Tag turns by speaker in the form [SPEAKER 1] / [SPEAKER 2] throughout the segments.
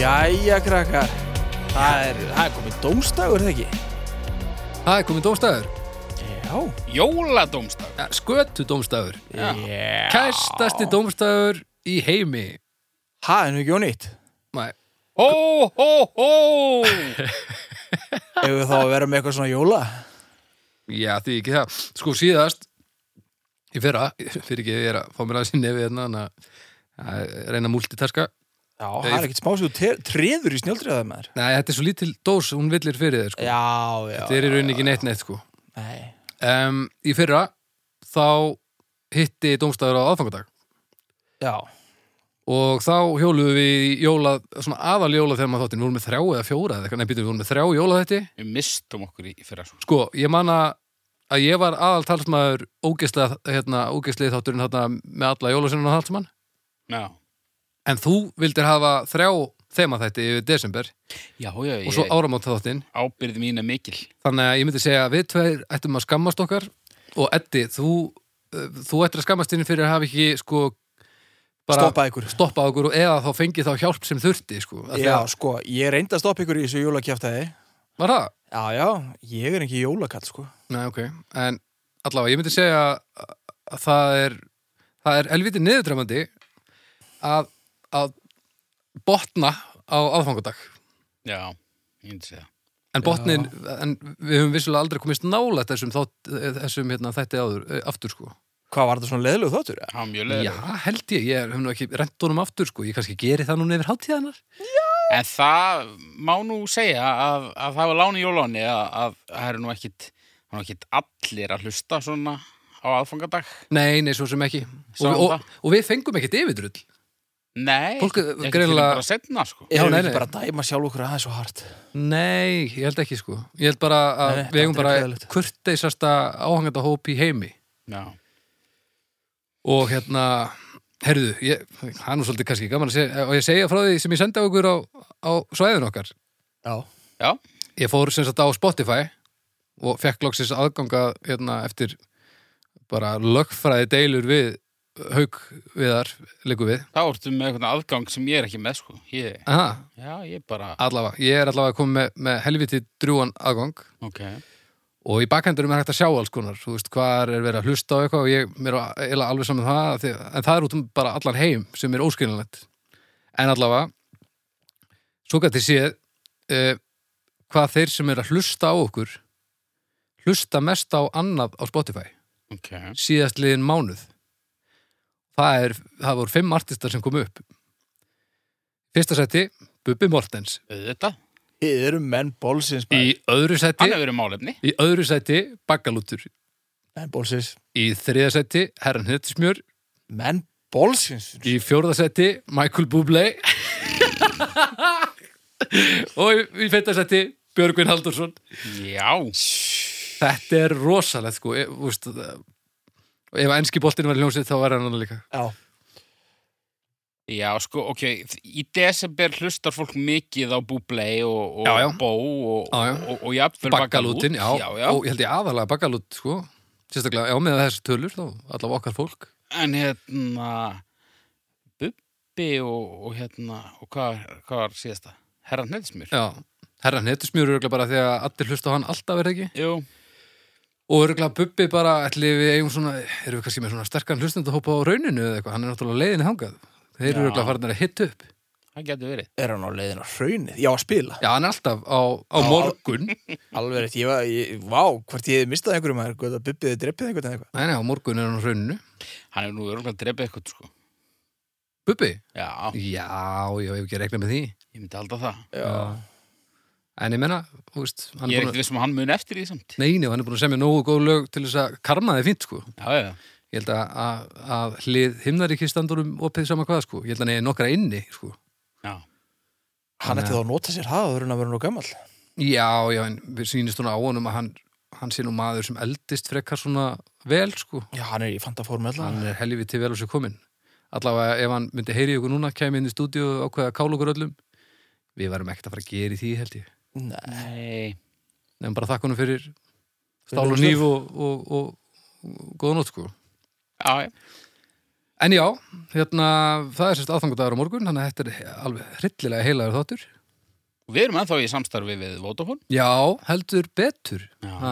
[SPEAKER 1] Jæja krakkar Það er, það er komið dómstagur þegar ekki
[SPEAKER 2] Það er komið dómstæður.
[SPEAKER 1] Já
[SPEAKER 3] Jóladómstag
[SPEAKER 2] Skötu dómstæður.
[SPEAKER 1] Já
[SPEAKER 2] Kæstasti dómstæður í heimi.
[SPEAKER 1] Það er nú ekki ónýtt
[SPEAKER 2] Mæ,
[SPEAKER 3] Hó, hó, hó
[SPEAKER 1] Ef við þá að vera með eitthvað svona jóla
[SPEAKER 2] já, því ekki það. Sko síðast, ég fyrra, fyrir ekki ég er að fá mér aðeins í nefið hérna, en að- að reyna að multitaska.
[SPEAKER 1] Já, það er ekkert smá sem þú te- treður í snjóldriðað með þér
[SPEAKER 2] Nei, þetta er svo lítil dós, hún villir fyrir þér, sko.
[SPEAKER 1] Já, já
[SPEAKER 2] þetta er í rauninni ekki neitt neitt, sko.
[SPEAKER 1] Nei
[SPEAKER 2] Um, í fyrra, þá hitti dómstæður á aðfangadag
[SPEAKER 1] Já
[SPEAKER 2] og þá hjóluðum við í jóla, svona aðal jóla þegar maður þáttin, við vorum með þrjá eða fjóra eða eitthvað, nei, býtum við vorum með þrjá jóla þetta
[SPEAKER 3] Við mistum okkur í fyrra svo
[SPEAKER 2] Sko, ég man að að ég var aðal talsmaður ógeðslega, hérna, ógeðslega þátturinn þarna með alla jólasunum og halsmann
[SPEAKER 3] Já,
[SPEAKER 2] en þú vildir hafa þrjá þema þætti yfir desember
[SPEAKER 3] já, já,
[SPEAKER 2] og svo
[SPEAKER 3] ég,
[SPEAKER 2] áramót þáttin
[SPEAKER 3] ábyrði mín er mikil
[SPEAKER 2] þannig að ég myndi segja að við tveir ættum að skammast okkar og Eddi, þú eh, þú ættir að skammast þín fyrir að hafa ekki sko bara
[SPEAKER 1] Stoppa ykkur
[SPEAKER 2] stoppa okkur og eða þá fengið þá hjálp sem þurfti sko. Af því
[SPEAKER 1] Já,
[SPEAKER 2] að-
[SPEAKER 1] sko, ég reyndi að stoppa ykkur í þessu jólakjaftaði
[SPEAKER 2] Var það?
[SPEAKER 1] Já, já, ég er ekki jólakall, sko
[SPEAKER 2] Nei, ok, en allavega, ég myndi segja að að það er það er elviti niðurdrefandi að, að botna á aðfangadag
[SPEAKER 3] Já, ég myndi segja
[SPEAKER 2] en botnin, en við höfum vissulega aldrei komist nála þessum, þátt, þessum hérna, þætti áður, eh, aftur sko
[SPEAKER 1] Hvað var þetta svona leðlug þáttur? eða?
[SPEAKER 3] Það var mjög leður
[SPEAKER 2] Já, held ég, ég hef nú ekki rent honum aftur sko, ég kannski geri það núna yfir hátíðanar
[SPEAKER 3] En það má nú segja að, að það var láni jólóni að, að það eru nú ekkit, það eru nú ekkit allir að hlusta svona á aðfangadag
[SPEAKER 2] Nei, nei, svo sem ekki og,
[SPEAKER 3] Sama
[SPEAKER 2] og,
[SPEAKER 3] það.
[SPEAKER 2] og, við fengum ekkit yfirdrull
[SPEAKER 3] Nei,
[SPEAKER 2] Fólk er
[SPEAKER 3] ekki
[SPEAKER 2] greinilega-
[SPEAKER 3] fyrir bara setna sko
[SPEAKER 2] Já,
[SPEAKER 1] Erum við
[SPEAKER 2] nei, nei.
[SPEAKER 1] ekki bara að dæma sjálf okkur aðeins og hart?
[SPEAKER 2] Nei, ég held ekki sko Ég held bara að
[SPEAKER 1] Nei,
[SPEAKER 2] við eigum
[SPEAKER 1] þetta er
[SPEAKER 2] bara
[SPEAKER 1] gleðilegt.
[SPEAKER 2] kurteisasta áhanganda hóp í heimi
[SPEAKER 3] Já,
[SPEAKER 2] og hérna herðu, ég, það er nú svolítið kannski gaman að segja og ég segja frá því sem ég sendi á ykkur á, á svæðin okkar
[SPEAKER 1] Já
[SPEAKER 3] já,
[SPEAKER 2] ég fór sem sagt á Spotify og fekk loksins aðganga hérna, eftir bara lögfræði deilur við haug viðar, leikum við
[SPEAKER 3] þá ertu með einhvern aðgang sem ég er ekki með sko ég,
[SPEAKER 2] Aha,
[SPEAKER 3] Já, ég bara,
[SPEAKER 2] allavega, ég er allavega komið með, með helviti drúan aðgang
[SPEAKER 3] ok
[SPEAKER 2] og í bakhendurum er hægt að sjá alls konar þú veist, hvað er verið að hlusta á eitthvað og ég mér er eiginlega alveg saman það af því, en það er út um bara allan heim sem er óskilinlegt en allavega svo gæti séð uh, hvað þeir sem er að hlusta á okkur hlusta mest á annað á Spotify
[SPEAKER 3] Ok,
[SPEAKER 2] síðast liðin mánuð það, er, það voru fimm artistar sem komu upp fyrsta seti Bubbi Mortens
[SPEAKER 3] auðvitað
[SPEAKER 1] Þið eru menn bólsins
[SPEAKER 2] í
[SPEAKER 1] maður.
[SPEAKER 2] öðru seti
[SPEAKER 3] Hann hefur verið málefni
[SPEAKER 2] í öðru seti Baggalútur
[SPEAKER 1] Menn bólsins
[SPEAKER 2] Í þriðasætti Herran Hittismjör
[SPEAKER 1] Menn bólsins
[SPEAKER 2] Í fjórðasætti Michael Bublé Og í, í fettasætti Björgvin Haldursson
[SPEAKER 3] Já,
[SPEAKER 2] Þetta er rosalegt sko ég, úst, Ef enski boltinn var í hljómsið þá var hann annað líka
[SPEAKER 1] Já
[SPEAKER 3] já, sko, ok Í desember hlustar fólk mikið á Bublé og, og
[SPEAKER 2] Já, já.
[SPEAKER 3] Bó og,
[SPEAKER 2] Já, já.
[SPEAKER 3] og, og, og jafnvel
[SPEAKER 2] Baggalútin, já,
[SPEAKER 3] já, já.
[SPEAKER 2] Og ég held ég aðalega baggalút sko Sérstaklega, já, með þessi tölur þá Allavega okkar fólk
[SPEAKER 3] En hérna Bubbi og, og hérna og hvað, hvað var síðasta? Herran Hneðismjör
[SPEAKER 2] Já, Herran Hittismjör er örugglega bara því að allir hlusta á hann alltaf er það ekki
[SPEAKER 3] Jú,
[SPEAKER 2] Og örgulega Bubbi bara, ætli við eigum svona, erum við kannski með svona sterkan hlustendahópa á rauninu eða eitthvað, hann er náttúrulega á leiðinni þangað. Þeir eru
[SPEAKER 3] Já.
[SPEAKER 2] örgulega farin að hitta upp.
[SPEAKER 3] það getur verið
[SPEAKER 1] Er hann á leiðin á hraunið? Já, að spila
[SPEAKER 2] Já, hann er alltaf á, á morgun, nei,
[SPEAKER 1] Alveg rétt, ég var, ég, vá, hvort ég hef mistað einhverjum maður, hvað það bubbiði dreppið einhvern eða eitthvað.
[SPEAKER 2] nei, á morgun er hann á rauninu.
[SPEAKER 3] Hann hefur nú örgulega að drepa eitthvað sko
[SPEAKER 2] Bubbi?
[SPEAKER 3] Já,
[SPEAKER 2] Já, já, ég hef ekki reglað með því.
[SPEAKER 3] ég myndi halda það
[SPEAKER 2] En ég menna, þú veist, hann
[SPEAKER 3] Ég
[SPEAKER 2] er
[SPEAKER 3] er
[SPEAKER 2] búin að,
[SPEAKER 3] ekkert vissum að hann muni eftir því samt
[SPEAKER 2] neini, hann er búin að semja nógu góð lög til þess að karma þið fínt, sko.
[SPEAKER 3] Já, já,
[SPEAKER 2] Ég held að, að, að hlið himnaríki standurum opið sama hvað, sko. Ég held að hann er nokkra inni, sko.
[SPEAKER 3] já
[SPEAKER 1] Hann ætti þá að nota sér hafaður en að vera nú gammal.
[SPEAKER 2] Já, já, en við sýnist svona á honum að hann, hann sé nú maður sem eldist frekar svona vel, sko.
[SPEAKER 1] Já, hann er í fantaformi allavega.
[SPEAKER 2] Hann er helviti vel á sér komin. Allavega ef hann myndi heyri ykkur núna, kæmi inn í stúdíu og ákveða að kála okkur öllum. Við varum ekkert að fara að gera í því, held ég.
[SPEAKER 1] Nei,
[SPEAKER 3] Nei,
[SPEAKER 2] Nefnum bara þakkunum fyrir stál og nýf og, og, og, og góðanótt, sko.
[SPEAKER 3] já, já En
[SPEAKER 2] En já, hérna, það er sérst aðfangadagur á morgun, þannig að þetta er alveg hryllilega heilagur þáttur.
[SPEAKER 3] Og við erum ennþá í samstarfi við Vodafone.
[SPEAKER 2] Já, heldur betur.
[SPEAKER 3] Já.
[SPEAKER 2] Ha,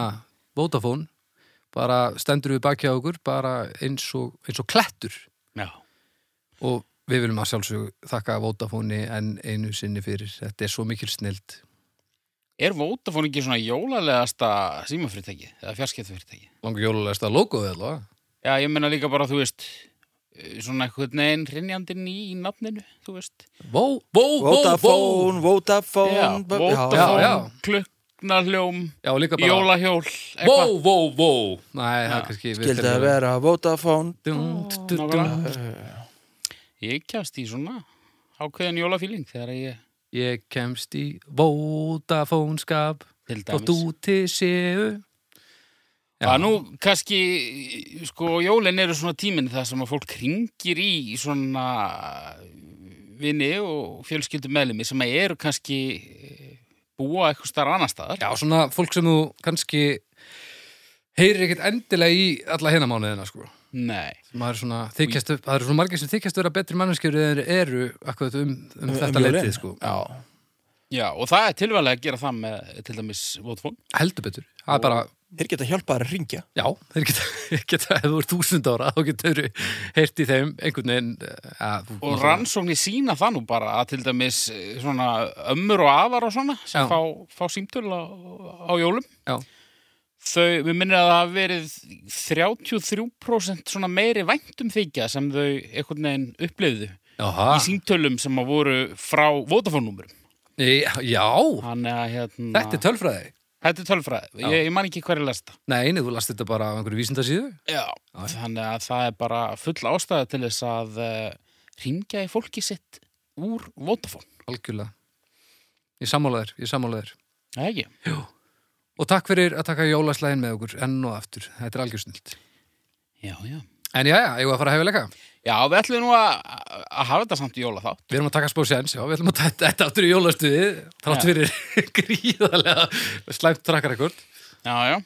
[SPEAKER 2] Vodafone, bara stendur við baki á okkur, bara eins og, eins og klettur.
[SPEAKER 3] Já.
[SPEAKER 2] Og við viljum að sjálfsög þakka Vodafone enn einu sinni fyrir. Þetta er svo mikil snild.
[SPEAKER 3] Er Vodafone ekki svona jólalegasta símafyrirtæki eða fjarskiptafyrirtæki?
[SPEAKER 2] Langar jólulegsta logoðið alveg.
[SPEAKER 3] Já, ég meina líka bara, þú veist, eh, svona eitthvað neginn hrinjandi ný í nafninu, þú veist.
[SPEAKER 2] Vó, vó, vó, vó.
[SPEAKER 1] Vodafone, Vodafone
[SPEAKER 3] Já,
[SPEAKER 1] bu-
[SPEAKER 2] Já, já.
[SPEAKER 3] Vodafone, klukknarhljóm,
[SPEAKER 2] Já, líka bara.
[SPEAKER 3] jólahjól,
[SPEAKER 2] Vó,
[SPEAKER 3] eitthvað.
[SPEAKER 2] vó, vó. Nei, það
[SPEAKER 3] Já.
[SPEAKER 2] er kannski... við
[SPEAKER 1] Skildi
[SPEAKER 2] teljum-
[SPEAKER 1] að vera Vodafone
[SPEAKER 2] Dum, dum, dum, dum.
[SPEAKER 3] Nákvæmlega. Ég kjast í svona ákveðin jólafíling þegar ég
[SPEAKER 2] Ég kemst í Vodafone skap
[SPEAKER 3] til
[SPEAKER 2] og
[SPEAKER 3] dæmis.
[SPEAKER 2] þú til séu.
[SPEAKER 3] Já, nú kannski, sko, jólin eru svona tíminn það sem að fólk ringir í svona vini og fjölskyldum meðlumi sem að eru kannski eh, búa eitthvað starf annar staðar.
[SPEAKER 2] Já, svona fólk sem þú kannski heyrir ekkert endilega í alla hérna mánuðina, sko.
[SPEAKER 3] Nei.
[SPEAKER 2] Maður er svona þykjast, það eru svona margir sem þykjast vera betri manneskjur en þeir eru akkurat um, um,
[SPEAKER 1] um
[SPEAKER 2] þetta
[SPEAKER 1] jólin.
[SPEAKER 2] leitið, sko.
[SPEAKER 1] Já,
[SPEAKER 3] Já, og það er tilvælega að gera það með til dæmis Vodafone.
[SPEAKER 2] Heldur betur. Það er bara,
[SPEAKER 1] þeir geta hjálpað að ringja
[SPEAKER 2] já, þeir geta, geta ef þú er þúsund ára, þá getur heyrt í þeim einhvern veginn. eh, Að, þú-
[SPEAKER 3] Og rannsóknir sína það nú bara að til dæmis eh, svona ömmur og afar og svona sem
[SPEAKER 2] Já.
[SPEAKER 3] fá, fá símtöl á, á jólum.
[SPEAKER 2] Já.
[SPEAKER 3] Þau, við minnir að það hafi verið 33% svona meiri væntum þykja sem þau einhvern veginn upplifðu
[SPEAKER 2] Jaha.
[SPEAKER 3] í símtölum sem að voru frá Vodafone-númurum.
[SPEAKER 2] Já, já,
[SPEAKER 3] Þannig að hérna...
[SPEAKER 2] þetta er tölfræði.
[SPEAKER 3] þetta er tölfræði.
[SPEAKER 2] Já.
[SPEAKER 3] Ég, ég man ekki hverju lesta.
[SPEAKER 2] Nei, nei, þú last þetta bara á einhverju vísindasíðu.
[SPEAKER 3] Já. Þannig að það er bara full ástæða til þess að uh, ringja í fólki sitt úr Vodafone.
[SPEAKER 2] Algjörlega. Ég sammála þér, ég sammála þér.
[SPEAKER 3] Það er ekki.
[SPEAKER 2] Og takk fyrir að taka jólaslæðin með okkur enn og aftur. Þetta er algjörsnilt.
[SPEAKER 3] Já, já.
[SPEAKER 2] En já, já, ég var að fara að hefa leika.
[SPEAKER 3] Já, við ætlum nú að, að hafa þetta samt í jóla þá.
[SPEAKER 2] Við erum að taka spór séns, já, við ætlum að taka þetta aftur í jólastuðið, þrátt
[SPEAKER 3] Já.
[SPEAKER 2] fyrir gríðarlega slæmt trakkarekord.
[SPEAKER 3] Já, já.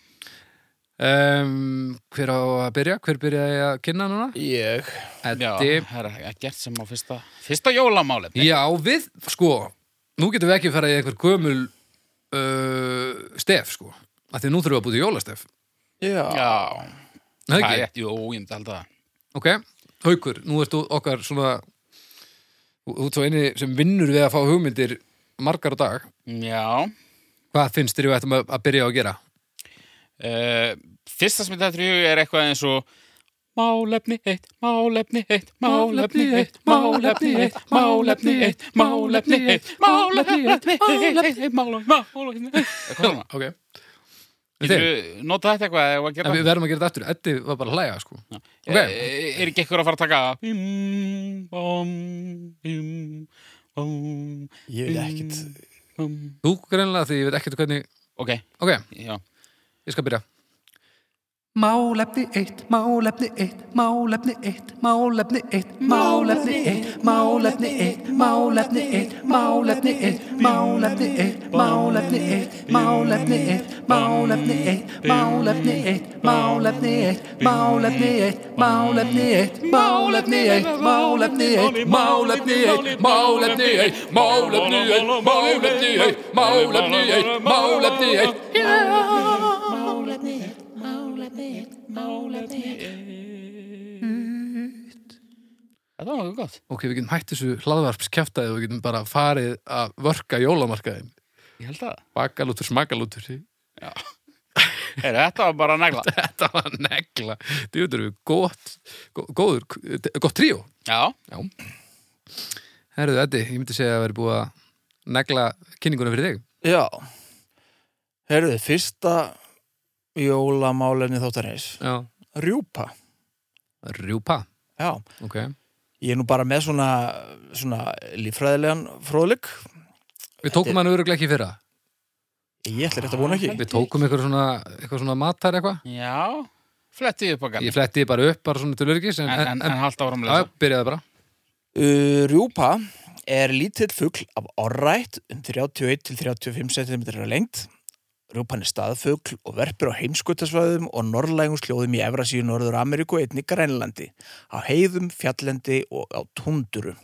[SPEAKER 2] Um, hver á að byrja? Hver byrjaði að kynna núna?
[SPEAKER 1] Ég
[SPEAKER 3] Já,
[SPEAKER 2] Eddi.
[SPEAKER 3] það er ekkert sem á fyrsta, fyrsta jólamáli.
[SPEAKER 2] Já, við, sko, nú getum við ekki að fara í einhver gömul uh, stef, sko. Af því nú þurfum við að búið í jólastef.
[SPEAKER 1] Já,
[SPEAKER 3] Já,
[SPEAKER 2] Nei,
[SPEAKER 3] það er
[SPEAKER 2] ekki?
[SPEAKER 3] rétt. Jú, ég myndi alltaf það.
[SPEAKER 2] Ok, haukur, nú ertu okkar svona þú þú ert svo eini sem vinnur við að fá hugmyndir margar á dag.
[SPEAKER 3] Já.
[SPEAKER 2] Hvað finnst þér við ættum að að byrja á að gera?
[SPEAKER 3] Uh, fyrsta sem þetta trjú er eitthvað eins og Málefni eitt, málefni eitt, málefni eitt, málefni eitt, málefni eitt, málefni eitt, málefni eitt, málefni eitt, málefni eitt, málefni eitt.
[SPEAKER 2] Ok.
[SPEAKER 3] Getur þú notað þetta eitthvað eða að
[SPEAKER 2] En
[SPEAKER 3] gera
[SPEAKER 2] við verðum að gera þetta aftur, Eddi var bara að hlæja sko Ok.
[SPEAKER 3] okay. er ekki ekkur eh, að fara að taka Bim, bom, bim, bom,
[SPEAKER 1] ég vil ekkit
[SPEAKER 3] bom.
[SPEAKER 2] Þú greinlega því ég veit ekkert hvernig
[SPEAKER 3] ok,
[SPEAKER 2] Ok,
[SPEAKER 3] já
[SPEAKER 2] ég skal byrja
[SPEAKER 4] Málefni eitt, málefni eitt, málefni eitt, málefni eitt, málefni eitt, málefni eitt, málefni eitt, málefni eitt, málefni eitt, málefni eitt, málefni eitt, málefni eitt, málefni eitt, málefni eitt, málefni eitt, málefni eitt, málefni eitt, málefni eitt, málefni eitt, málefni eitt, málefni eitt, málefni eitt, málefni eitt, málefni eitt.
[SPEAKER 3] þetta var nokkuð gott
[SPEAKER 2] Ok, við getum hætt þessu hlaðvarpskjaftaði og við getum bara farið að vörka jólamarkaðin
[SPEAKER 3] ég held að
[SPEAKER 2] Bakalútur, smakalútur
[SPEAKER 3] Heru, þetta var bara negla
[SPEAKER 2] Þetta var negla Þetta við gott, gó- góður, eh, gott tríó
[SPEAKER 3] já,
[SPEAKER 2] Herðu, Eddi, ég myndi segja að vera búið að negla kynninguna fyrir þig
[SPEAKER 1] Já Herðu, fyrsta jólamálefni þáttarins
[SPEAKER 2] Já
[SPEAKER 1] Rjúpa
[SPEAKER 2] Rjúpa,
[SPEAKER 1] Já,
[SPEAKER 2] ok
[SPEAKER 1] ég er nú bara með svona, svona líffræðilegan fróðleik
[SPEAKER 2] Við tókum hann öruglega ekki í fyrra
[SPEAKER 1] Ég ætla rétt að vona ekki
[SPEAKER 2] Við tókum eitthvað svona, eitthvað svona matar eitthvað
[SPEAKER 3] já fletti upp okkar
[SPEAKER 2] Ég
[SPEAKER 3] en,
[SPEAKER 2] fletti bara upp bara svona til örgis en,
[SPEAKER 3] en, en halda áram
[SPEAKER 2] já,
[SPEAKER 3] lesa
[SPEAKER 2] byrjaði bara
[SPEAKER 1] Uh, Rjúpa er lítill fugl af orrætt um 31-35 cm að lengt. Rjúpan er staðfugl og verpir á heimskuttasvæðum og norrlægum sljóðum í Evrasíu Norður Ameríku og einnig Grænlandi, á heiðum, fjallendi og á tundurum.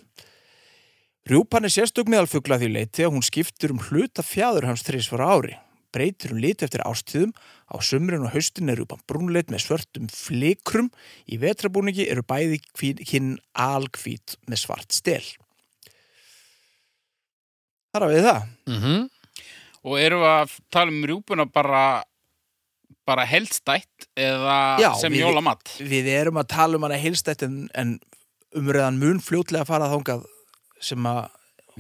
[SPEAKER 1] Rjúpan er sérstök meðal fugla að því leiti að hún skiptir um hluta fjæður hans þrísvara ári. Breytir hún lit eftir ástíðum, á sumrin og haustin er rjúpan brúnleitt með svörtum flikrum, í vetrabúningi eru bæði hvín- kinn alhvít með svart stel. Þar að við það.
[SPEAKER 2] Mm
[SPEAKER 3] Og erum við að tala um rjúpuna bara, bara heldstætt eða
[SPEAKER 1] Já,
[SPEAKER 3] sem
[SPEAKER 1] við-
[SPEAKER 3] jólamatt?
[SPEAKER 1] Við erum að tala um hana heilstætt en, en umræðan mun fljótlega að fara þangað sem að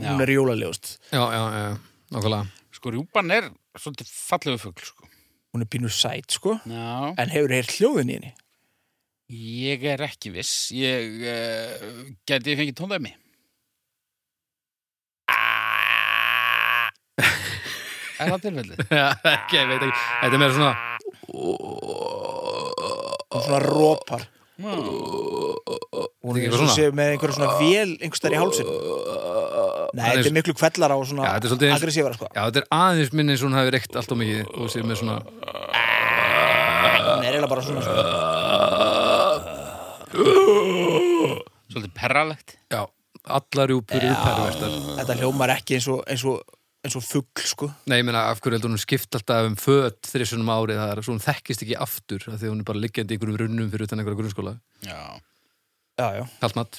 [SPEAKER 1] hún
[SPEAKER 3] Já.
[SPEAKER 1] er jólalegust.
[SPEAKER 2] Já, já, já, nokkulega
[SPEAKER 3] Sko, rjúpan er svolítið fallegu fugl, sko.
[SPEAKER 1] Hún er pínu sæt, sko.
[SPEAKER 3] Já,
[SPEAKER 1] En hefur heyrt hljóðin í henni?
[SPEAKER 3] ég er ekki viss. Ég uh, geti fengið tóndæmi. Er það tilfellið?
[SPEAKER 2] Já, ekki, ég veit ekki Þetta er meira svona
[SPEAKER 1] Hún svona rópar. Hún
[SPEAKER 2] Þetta er
[SPEAKER 1] er
[SPEAKER 2] eitthvað
[SPEAKER 1] svona
[SPEAKER 2] svona.
[SPEAKER 1] séu með einhverja svona vél einhverstaðar í hálsinn. Nei,
[SPEAKER 2] Það er
[SPEAKER 1] þetta er
[SPEAKER 2] svo-
[SPEAKER 1] miklu kvellara og svona
[SPEAKER 2] Já, þetta er svolítið eins-
[SPEAKER 1] aggressífara, sko.
[SPEAKER 2] Já, þetta er aðeins minni eins og hún hafi reykt allt og mikið og sér með svona
[SPEAKER 1] Hún er eiginlega bara svona, sko.
[SPEAKER 3] Svolítið perralegt.
[SPEAKER 2] Já, allar rjúpur eru pervertar
[SPEAKER 1] Þetta hljómar ekki eins og, eins og, eins og fugg, sko.
[SPEAKER 2] Nei, ég meina, af hverju heldur hún skipt alltaf um föt þrissunum árið það er svo hún þekkist ekki aftur af því að hún er bara liggjandi í einhverjum runnum fyrir utan einhverja grunnskóla
[SPEAKER 3] Já.
[SPEAKER 1] Já, já.
[SPEAKER 2] Kaltmatt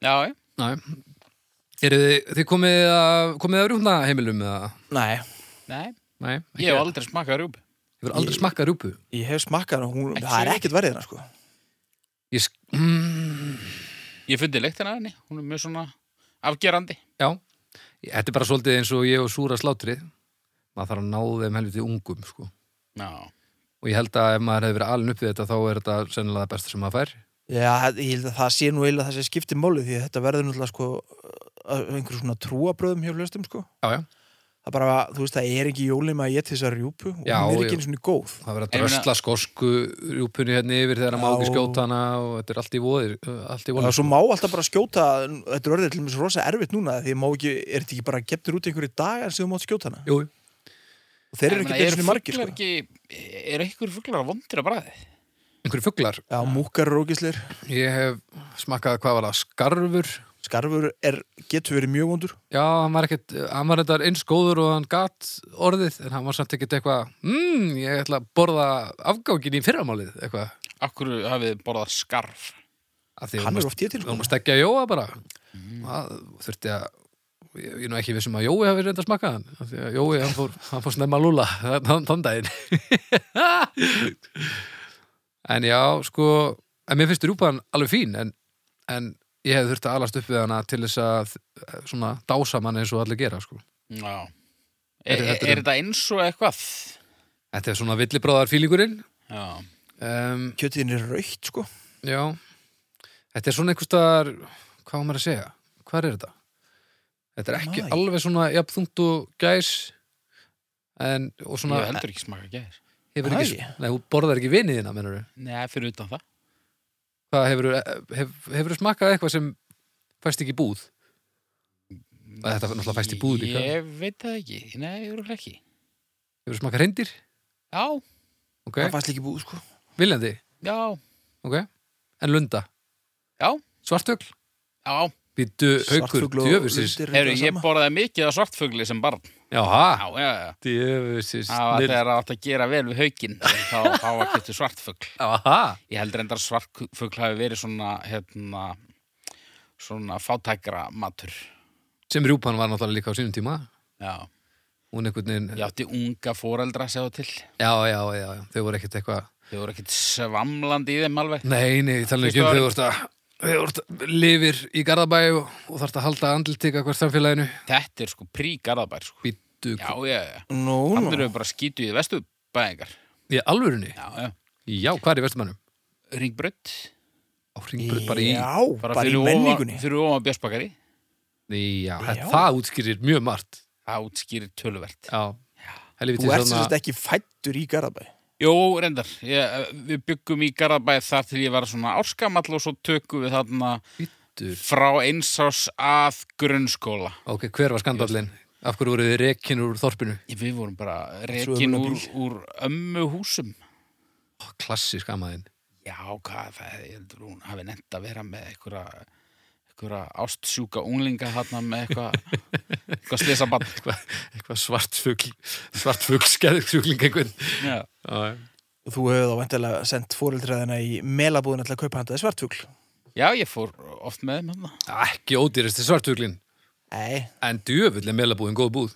[SPEAKER 3] Já, já.
[SPEAKER 2] Næ Eru þið, þið komið að, komið að rjúpna heimilum eða?
[SPEAKER 1] Nei,
[SPEAKER 3] Nei,
[SPEAKER 2] Nei, ekki
[SPEAKER 3] ég hef
[SPEAKER 2] enn.
[SPEAKER 3] aldrei smakað rjúpi.
[SPEAKER 2] Ég hef aldrei smakkað rjúpu
[SPEAKER 1] ég hef smakkað hana. Hún,
[SPEAKER 3] Ekki
[SPEAKER 1] það er
[SPEAKER 3] svo-
[SPEAKER 1] ekkert verðið hana, sko.
[SPEAKER 2] Ég sk... Mm,
[SPEAKER 3] Ég fundi leiktina henni. Hún er mjög svona afgerandi.
[SPEAKER 2] já, þetta er bara svolítið eins og ég og Súra slátrið Maður þarf að ná þeim helviti ungum, sko
[SPEAKER 3] Já.
[SPEAKER 2] Og ég held að ef maður hefur verið alin upp við þetta þá er þetta sennilega það besta sem maður fær
[SPEAKER 1] Já, ég held að það sé nú eiginlega það sem skiptir málið því að þetta verður náttúrulega sko að einhverjum svona trúabröðum hjá hlustum sko.
[SPEAKER 2] Já, já,
[SPEAKER 1] Það er bara, þú veist, það er ekki jólum að geta þessa rjúpu og
[SPEAKER 2] Já,
[SPEAKER 1] hún er
[SPEAKER 2] já.
[SPEAKER 1] ekki einu svona góð.
[SPEAKER 2] það verður að
[SPEAKER 3] Ég meina-
[SPEAKER 2] drösla skosku rjúpunni hérna yfir þegar maður má
[SPEAKER 1] Já.
[SPEAKER 2] ekki skjóta hana og þetta er allt í voðir, eh, allt í
[SPEAKER 1] Og
[SPEAKER 2] voðir.
[SPEAKER 1] svo má alltaf bara skjóta, þetta er orðið til mér svo rosa erfitt núna því má ekki, er þetta ekki bara geftur út einhverju dagar sem þú mátt skjóta hana?
[SPEAKER 2] Jú,
[SPEAKER 1] Og þeir eru
[SPEAKER 3] Ég meina,
[SPEAKER 1] ekki einu svona margir
[SPEAKER 3] fuglar
[SPEAKER 1] sko.
[SPEAKER 3] Ekki, er einhver fuglar vondir að bræði?
[SPEAKER 2] einhverju fuglar.
[SPEAKER 1] Já, múkar eru ógisleir,
[SPEAKER 2] Ég hef smakkað hvað var það, skarfur.
[SPEAKER 1] skarfur er, getur verið mjög vondur.
[SPEAKER 2] Já, hann var ekkert, hann var þetta eins góður og hann gat orðið, en hann var samt ekkert eitthvað, mmm, ég ætla að borða afgángin í fyrramálið, eitthvað.
[SPEAKER 3] Akkur hafið þið borðað skarf
[SPEAKER 2] Af því
[SPEAKER 1] Hann
[SPEAKER 2] hún
[SPEAKER 1] er oft ég til
[SPEAKER 2] Við vorum
[SPEAKER 1] sko.
[SPEAKER 2] að stekja Jóa bara það þurfti að ég ég er nú ekki vissum að Jói hafi reynda að smakka hann af því að Jói, hann fór, hann fór snemma að lúla þann þann daginn en já, sko en mér finnst rjúpan alveg fín en, en ég hef þurft að alast upp við hana til þess að eh, svona dása mann eins og allir gera sko.
[SPEAKER 3] Já
[SPEAKER 2] Er-
[SPEAKER 3] Er, er,
[SPEAKER 2] þetta er-
[SPEAKER 3] þetta eins og eitthvað?
[SPEAKER 2] þetta er svona villibráðar fílingurinn
[SPEAKER 3] Já
[SPEAKER 2] um,
[SPEAKER 1] Kjötiðin er raukt sko.
[SPEAKER 2] já þetta er svona einhvers staðar hvað á maður að segja, hvað er þetta? Þetta er ekki
[SPEAKER 1] Maí.
[SPEAKER 2] alveg svona jafn þungt og gæs en, og svona
[SPEAKER 3] Ég hef heldur ekki smaka gæðir
[SPEAKER 2] hefur ekki,
[SPEAKER 1] Maí.
[SPEAKER 2] nei, hún borðar ekki vinið þína, mennur við.
[SPEAKER 3] Nei, fyrir utan það
[SPEAKER 2] Hvað hefur, hef, hefur smakkað eitthvað sem fæst ekki í búð? Að þetta náttúrulega fæst í búð líka.
[SPEAKER 3] Ég veit það ekki, nei, ég eru ekki
[SPEAKER 2] Hefur smakkað reyndir?
[SPEAKER 3] Já,
[SPEAKER 2] Ok,
[SPEAKER 1] Það fannst líki búið sko.
[SPEAKER 2] viljandi,
[SPEAKER 3] já,
[SPEAKER 2] ok en lunda,
[SPEAKER 3] já,
[SPEAKER 2] svartfugl
[SPEAKER 3] já
[SPEAKER 2] býttu haukur,
[SPEAKER 1] Svartfugl og
[SPEAKER 2] djöfusins
[SPEAKER 1] lundir eru
[SPEAKER 3] Heru,
[SPEAKER 1] það
[SPEAKER 3] Ég
[SPEAKER 1] sama.
[SPEAKER 3] borðaði mikið af svartfugli sem barn
[SPEAKER 2] já, ha,
[SPEAKER 3] Já, já, já
[SPEAKER 2] djöfusins
[SPEAKER 3] Það var þegar það átt að gera vel við haukinn Þá, þá var kjöttu svartfugl
[SPEAKER 2] já, ha,
[SPEAKER 3] Ég held reyndar að svartfugl hafi verið svona, hérna Svona fátækra matur
[SPEAKER 2] sem rjúpan var náttúrulega líka á sínum tíma
[SPEAKER 3] Já,
[SPEAKER 2] hún einhvern veginn,
[SPEAKER 3] ég átti unga foreldra að segja til
[SPEAKER 2] já, já, já, já, þau voru ekkert eitthvað
[SPEAKER 3] Þau voru ekkert svamlandi í þeim alveg.
[SPEAKER 2] Nei, nei, ég tala nú ekki um
[SPEAKER 3] Fyrsta
[SPEAKER 2] þau vorst að þau vorst að lifir í Garðabæi og, og þarft að halda andlutika hvert samfélaginu
[SPEAKER 3] Þetta er sko prígarðabær, sko.
[SPEAKER 2] Býttu,
[SPEAKER 3] Já, já, já.
[SPEAKER 1] Nú, nú.
[SPEAKER 3] Þannig eru bara skýtu í vestu bæðingar.
[SPEAKER 2] í alvörunni?
[SPEAKER 3] Já, já.
[SPEAKER 2] Já, hvað er í vestumannum?
[SPEAKER 3] Ringbrödd.
[SPEAKER 2] Á hringbröð bara í
[SPEAKER 1] Já,
[SPEAKER 3] Bara,
[SPEAKER 1] bara í
[SPEAKER 3] fyrir ofan,
[SPEAKER 1] menningunni.
[SPEAKER 3] fyrir ofan björsbakari.
[SPEAKER 2] Já,
[SPEAKER 1] Já.
[SPEAKER 2] já. það útskýrir mjög margt
[SPEAKER 3] Það útskýrir töluvert.
[SPEAKER 2] Já,
[SPEAKER 1] Þú
[SPEAKER 2] helviti
[SPEAKER 1] ert sem sagt
[SPEAKER 2] svona
[SPEAKER 1] ekki fættur í Garðabæ.
[SPEAKER 3] Jó, reyndar. Ég, eh, við byggum í Garðabæð þar til ég var svona árskamall og svo tökum við þarna
[SPEAKER 2] Býttu,
[SPEAKER 3] frá einsás að grunnskóla.
[SPEAKER 2] ok, hver var skandallin? Af hverju voruð þið rekin úr þorpinu?
[SPEAKER 3] Við vorum bara
[SPEAKER 1] Svo
[SPEAKER 3] rekin
[SPEAKER 1] ömurlega
[SPEAKER 3] úr,
[SPEAKER 1] bíl.
[SPEAKER 3] úr ömmu húsum.
[SPEAKER 2] Ó, klassísk amaðin
[SPEAKER 3] Já, hvað, það, ég heldur hún hafi nefnt að vera með einhverja, einhverja ástsjúka unglinga hann með eitthvað eitthvað slisabann
[SPEAKER 2] eitthvað svartfugl svartfugl skeðugsjúkling einhvern
[SPEAKER 3] Já,
[SPEAKER 2] Já, já.
[SPEAKER 1] Þú hefur þá vantilega sendt fóreldræðina í melabúðin alltaf að kaupa handaði svartfugl. Já,
[SPEAKER 3] Já, ég fór oft með þeim hann
[SPEAKER 2] ekki ódýrasti svartfuglin
[SPEAKER 1] Nei,
[SPEAKER 2] en djöfull er meilabúðin góð búð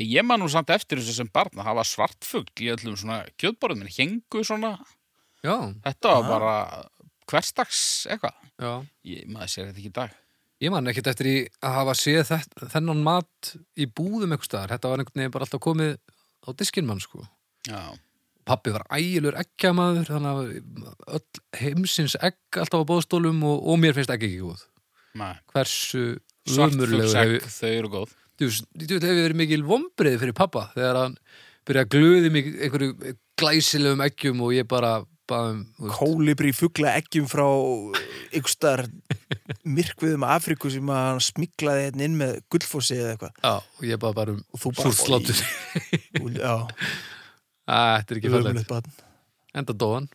[SPEAKER 3] Ég man nú samt eftir þessu sem barn að hafa svartfugl í öllum svona kjötborðum minn hengu svona,
[SPEAKER 2] já,
[SPEAKER 3] þetta var bara hverstags eitthvað
[SPEAKER 2] já
[SPEAKER 3] ég, maður sér þetta ekki í dag
[SPEAKER 2] Ég man ekkert eftir í að hafa séð þetta, þennan mat í búðum einhvers staðar. Þetta var einhvern veginn bara alltaf komið á diskinn mann, sko.
[SPEAKER 3] Já,
[SPEAKER 2] Pappi var ægilur eggjamaður, þannig að öll heimsins egg alltaf á bóðstólum og, og mér finnst egg ekki góð.
[SPEAKER 3] nei
[SPEAKER 2] Hversu ömurlegur
[SPEAKER 3] Svartfuglsegg,
[SPEAKER 2] hefur...
[SPEAKER 3] þau eru góð
[SPEAKER 2] Þú veist, þú veist, hefur verið mikil vombriði fyrir pappa þegar hann byrjaði að glöði mig einhverju glæsilegum eggjum og ég bara um, baðum...
[SPEAKER 1] kólibri fugla eggjum frá yngstar myrkviðum Afriku sem að hann smiglaði hérna inn með gullfósi eða eitthvað.
[SPEAKER 2] Já, og ég baða bara um
[SPEAKER 1] Og þú bara-
[SPEAKER 2] súrsláttur.
[SPEAKER 1] Og- Já,
[SPEAKER 2] Æ, Þetta er ekki
[SPEAKER 1] ömurlegt
[SPEAKER 2] fællegt.
[SPEAKER 1] barn.
[SPEAKER 2] Enda dóan.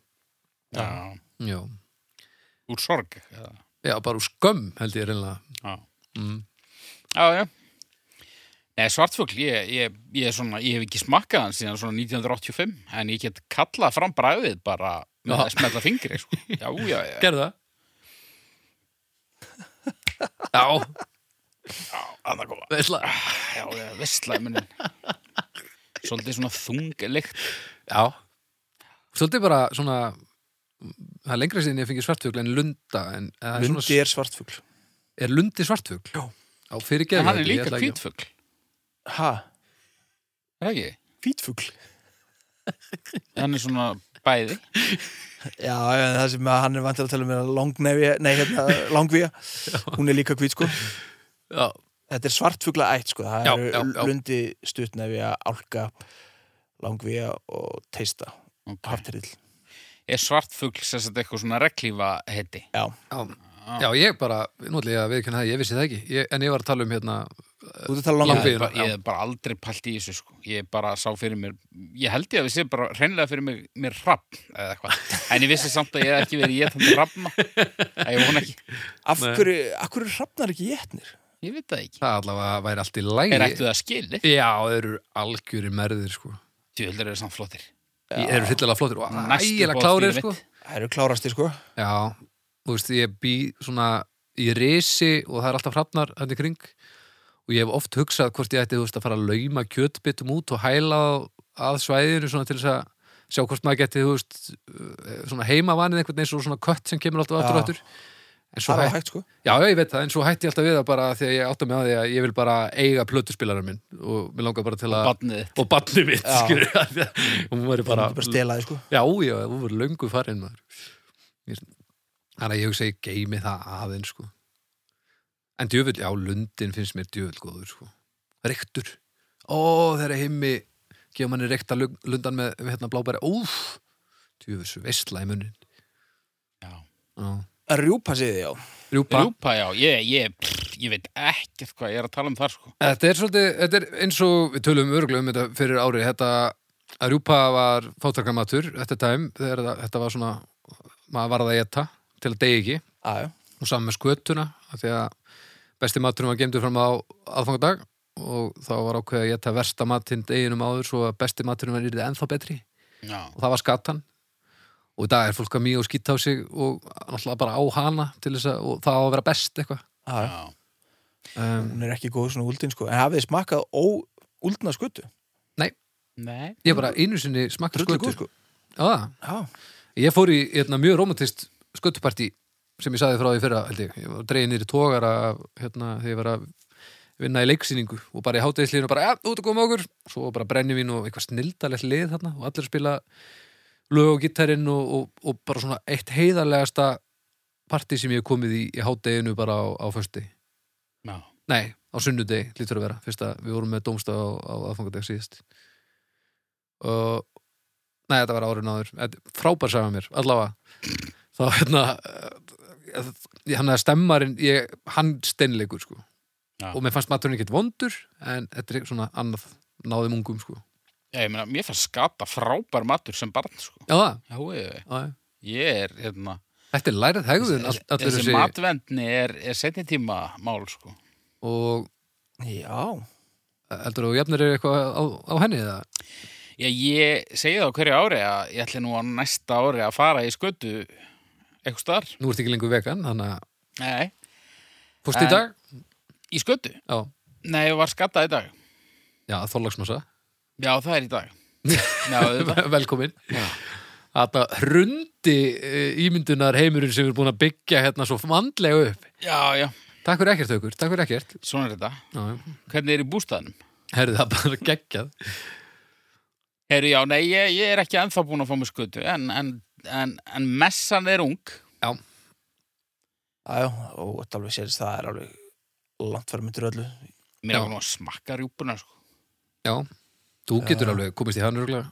[SPEAKER 3] Já,
[SPEAKER 2] Já.
[SPEAKER 3] úr sorg eða.
[SPEAKER 2] Já, bara úr skömm held ég reynilega.
[SPEAKER 3] Já,
[SPEAKER 2] Mm.
[SPEAKER 3] já, já. Nei, svartfugl, ég, ég, ég, er svona, ég hef ekki smakkað hann síðan svona 1985 en ég get kallað fram bræðið bara með
[SPEAKER 2] Já.
[SPEAKER 3] að smetla fingri sko. Já, já, já,
[SPEAKER 2] Gerðu það? já,
[SPEAKER 3] að það koma
[SPEAKER 2] veistla.
[SPEAKER 3] Já, já, vestlaði minni Svolítið svona þunglikt
[SPEAKER 2] Já. Svolítið bara svona, það er lengra síðan ég fengi svartfugl en lunda. En, eða það er
[SPEAKER 1] Lundi er svartfugl.
[SPEAKER 2] Svona, er lundi svartfugl?
[SPEAKER 1] Já.
[SPEAKER 2] Á fyrirgeðu.
[SPEAKER 3] En hann er líka hvítfugl,
[SPEAKER 1] Ha,
[SPEAKER 3] er það ekki?
[SPEAKER 1] hvítfugl?
[SPEAKER 3] Hann er svona bæði
[SPEAKER 1] Já, já, það sem að hann er vantilega að tala um er langnefi, nei, hérna, langvíja. Hún er líka hvít, sko.
[SPEAKER 2] Já,
[SPEAKER 1] Þetta er svartfugla ætt, sko. Það
[SPEAKER 2] Já,
[SPEAKER 1] eru
[SPEAKER 2] já, já.
[SPEAKER 1] lundi, stuttnefja, álka, langvíja og teista.
[SPEAKER 3] okay.
[SPEAKER 1] Haftirill.
[SPEAKER 3] Er svartfugl sem sagt eitthvað svona reglífa heiti?
[SPEAKER 1] Já,
[SPEAKER 2] já. Já, ég bara, náttúrulega við ekki það, ég vissi það ekki, ég, en ég var að tala um hérna,
[SPEAKER 1] þú ert að tala um
[SPEAKER 2] Langvíja.
[SPEAKER 1] langvíja.
[SPEAKER 3] ég, er bara,
[SPEAKER 2] já.
[SPEAKER 3] ég er bara aldrei pælt í þessu sko. ég bara sá fyrir mér ég held ég að við séum bara hreinlega fyrir mér, mér rapp eða eitthvað, en ég vissi samt að ég hef ekki verið ég þannig rappna að ég vona ekki,
[SPEAKER 1] Af
[SPEAKER 2] Nei.
[SPEAKER 1] hverju, af hverju hrafnar ekki étnir?
[SPEAKER 3] ég veit það ekki
[SPEAKER 2] það allavega væri allt í lægi.
[SPEAKER 3] er ættu það skili,
[SPEAKER 2] Já, þeir eru algjöri merðir, sko.
[SPEAKER 3] tjóðlega er samt flottir
[SPEAKER 2] Þeir eru hryllilega flottir og
[SPEAKER 3] Næstu
[SPEAKER 2] ægilega
[SPEAKER 3] boð
[SPEAKER 2] klárir,
[SPEAKER 3] fyrir
[SPEAKER 2] sko.
[SPEAKER 3] mitt.
[SPEAKER 1] Það eru klárasti, sko.
[SPEAKER 2] Já, þú veist, ég bý svona í risi og það er alltaf hrafnar hann í kring og ég hef oft hugsað hvort ég ætti, þú veist, að fara að lauma kjötbytum út og hæla þá að svæðinu svona til þess að sjá hvort maður geti, þú veist, eh, svona heimavanið einhvern veginn svo svona kött sem kemur alltaf aftur
[SPEAKER 1] Já.
[SPEAKER 2] og aftur. En svo
[SPEAKER 1] Það er
[SPEAKER 2] hætt,
[SPEAKER 1] hægt, sko.
[SPEAKER 2] já, já, ég veit það, en svo hætti ég alltaf við það bara því að ég átta mig á því að ég vil bara eiga plötuspilarar minn og mér langar bara til að
[SPEAKER 3] badnið, þitt.
[SPEAKER 2] og barnið mitt,
[SPEAKER 1] Já.
[SPEAKER 2] skilur og hún væri
[SPEAKER 1] Bara,
[SPEAKER 2] bara,
[SPEAKER 1] bara stelaði, sko.
[SPEAKER 2] Já, já, þú voru löngu farin maður Ég- Þannig að ég hugsa ég geimi það aðeins sko En djöfull, já, lundin finnst mér djöfull góður sko Rektur Ó, þeirra himmi Gefa manni rekta lung- lundan með, með hérna blábæri Óf, djöfull svo veistla í munnin
[SPEAKER 3] Já.
[SPEAKER 2] Já.
[SPEAKER 1] Að rjúpa sig þið, já.
[SPEAKER 2] Rjúpa
[SPEAKER 3] rjúpa já, ég, ég, pff, ég veit ekkert hvað ég er að tala um þar sko.
[SPEAKER 2] Þetta er svolítið, þetta er eins og við tölum örgulega um þetta fyrir árið, þetta að rjúpa var fátarkamatur þetta tæm, þegar það- þetta var svona maður varð að geta til að degi ekki
[SPEAKER 1] Já, já.
[SPEAKER 2] og saman með skötuna af því að besti maturinn var gemdur fram á aðfangadag og þá var ákveðið að geta versta matinn deginum áður svo að besti maturinn var yrðið ennþá betri
[SPEAKER 3] já,
[SPEAKER 2] og það var skatan og í dag er fólk að mjög skýta á sig og náttúrulega bara á hana til þess að og það á að vera best eitthvað
[SPEAKER 1] Já, já.
[SPEAKER 3] já.
[SPEAKER 2] um,
[SPEAKER 1] Hún er ekki góð svona úldin, sko. En hafið þið smakkað óúldna skuttu?
[SPEAKER 3] Nei,
[SPEAKER 2] ég bara einu sinni smakka
[SPEAKER 1] Drullu góð,
[SPEAKER 2] skötu
[SPEAKER 1] sko.
[SPEAKER 2] Já,
[SPEAKER 1] Já.
[SPEAKER 2] ég fór í hérna, mjög romantist skötupartí sem ég saði frá því fyrra held ég, ég var dregin nýri tógara af, hérna, þegar ég var að vinna í leiksýningu og bara í hátæðislinu bara, ja, út að koma okkur svo var bara brennivín og eitthvað snildalegt lið þarna og allir að spila lög og gitarinn og, og, og bara svona eitt heiðarlegasta partí sem ég hef komið í, í hátæðinu bara á, á fösti,
[SPEAKER 3] já.
[SPEAKER 2] nei, á sunnudegi lítur að vera, fyrst að við vorum með dómstað á, á aðfangadag síðast og nei, þetta var árið náður Þetta- frábær saga mér, allavega þá hérna eh, hann að stemmarinn, ég, hann steinleikur sko
[SPEAKER 3] Já.
[SPEAKER 2] og mér fannst maturinn ekkert vondur en þetta er svona annað náðum ungum sko
[SPEAKER 3] Já, ég meina, mér fannst skata frábær matur sem barn sko.
[SPEAKER 2] já, það,
[SPEAKER 3] já, ég,
[SPEAKER 2] já, já.
[SPEAKER 3] ég er hérna
[SPEAKER 2] Þetta er lærið hegðun all, allur
[SPEAKER 3] Þessi
[SPEAKER 2] þessi
[SPEAKER 3] matvendni er, er setni tíma mál, sko.
[SPEAKER 2] og
[SPEAKER 1] Já,
[SPEAKER 2] heldur þú jafnir er eitthvað á, á henni eða?
[SPEAKER 3] Já, ég segi það á hverju ári að ég ætli nú á næsta ári að fara í skötu eitthvað starf.
[SPEAKER 2] Nú ert ekki lengur vegan, þannig að
[SPEAKER 3] Nei,
[SPEAKER 2] fórstu í
[SPEAKER 3] En-
[SPEAKER 2] dag?
[SPEAKER 3] í skötu.
[SPEAKER 2] Já,
[SPEAKER 3] Nei, ég var skattað í dag.
[SPEAKER 2] já þorlagsmassa
[SPEAKER 3] Já, það er í dag. Já, auðvitað.
[SPEAKER 2] Velkomin Þetta hrundi eh, ímyndunar heimurinn sem við erum búin að byggja hérna svo vandlega upp
[SPEAKER 3] já, já,
[SPEAKER 2] Takk fyrir ekkert aukur, takk fyrir ekkert
[SPEAKER 3] svona er þetta.
[SPEAKER 2] Já, já.
[SPEAKER 3] Hvernig er í bústæðnum?
[SPEAKER 2] Herðu það bara geggjað
[SPEAKER 3] Herru, já, nei, ég, ég er ekki ennþá búin að fá mig skötu, en, en, en, en messan er ung.
[SPEAKER 1] já, og þetta alveg sérst það er alveg langt fyrir myndir öllu
[SPEAKER 3] Mér
[SPEAKER 2] Já.
[SPEAKER 3] er nú að smakka rjúpuna, sko.
[SPEAKER 2] Já, þú
[SPEAKER 1] Já.
[SPEAKER 2] getur alveg komist í hann örgulega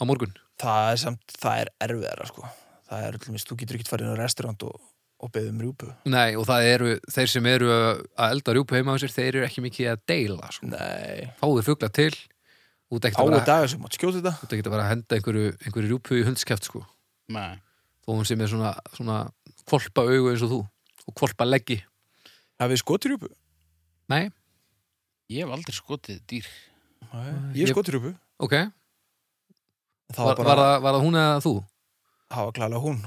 [SPEAKER 2] á morgun
[SPEAKER 1] það er samt, það er erfiðara sko það er allir mist, þú getur ekki farið inn á restaurant og, og beðið um rjúpu
[SPEAKER 2] Nei, og það eru, þeir sem eru að elda rjúpu heima á sér, þeir eru ekki mikið að deila sko.
[SPEAKER 1] Nei,
[SPEAKER 2] Fáðu fugla til út ekkert að
[SPEAKER 1] ára
[SPEAKER 2] vera,
[SPEAKER 1] dagar sem mátt skjóta þetta
[SPEAKER 2] þú ert ekkert að vera að henda einhverju, einhverju rjúpu í hundskeft sko.
[SPEAKER 3] Nei.
[SPEAKER 2] þó hún sem er svona, svona kvolpa augu eins og þú og kvolpa leggi
[SPEAKER 1] Hafið skotir rjúpu?
[SPEAKER 2] Nei,
[SPEAKER 3] Ég hef aldrei skotið dýr.
[SPEAKER 1] Nei, ég
[SPEAKER 2] Ég-
[SPEAKER 1] skotir rjúpu
[SPEAKER 2] ok,
[SPEAKER 1] Það
[SPEAKER 2] var,
[SPEAKER 1] var
[SPEAKER 2] var,
[SPEAKER 1] bara,
[SPEAKER 2] það, var það hún eða þú?
[SPEAKER 1] það var klæðilega hún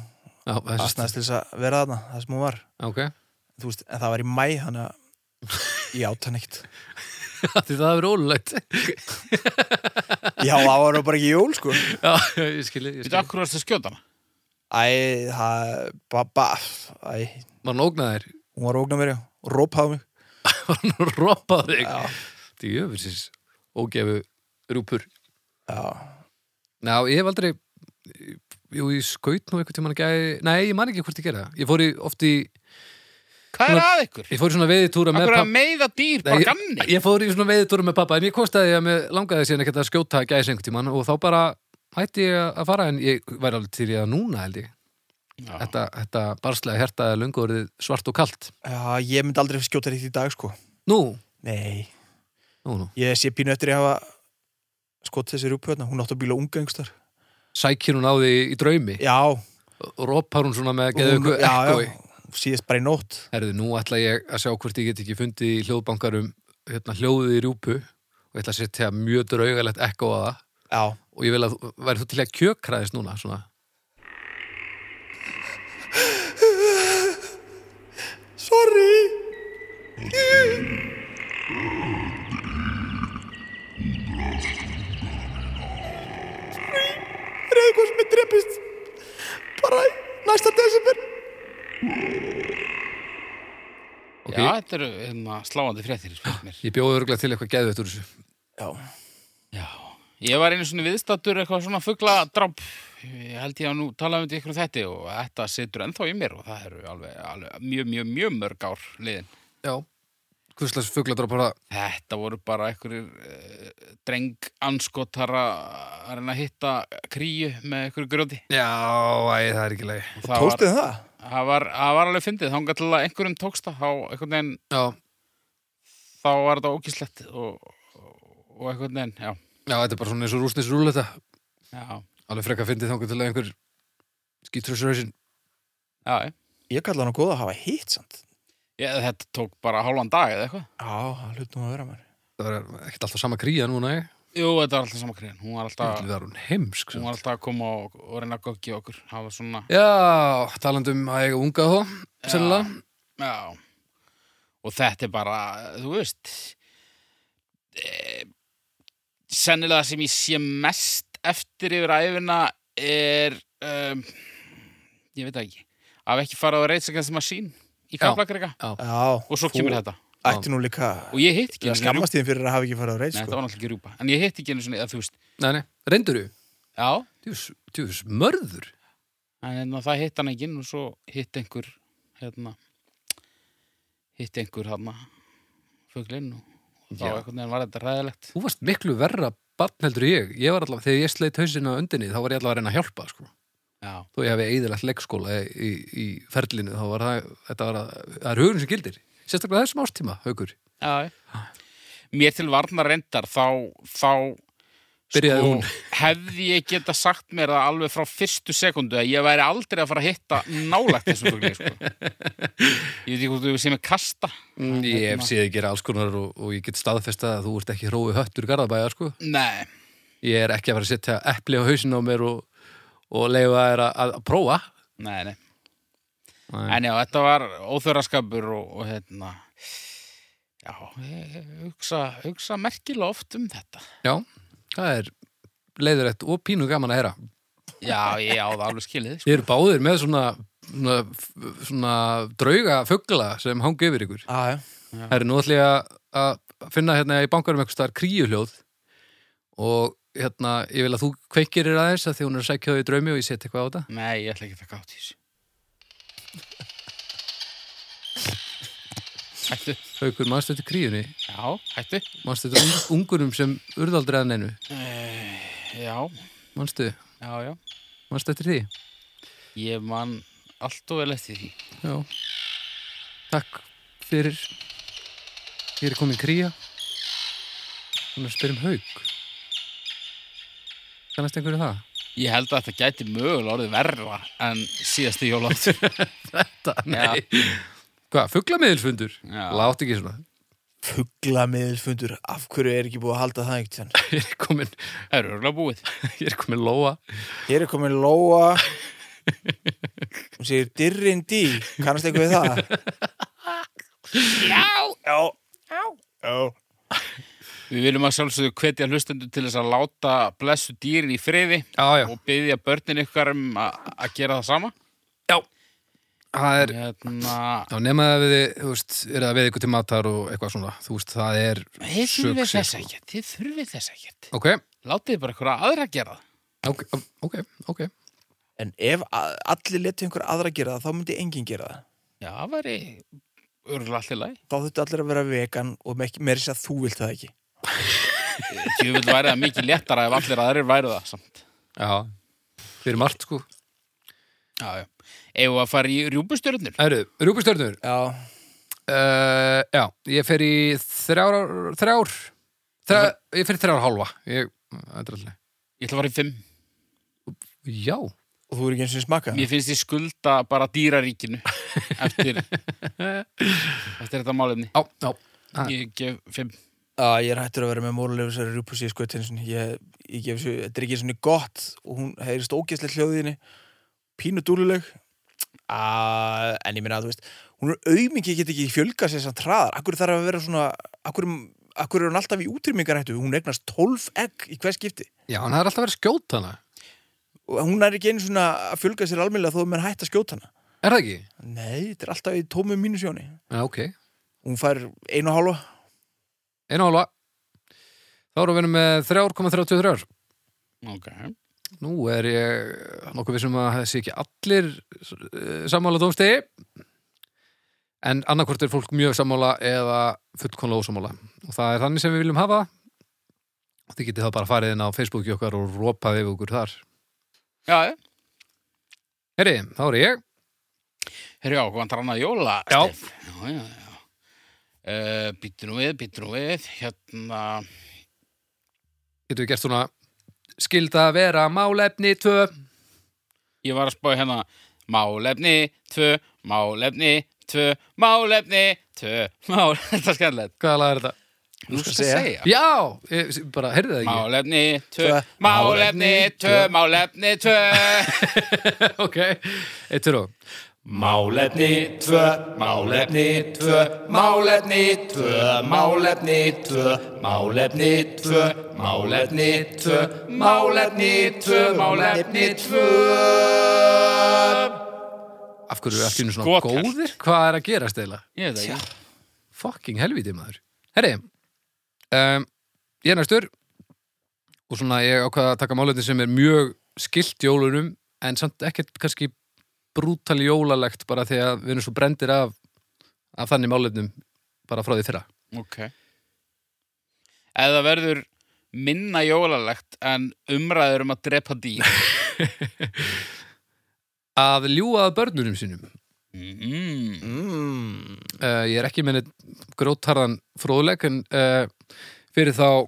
[SPEAKER 2] Já, þessi,
[SPEAKER 1] Asnaðist til þess að vera þarna, það sem hún var
[SPEAKER 2] ok
[SPEAKER 1] Þú veist, En það var í mæ, þannig að ég átt hann ekkert
[SPEAKER 2] Því það hefur ólulegt
[SPEAKER 1] Já, það var nú bara ekki jól sko
[SPEAKER 2] Já, ég skilji, ég
[SPEAKER 3] Þetta
[SPEAKER 2] skilji
[SPEAKER 3] akkur varst að skjóta hana?
[SPEAKER 1] Æ, það, ba, ba, æ
[SPEAKER 2] Var hann ógnað þér?
[SPEAKER 1] Hún var ógna mér, já, rópaði mig
[SPEAKER 2] Var hann ropað þig?
[SPEAKER 1] Já,
[SPEAKER 2] Því jöfisins, ógefu rjúpur
[SPEAKER 1] já,
[SPEAKER 2] Já, ég hef aldrei Jú, ég skaut nú einhvern tímann að gæði Nei, ég man ekki hvort ég gera það Ég fór í, oft í,
[SPEAKER 3] Hvað er
[SPEAKER 2] Svona-
[SPEAKER 3] að ykkur?
[SPEAKER 2] ég fór í svona veiðitúra með
[SPEAKER 3] Akkur að
[SPEAKER 2] pappa
[SPEAKER 3] meiða dýr,
[SPEAKER 2] Nei,
[SPEAKER 3] bara
[SPEAKER 2] ég,
[SPEAKER 3] gamni.
[SPEAKER 2] ég fór í svona veiðitúru með pappa en ég kostaði að mér langaði síðan ekkert að skjóta gæs einhvern tímann og þá bara hætti ég að fara en ég væri alveg til ég að núna held ég
[SPEAKER 3] Já.
[SPEAKER 2] þetta, þetta barslega hértaði löngu orðið svart og kalt
[SPEAKER 1] já, ég myndi aldrei skjóta rétt í dag sko
[SPEAKER 2] Nú,
[SPEAKER 1] Nei,
[SPEAKER 2] nú, nú
[SPEAKER 1] ég sé pínu eftir að hafa skotið þessi rjúpu hérna, hún átti að bíla unga yngstar
[SPEAKER 2] sækir hún á því í draumi
[SPEAKER 1] Já,
[SPEAKER 2] og ropar hún svona með geðu
[SPEAKER 1] hún-
[SPEAKER 2] ykkur
[SPEAKER 1] já,
[SPEAKER 2] ekkoi
[SPEAKER 1] já, síðast bara í nótt
[SPEAKER 2] Herðu, nú ætla ég að sjá hvort ég get ekki fundið í hljóðbankarum hérna, hljóðið í rjúpu og ég ætla að setja mjög draugalegt ekko að það
[SPEAKER 1] Já,
[SPEAKER 2] og ég vil að, væri þú til að kjökraðist núna svona,
[SPEAKER 1] sorry Sorry, er eitthvað sem er drepist bara í næsta desember
[SPEAKER 2] ok,
[SPEAKER 3] Já, þetta eru hérna, sláandi fréttir, spyrir mér.
[SPEAKER 2] ég bjóði örgulega til eitthvað geðu úr þessu
[SPEAKER 1] Já,
[SPEAKER 3] Já. Ég var einu svona viðstattur eitthvað svona fugladramp. Ég held ég að nú tala um þetta í ykkur þetta og þetta situr ennþá í mér og það eru alveg, alveg mjög, mjög, mjög mörg ár liðin.
[SPEAKER 2] Já, hvurslags fugladrópar það
[SPEAKER 3] Þetta voru bara einhverjir uh, dreng anskotara að reyna að hitta kríu með einhverju grjóti.
[SPEAKER 2] Já, æ, það er ekki leið
[SPEAKER 3] Og Það var,
[SPEAKER 1] tókstuð það?
[SPEAKER 3] það var, það var alveg fyndið, þá enga til að einhverjum tóksta, þá einhvern veginn,
[SPEAKER 2] Já,
[SPEAKER 3] þá var þetta ógíslegt og, og einhvern veginn, já.
[SPEAKER 2] já, þetta er bara svona eins og rúsnis rúleta
[SPEAKER 3] Já,
[SPEAKER 2] Alveg frekka fyndið þangað til að einhver skýtrúsrausin
[SPEAKER 3] já, já.
[SPEAKER 1] Ég kalla hann að góða að hafa hitt samt
[SPEAKER 3] Ég, þetta tók bara hálfan dag eða eitthvað.
[SPEAKER 1] Já, það hlut nú að vera mér
[SPEAKER 2] Það var ekkert alltaf sama kríja núna, ég
[SPEAKER 3] Jú, þetta var alltaf sama kríðan. Hún var alltaf,
[SPEAKER 2] Það var hún heimsk
[SPEAKER 3] hún var alltaf að koma og, og reyna að goggi okkur. Það var svona,
[SPEAKER 2] Já, talandum um að eiga unga þó,
[SPEAKER 3] Já.
[SPEAKER 2] sennilega
[SPEAKER 3] já. Og þetta er bara, þú veist, e, sennilega það sem ég sé mest eftir yfir æfina er, um, ég veit það ekki, að ekki fara á reitsakans masín í
[SPEAKER 2] Já.
[SPEAKER 3] Kaplakrega
[SPEAKER 1] Já,
[SPEAKER 3] og svo
[SPEAKER 1] þú
[SPEAKER 3] kemur þetta.
[SPEAKER 1] Ætti nú líka
[SPEAKER 3] Og ég hitt ekki
[SPEAKER 1] Ég
[SPEAKER 3] einu sinni rjúpu.
[SPEAKER 1] skammast þín fyrir að hafa ekki farið á reyð
[SPEAKER 3] Nei, þetta
[SPEAKER 1] sko.
[SPEAKER 3] var náttúrulega ekki rjúpa. En ég hitt ekki einu svona, eða þú veist,
[SPEAKER 2] Nei, nei, reyndur
[SPEAKER 3] já,
[SPEAKER 2] þú? Djúfus, mörður?
[SPEAKER 3] En hérna, það hitt hann ekki inn og svo hitt einhver hérna hitt einhver hérna fuglinn og, og þá
[SPEAKER 2] Já.
[SPEAKER 3] einhvern veginn var þetta ræðilegt
[SPEAKER 2] Þú varst miklu verra barn heldur en ég Ég var allavega, þegar ég sleit hausinn á undinni þá var ég allavega að reyna að hjálpa, sko
[SPEAKER 3] Já,
[SPEAKER 2] Þó ég hefði eigðilegt leggskóla í, í ferlinu þá var það, þetta var að, það er hugurinn sem gildir Sérstaklega þessum ástíma, haukur
[SPEAKER 3] já Mér til varna reyndar þá, þá
[SPEAKER 2] byrjaði hún
[SPEAKER 3] hefði ég geta sagt mér það alveg frá fyrstu sekundu að ég væri aldrei að fara að hitta nálægt þessum fugli sko. ég veit ekki hvort þú sé með kasta Hérna.
[SPEAKER 2] Mm, Ég hef séð gera alls konar og, og ég get staðfesta að þú ert ekki hrói höttur garðabæja, sko.
[SPEAKER 3] nei,
[SPEAKER 2] Ég er ekki að fara að setja epli á hausin á mér og, og leifa þér að, að prófa.
[SPEAKER 3] nei, nei
[SPEAKER 2] Nei.
[SPEAKER 3] en já, þetta var óþöraskapur og, og hérna já, ég hugsa, hugsa merkilega oft um þetta
[SPEAKER 2] Já, það er leiðurætt og pínu gaman að heyra.
[SPEAKER 3] já, ég á það alveg skilið sko.
[SPEAKER 2] Þið eru báðir með svona, svona, svona drauga fuggla sem hangi yfir ykkur.
[SPEAKER 1] Já, já.
[SPEAKER 2] Það er nú ætla ég að- að finna hérna í bankarum eitthvað staðar kríuhljóð og hérna, ég vil að þú kveikir þér aðeins að því hún er að sækja þau í draumi og ég set eitthvað á þetta.
[SPEAKER 3] nei, ég ætla ekki að taka átt í þessu hættu,
[SPEAKER 2] Haukur, manstu þetta kríunni?
[SPEAKER 3] já, hættu
[SPEAKER 2] Manstu þetta ung- ungurum sem urðaldri að neinu?
[SPEAKER 3] já,
[SPEAKER 2] Manstu,
[SPEAKER 3] já, já
[SPEAKER 2] manstu eftir því?
[SPEAKER 3] Ég man allt og vel eftir því.
[SPEAKER 2] Já. Takk fyrir. Ég er komin kría. Hún er að spyrja um haug. Kannast einhverju um það?
[SPEAKER 3] Ég held að þetta gæti mögulega orðið verra en síðasti jóláttur.
[SPEAKER 2] Þetta,
[SPEAKER 3] nei.
[SPEAKER 2] Hvað, fuglamiðilfundur?
[SPEAKER 3] Já.
[SPEAKER 2] Látt ekki svona.
[SPEAKER 1] Fuglamiðilfundur, af hverju er ekki búið að halda það einhvern veginn?
[SPEAKER 2] Ég er komin,
[SPEAKER 3] Það eru örgulega búið.
[SPEAKER 2] ég er komin lóa.
[SPEAKER 1] Hér er komin Lóa Hún segir Dirrin Dí, kannast eitthvað við það? Já Já Já
[SPEAKER 3] Við viljum að sjálfsögðu hvetja hlustendur til þess að láta blessu dýrin í friði
[SPEAKER 2] Já, já.
[SPEAKER 3] og byggja börnin ykkar um a- að gera það sama.
[SPEAKER 2] Já. Það er,
[SPEAKER 3] Hérna,
[SPEAKER 2] þá nema það við, þið, þú veist, er það við ykkur til matar og eitthvað svona. Þú veist, það er
[SPEAKER 3] þið þurfið
[SPEAKER 2] success,
[SPEAKER 3] þess
[SPEAKER 2] sko.
[SPEAKER 3] ekkert, þið þurfið þess ekkert.
[SPEAKER 2] Ok,
[SPEAKER 3] Látið bara ykkur aðra gera það.
[SPEAKER 2] ok, ok, ok.
[SPEAKER 1] En ef a- allir letu einhver aðra gera það, þá myndi enginn gera það.
[SPEAKER 3] Já, það væri örgulega allir læg.
[SPEAKER 1] Þá þurfti allir að vera vegan og með ekki meiri sér að þú vilt það ekki.
[SPEAKER 3] Ég vil væri það mikið léttara ef allir aðrir væri það samt.
[SPEAKER 2] Já. Fyrir margt, sko.
[SPEAKER 3] Já, já. Ef að fara í rjúbustörnur.
[SPEAKER 2] Æru, rjúpustörnur.
[SPEAKER 1] Já,
[SPEAKER 2] Uh, já, ég fer í þrjár, þrjár, þrjár ég fer í þrjár og hálfa ég, þetta er alltaf
[SPEAKER 3] Ég ætla að fara í fimm.
[SPEAKER 2] Já,
[SPEAKER 1] og þú er ekki eins og smaka.
[SPEAKER 3] Mér finnst ég skulda bara dýraríkinu eftir, eftir þetta málefni.
[SPEAKER 2] á, á, á
[SPEAKER 3] Ég gef fimm.
[SPEAKER 1] Já, ég er hættur að vera með mórulegu sér rjúpus í skvötin. Ég, ég gef sér, þetta er ekki svona gott og hún heyrist ógeðslega hljóðinni, pínu dúluleg. Uh, en ég minna að þú veist, hún er auðmingi get ekki fjölga sér sem traðar. Akkur þarf að vera svona, akkur, akkur er hún alltaf í útrýmingarættu, hún eignast 12 egg í hvers skipti.
[SPEAKER 2] Já, hann er alltaf verið að skjóta hana
[SPEAKER 1] Og hún er ekki einu svona að fjölga sér almennlega þó að menn hætt að skjóta hana.
[SPEAKER 2] Er það ekki?
[SPEAKER 1] Nei, þetta er alltaf í tómu mínusjóni.
[SPEAKER 2] Já, ok,
[SPEAKER 1] Hún fær einu og hálfa.
[SPEAKER 2] einu og hálfa Þá erum við með 3,33
[SPEAKER 3] Ok.
[SPEAKER 2] Nú er ég nokkuð vissum að það sé ekki allir eh, sammála dómstegi en annarkvort er fólk mjög sammála eða fullkonlega ósammála og það er þannig sem við viljum hafa og þið getið það bara farið inn á Facebooki okkar og rópað yfir okkur þar
[SPEAKER 3] Já, já.
[SPEAKER 2] Herri, þá er ég
[SPEAKER 3] Herru, já, hvað vantar annað jóla?
[SPEAKER 2] Já.
[SPEAKER 3] Steff? Já, já, já. Uh, býttu nú við, býttu nú við. Hérna,
[SPEAKER 2] getum við gert svona skilda að vera málefni 2
[SPEAKER 3] ég var að spáði hérna málefni, tvö, málefni, tvö, málefni, tvö, mál... Þetta er skemmtilegt.
[SPEAKER 2] Hvaða lag er þetta?
[SPEAKER 3] Nú
[SPEAKER 1] skal
[SPEAKER 3] skal
[SPEAKER 1] segja.
[SPEAKER 3] segja.
[SPEAKER 2] Já, ég, bara heyrði það ekki
[SPEAKER 3] Málefni, tvö,
[SPEAKER 1] Tvö.
[SPEAKER 3] málefni, tvö, málefni, tvö.
[SPEAKER 2] Ok, eitt fyrir og
[SPEAKER 3] Málefni tvö, málefni tvö, málefni tvö, málefni tvö, málefni tvö, málefni tvö, málefni tvö, málefni tvö.
[SPEAKER 2] Af hverju er allt í einu svona
[SPEAKER 3] Skothelt.
[SPEAKER 2] góðir? Hvað er að gera stela?
[SPEAKER 3] Ég veit það ekki.
[SPEAKER 2] Fucking helviti maður Herri, um, ég er næstur og svona ég ákvaða að taka málefni sem er mjög skilt jólunum en samt ekkert kannski brútal jólalegt bara því að við erum svo brendir af, af þannig málefnum bara frá því fyrra
[SPEAKER 3] Ok. Eða verður minna jólalegt en umræður um að drepa dýr.
[SPEAKER 2] að ljúaða börnunum sínum
[SPEAKER 3] Mm.
[SPEAKER 1] Mm.
[SPEAKER 2] Eh, uh, ég er ekki minni grótarðan fróðleg en uh, eh, fyrir þá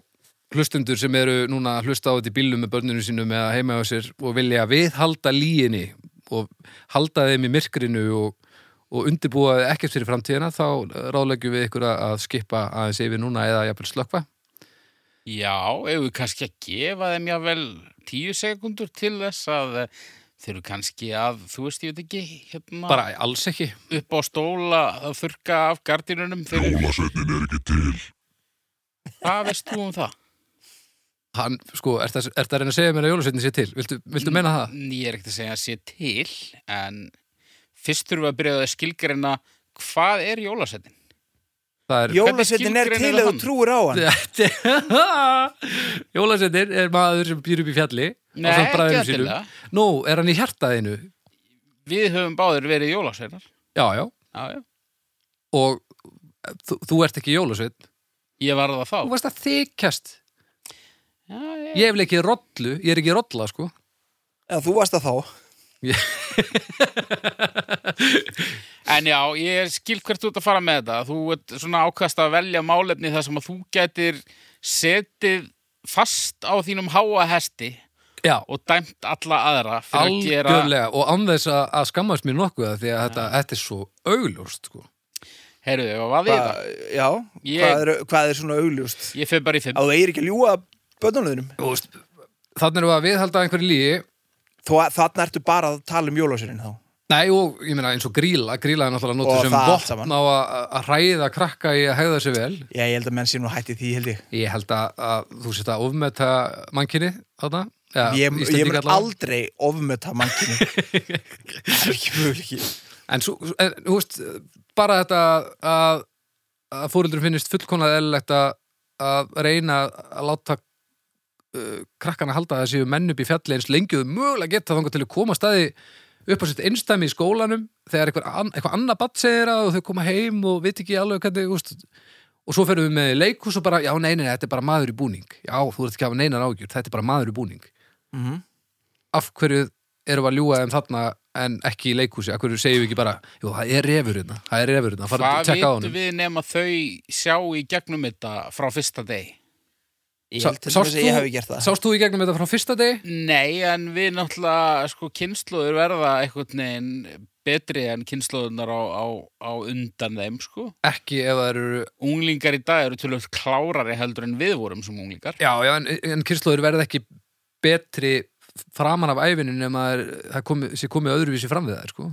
[SPEAKER 2] hlustundur sem eru núna að hlusta á þetta í bílum með börninu sínum eða heima á sér og vilja viðhalda líginni og halda þeim í myrkrinu og, og undirbúa þau ekkert fyrir framtíðina þá ráðlegjum við ykkur að- að skipa aðeins yfir núna eða jafnvel slökva
[SPEAKER 3] Já, ef við kannski að gefa þeim jável tíu sekundur til þess að eh, þeir eru kannski að, þú veist, ég veit ekki, hérna,
[SPEAKER 2] bara alls ekki
[SPEAKER 3] upp á stóla að þurka af gardinunum fyrir,
[SPEAKER 5] Jólasveitnin er ekki til.
[SPEAKER 3] hvað veist þú um það?
[SPEAKER 2] Hann, sko, ert það að reyna að segja mér að jólasveitin sé til? Viltu, viltu meina það?
[SPEAKER 3] N- Ég er ekkert að segja að sé til, en fyrst þurfum við að byrja á að skilgreina hvað er jólasettin?
[SPEAKER 2] Það er...
[SPEAKER 1] Jólasveitin er
[SPEAKER 3] skilgreinir
[SPEAKER 1] til
[SPEAKER 3] það
[SPEAKER 1] eða
[SPEAKER 3] hann?
[SPEAKER 1] þú trúir á hann
[SPEAKER 2] Jólasveitin er maður sem býr upp í fjalli
[SPEAKER 3] Nei,
[SPEAKER 2] ásamt
[SPEAKER 3] ekki
[SPEAKER 2] bræðrum
[SPEAKER 3] endilega.
[SPEAKER 2] sínum. Nú, er hann í hjartaðinu?
[SPEAKER 3] Við höfum báðir verið jólasettar.
[SPEAKER 2] Já, já.
[SPEAKER 3] Já, já.
[SPEAKER 2] Og þú, þú ert ekki jólasveit.
[SPEAKER 3] Ég var það
[SPEAKER 2] Þú
[SPEAKER 3] þá.
[SPEAKER 2] varst að þykjast.
[SPEAKER 3] Já, ég...
[SPEAKER 2] Ég hef leikið rollu, ég er ekki rolla, sko.
[SPEAKER 1] eða þú varst það þá
[SPEAKER 3] En já, ég skil hvert þú ert að fara með þetta. Þú ert svona ákast að velja málefni þar sem að þú getur setið fast á þínum háa hesti
[SPEAKER 2] Já,
[SPEAKER 3] og dæmt alla aðra fyrir að gera...
[SPEAKER 2] algjörlega. Og án þess að, að skammast mér nokkuð af því að þetta, þetta er svo augljóst, sko.
[SPEAKER 3] Herruðu, hvað var því það?
[SPEAKER 1] Hva- Já,
[SPEAKER 3] Ég-
[SPEAKER 1] hvað, er, hvað er svona augljúst
[SPEAKER 3] Ég fyrir bara í fimm.
[SPEAKER 1] að þú eigir ekki að ljúa bönnunum
[SPEAKER 2] Þú veist, Þannig erum við að viðhalda einhverju lígi
[SPEAKER 1] þó að þarna ertu bara að tala um jólasveitin þá
[SPEAKER 2] Nei, og ég meina eins og gríla, gríla er náttúrulega
[SPEAKER 1] Og
[SPEAKER 2] nóttu sem
[SPEAKER 1] það allt saman.
[SPEAKER 2] vopn á að- að að hræða krakka í að hegða sér vel.
[SPEAKER 1] Já, ég held að menn sé nú hætti því, held ég
[SPEAKER 2] Ég held að, að þú sést að ofmeta mannkinni þarna. Ja,
[SPEAKER 1] Ég, ég mun aldrei ofmöta mannkinu Það er ekki möguleiki
[SPEAKER 2] En svo, en, þú veist, bara þetta að, að fóreldur finnist fullkonað eðlilegt að, að reyna að láta uh, krakkana halda að það séu menn upp í fjalli eins lengjuðu mögulega geta þangar til að koma staði upp á sitt einstæmi í skólanum þegar eitthvað, an, eitthvað annað batt segir að og þau koma heim og veit ekki alveg hvernig, þú veist, og svo ferum við með í leikhús og bara, já, nei, nei, nei, þetta er bara maður í búning. Já, þú ert ekki að hafa neinar ágjur, þetta er bara maður í búning
[SPEAKER 3] Mhm.
[SPEAKER 2] af hverju erum við að ljúga þeim þarna en ekki í leikhúsi, af hverju segjum við ekki bara jú, það er refur hérna, það er refur hérna farið að
[SPEAKER 3] Hvað
[SPEAKER 2] tjekka á
[SPEAKER 3] vitum
[SPEAKER 2] honum
[SPEAKER 3] við nema þau sjá í gegnum þetta frá fyrsta deg?
[SPEAKER 1] Ég
[SPEAKER 2] Sá-
[SPEAKER 1] held til þess
[SPEAKER 2] sást
[SPEAKER 1] að ég
[SPEAKER 2] þú-
[SPEAKER 1] hefði gert það
[SPEAKER 2] Sást þú í gegnum þetta frá fyrsta degi?
[SPEAKER 3] Nei, en við náttúrulega, sko, kynnslóður verða einhvern veginn betri en kynnslóðunar á, á, á undan þeim, sko.
[SPEAKER 2] Ekki ef það eru
[SPEAKER 3] unglingar í dag eru tölvöld klárari heldur en við vorum sem unglingar.
[SPEAKER 2] Já, já, en, en kynnslóður verða ekki betri framan af æfinu nema það er- það komi, sé komið öðruvísi fram við það, sko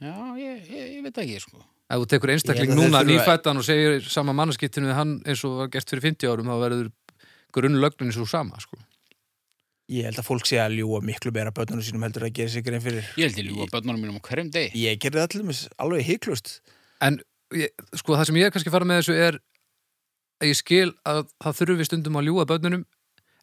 [SPEAKER 3] Já, ég, ég, ég veit ekki, sko.
[SPEAKER 2] Ef þú tekur
[SPEAKER 1] Ég
[SPEAKER 2] einstakling
[SPEAKER 1] held að
[SPEAKER 2] núna
[SPEAKER 1] þeir þurfa-
[SPEAKER 2] nýfættan og segir sama mannskittinu við hann eins og var gert fyrir 50 árum þá verður grunnlögnin svo sama, sko
[SPEAKER 1] Ég held að fólk sé að ljúa miklu meira bönnunum sínum heldur að gera sig grein fyrir
[SPEAKER 3] Ég held ég ljúga börnunum mínum á hverjum degi.
[SPEAKER 1] Ég gerði það til dæmis alveg heiklust
[SPEAKER 2] En ég, sko það sem ég er kannski að fara með þessu er að ég skil að það þurfi stundum að ljúga börnunum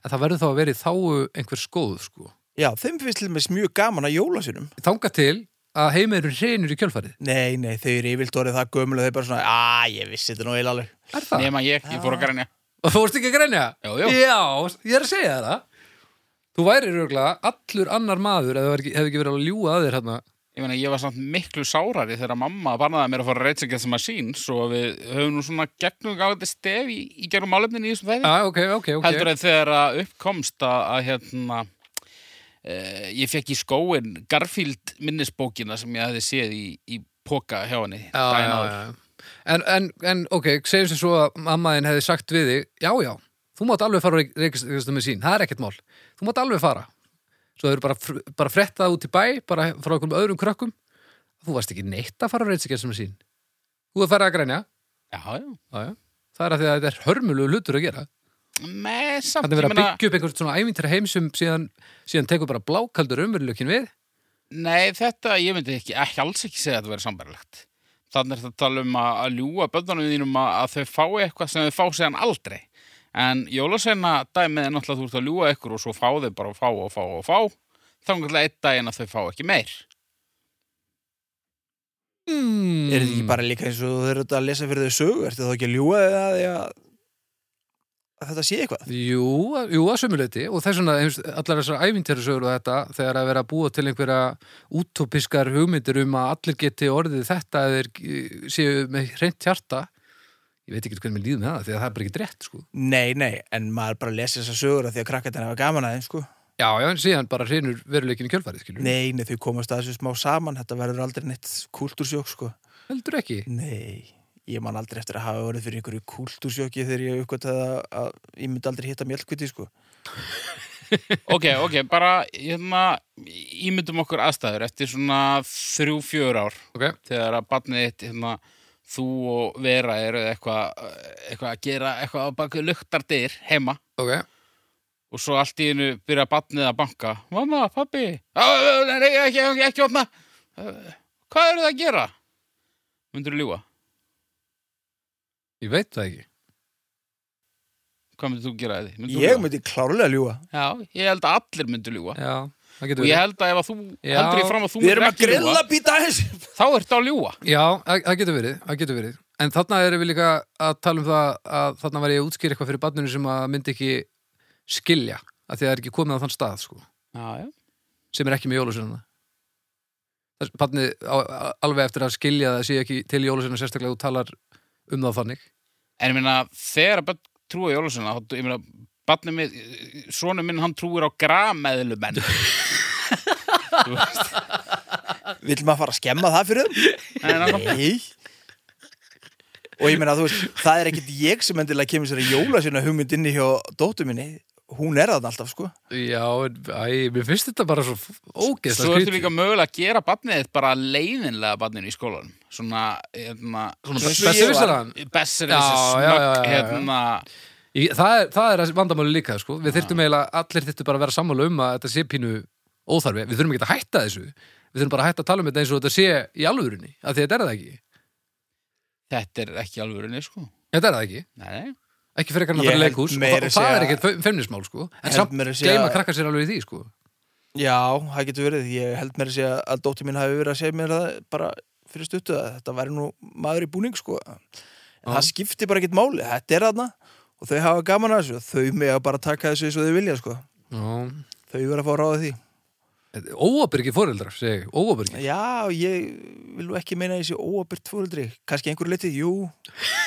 [SPEAKER 2] en það verður þá að vera í þáu einhvers góð sko.
[SPEAKER 1] Já, þeim finnst til dæmis mjög gaman að jólasveinum
[SPEAKER 2] Þanga til að heimurinn reynur í kjölfarið.
[SPEAKER 1] Nei, nei, þau eru yfirlt orðið það gömul og þau bara svona Á, ég vissi þetta nú eiginlega alveg
[SPEAKER 2] Er það?
[SPEAKER 3] Nefna ég, ég fór að grænja.
[SPEAKER 2] Og þú vorst ekki að grænja?
[SPEAKER 3] Já, já.
[SPEAKER 2] Já, ég er að segja þér það. Þú væri rauglega allur annar maður ef það væri- hefði ekki verið að ljúga að þér hérna.
[SPEAKER 3] Ég meina, ég var samt miklu sárari þegar mamma bannaði mér að fara að reyta sig að sem að sín, svo við höfum nú svona gegnum gáðið stef í, í gegnum málefnin í þessum þæði.
[SPEAKER 2] Já, ok, Ah, ok, ok.
[SPEAKER 3] Mm. Heldur en þegar að uppkomst að, að hérna, eh, ég fekk í skóin Garfield minnisbókina sem ég hefði séð í, í póka hjá henni.
[SPEAKER 2] já, Ah,
[SPEAKER 3] daginn
[SPEAKER 2] já,
[SPEAKER 3] áður.
[SPEAKER 2] já. En, en, en ok, segjum sem svo að mammaðin hefði sagt við þig, já, já, þú mátt alveg fara að reykast með sín, það er ekkert mál þú mátt alveg fara svo þau eru bara, fr- bara frettað út í bæ bara frá einhverjum öðrum krökkum þú varst ekki neitt að fara að reykast með sín þú er farið að grænja
[SPEAKER 3] Já, já.
[SPEAKER 2] já, já. það er að því að þetta er hörmulegu hlutur að gera
[SPEAKER 3] Með samt,
[SPEAKER 2] þannig að vera
[SPEAKER 3] ég
[SPEAKER 2] að byggja upp einhvern svona ævintra heim sem síðan, síðan tekur bara blákaldur umveruleikin við
[SPEAKER 3] Nei, þetta, ég myndi ekki, ekki alls ekki segja að þetta verið sambarlegt. Þannig er þetta að tala um að, að ljúga bönnunum þínum að, að þau fái eitthvað sem þau fá síðan aldrei. En jólaseina dæmið er náttúrulega þú ert að ljúga ykkur og svo fá þau bara að fá og fá og fá. Þá er náttúrulega einn daginn að þau fá ekki meir.
[SPEAKER 2] mm.
[SPEAKER 1] Er þetta ekki bara líka eins og þau eru að lesa fyrir þau sögu Ertu þá ekki að ljúa þeim að, því að, að þetta sé eitthvað
[SPEAKER 2] Jú, að- jú að sömuleyti og þess vegna eins- allar þessar æfintjörusögur og þetta þegar að vera að búa til einhverja útopiskar hugmyndir um að allir geti orðið þetta eða þeir eh, séu með hreint hjarta ég veit ekki hvernig mér líður með það því að það er bara ekki rétt sko.
[SPEAKER 1] Nei, nei, en maður bara lesi þessar sögur af því að krakkarnir hafa gaman aðeins, sko.
[SPEAKER 2] já, já, en síðan bara hreinur veruleikinu kjölfarið skilur,
[SPEAKER 1] Nei, nei, þau komast að þessu smá saman, þetta verður aldrei neitt kúltúrsjók, sko.
[SPEAKER 2] heldur ekki
[SPEAKER 1] Nei, ég man aldrei eftir að hafa orðið fyrir einhverju kúltúrsjóki þegar ég uppgötaði að, að ég myndi aldrei hitta mjölkviti, sko.
[SPEAKER 3] Ok, ok, bara hérna, ímyndum okkur aðstæður eftir svona þrjú, fjör ár
[SPEAKER 2] ok,
[SPEAKER 3] þegar að barnið þitt hérna, þú og Vera eru eitthvað eitthva að gera eitthvað á baku luktardyr heima
[SPEAKER 2] ok,
[SPEAKER 3] og svo allt í einu byrja barnið að banka Mamma, pappi, á, á, nei, ekki, ekki, ekki opna Ö, Hvað eru það að gera? Myndirðu ljúga?
[SPEAKER 2] ég veit það ekki
[SPEAKER 3] Hvað myndir þú gera því? Myndirðu
[SPEAKER 1] Ég
[SPEAKER 3] ljúga?
[SPEAKER 1] myndi klárlega ljúa.
[SPEAKER 3] Já, ég held að allir myndir ljúga
[SPEAKER 2] já, það
[SPEAKER 3] og
[SPEAKER 2] getur
[SPEAKER 3] ég
[SPEAKER 2] verið
[SPEAKER 3] held að ef að þú
[SPEAKER 2] Já.
[SPEAKER 3] heldur í fram að þú
[SPEAKER 1] Við erum að
[SPEAKER 3] myndir ekki ljúga
[SPEAKER 1] grilla býta aðeins.
[SPEAKER 3] þá ertu að ljúga
[SPEAKER 2] já, það það getur verið, það getur verið en þarna erum við líka að tala um það að þarna var ég að útskýra eitthvað fyrir barninu sem að myndi ekki skilja að því að það er ekki komið á þann stað sko,
[SPEAKER 3] Já, já
[SPEAKER 2] sem er ekki með jólusunna barnið á- alveg eftir að skilja það sé ekki til jólusunna sérstaklega þú talar um það þannig
[SPEAKER 3] En ég meina, þegar að börn trúa jólasuna, þá, ég meina, barnið minn, sonu minn, hann trúir á grameðlumenn. Þú veist,
[SPEAKER 1] Vill maður fara að skemma það fyrir þeim?
[SPEAKER 3] en hann,
[SPEAKER 1] Nei Og ég meina, þú veist, það er ekkit ég sem endilega kemur sér að jóla sinna hugmynd inni hjá dóttur minni Hún er það alltaf, sko
[SPEAKER 2] Já, en, æ, mér finnst þetta bara svo ógeðslega
[SPEAKER 3] svo ertu líka mögulega að gera barnið þitt bara leiðinlega barninu í skólanum. Svona, hérna,
[SPEAKER 2] Svona
[SPEAKER 1] eins og ég var.
[SPEAKER 2] spesifistaran
[SPEAKER 3] besser
[SPEAKER 2] Já, já,
[SPEAKER 3] þessi
[SPEAKER 2] já, já,
[SPEAKER 3] snögg,
[SPEAKER 2] já.
[SPEAKER 3] hérna,
[SPEAKER 2] það, er- það er vandamáli líka, sko Við þyrftum eiginlega, allir þyrftum bara að vera sammála um að þetta sé pínu óþarfi Við þurfum ekki að hætta þessu Við þurfum bara að hætta að tala um þetta eins og þetta sé í alvörunni af því þetta er það ekki
[SPEAKER 3] þetta er ekki alvörinni, sko.
[SPEAKER 2] Þetta er það ekki,
[SPEAKER 3] Nei, nei.
[SPEAKER 2] ekki fyrir kannan að
[SPEAKER 1] Ég
[SPEAKER 2] fara í
[SPEAKER 1] held
[SPEAKER 2] leikhús og,
[SPEAKER 1] meira
[SPEAKER 2] það- og það
[SPEAKER 1] segja-
[SPEAKER 2] er ekkert femnismál, sko En
[SPEAKER 1] held
[SPEAKER 2] samt
[SPEAKER 1] meira segja-
[SPEAKER 2] geima krakkar sér alveg í því, sko
[SPEAKER 1] Já, það getur verið, ég held mér að segja að dóttur mín hafi verið að segja mér það bara fyrir stuttu að þetta væri nú maður í búning, sko En það skipti bara ekkit máli, þetta er þarna Og þau hafa gaman að þessu, þau með að bara taka þessu eins og þau vilja, sko
[SPEAKER 2] Já.
[SPEAKER 1] Þau verið að fá að ráða því
[SPEAKER 2] Óabyrgi foreldrar, segi, ég, óabyrgi
[SPEAKER 1] Já, ég vil nú ekki meina að ég sé óabyrt fóreldri, kannski einhverju litið, jú,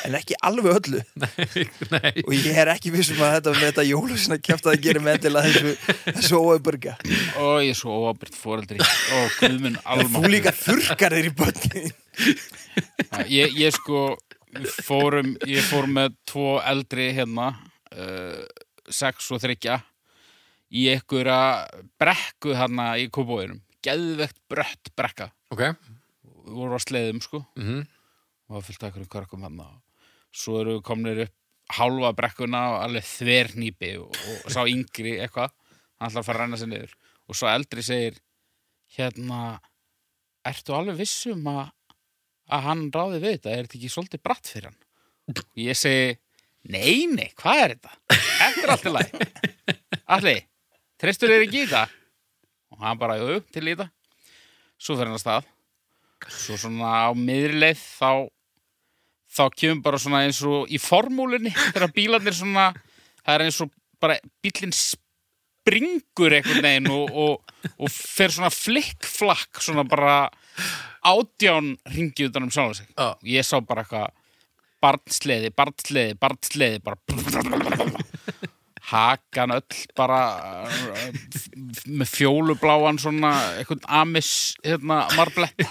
[SPEAKER 1] en ekki alveg öllu.
[SPEAKER 2] Nei,
[SPEAKER 1] Og ég er ekki vissum að þetta með þetta jólusina kæft að gera með til að þessu, þessu óabyrga.
[SPEAKER 3] Ó, ég er svo óabritt foreldri. Ó, guðminn, alma.
[SPEAKER 1] Þú líka þurkar þér í börnin.
[SPEAKER 3] Já, ég, ég sko við fórum, ég fór með tvo eldri hérna uh, sex og þryggja í einhverja brekku hérna í kópóðurum, geðvegt brött brekka,
[SPEAKER 2] ok
[SPEAKER 3] við vorum á sleiðum sko
[SPEAKER 2] mm
[SPEAKER 3] og það fylgta einhverjum körkum hérna svo eru við komnir upp hálfa brekkuna og alveg þvernýpi og, og sá yngri eitthvað hann ætlar að fara að renna sér niður og svo eldri segir hérna ertu alveg viss um að að hann ráði við þetta er þetta ekki svolítið bratt fyrir hann og ég segi nei, nei, hvað er þetta? Þetta er allt í lagi Alli, treystur þér ekki í þetta? og hann bara, jú, jú, til í þetta svo fer hann að stað svo svona á miðurleið þá þá kemur bara svona eins og í formúlinni þegar bílarnir svona það er eins og bara bílinn springur einhvern veginn og, og, og fer svona flikkflakk svona bara átján ringi utan um sjálf sig
[SPEAKER 2] Já.
[SPEAKER 3] ég sá bara eitthvað barnsleiði, barnsleiði, barnsleiði bara hakan öll bara uh, f- með fjólubláan svona einhvern amis hérna marblett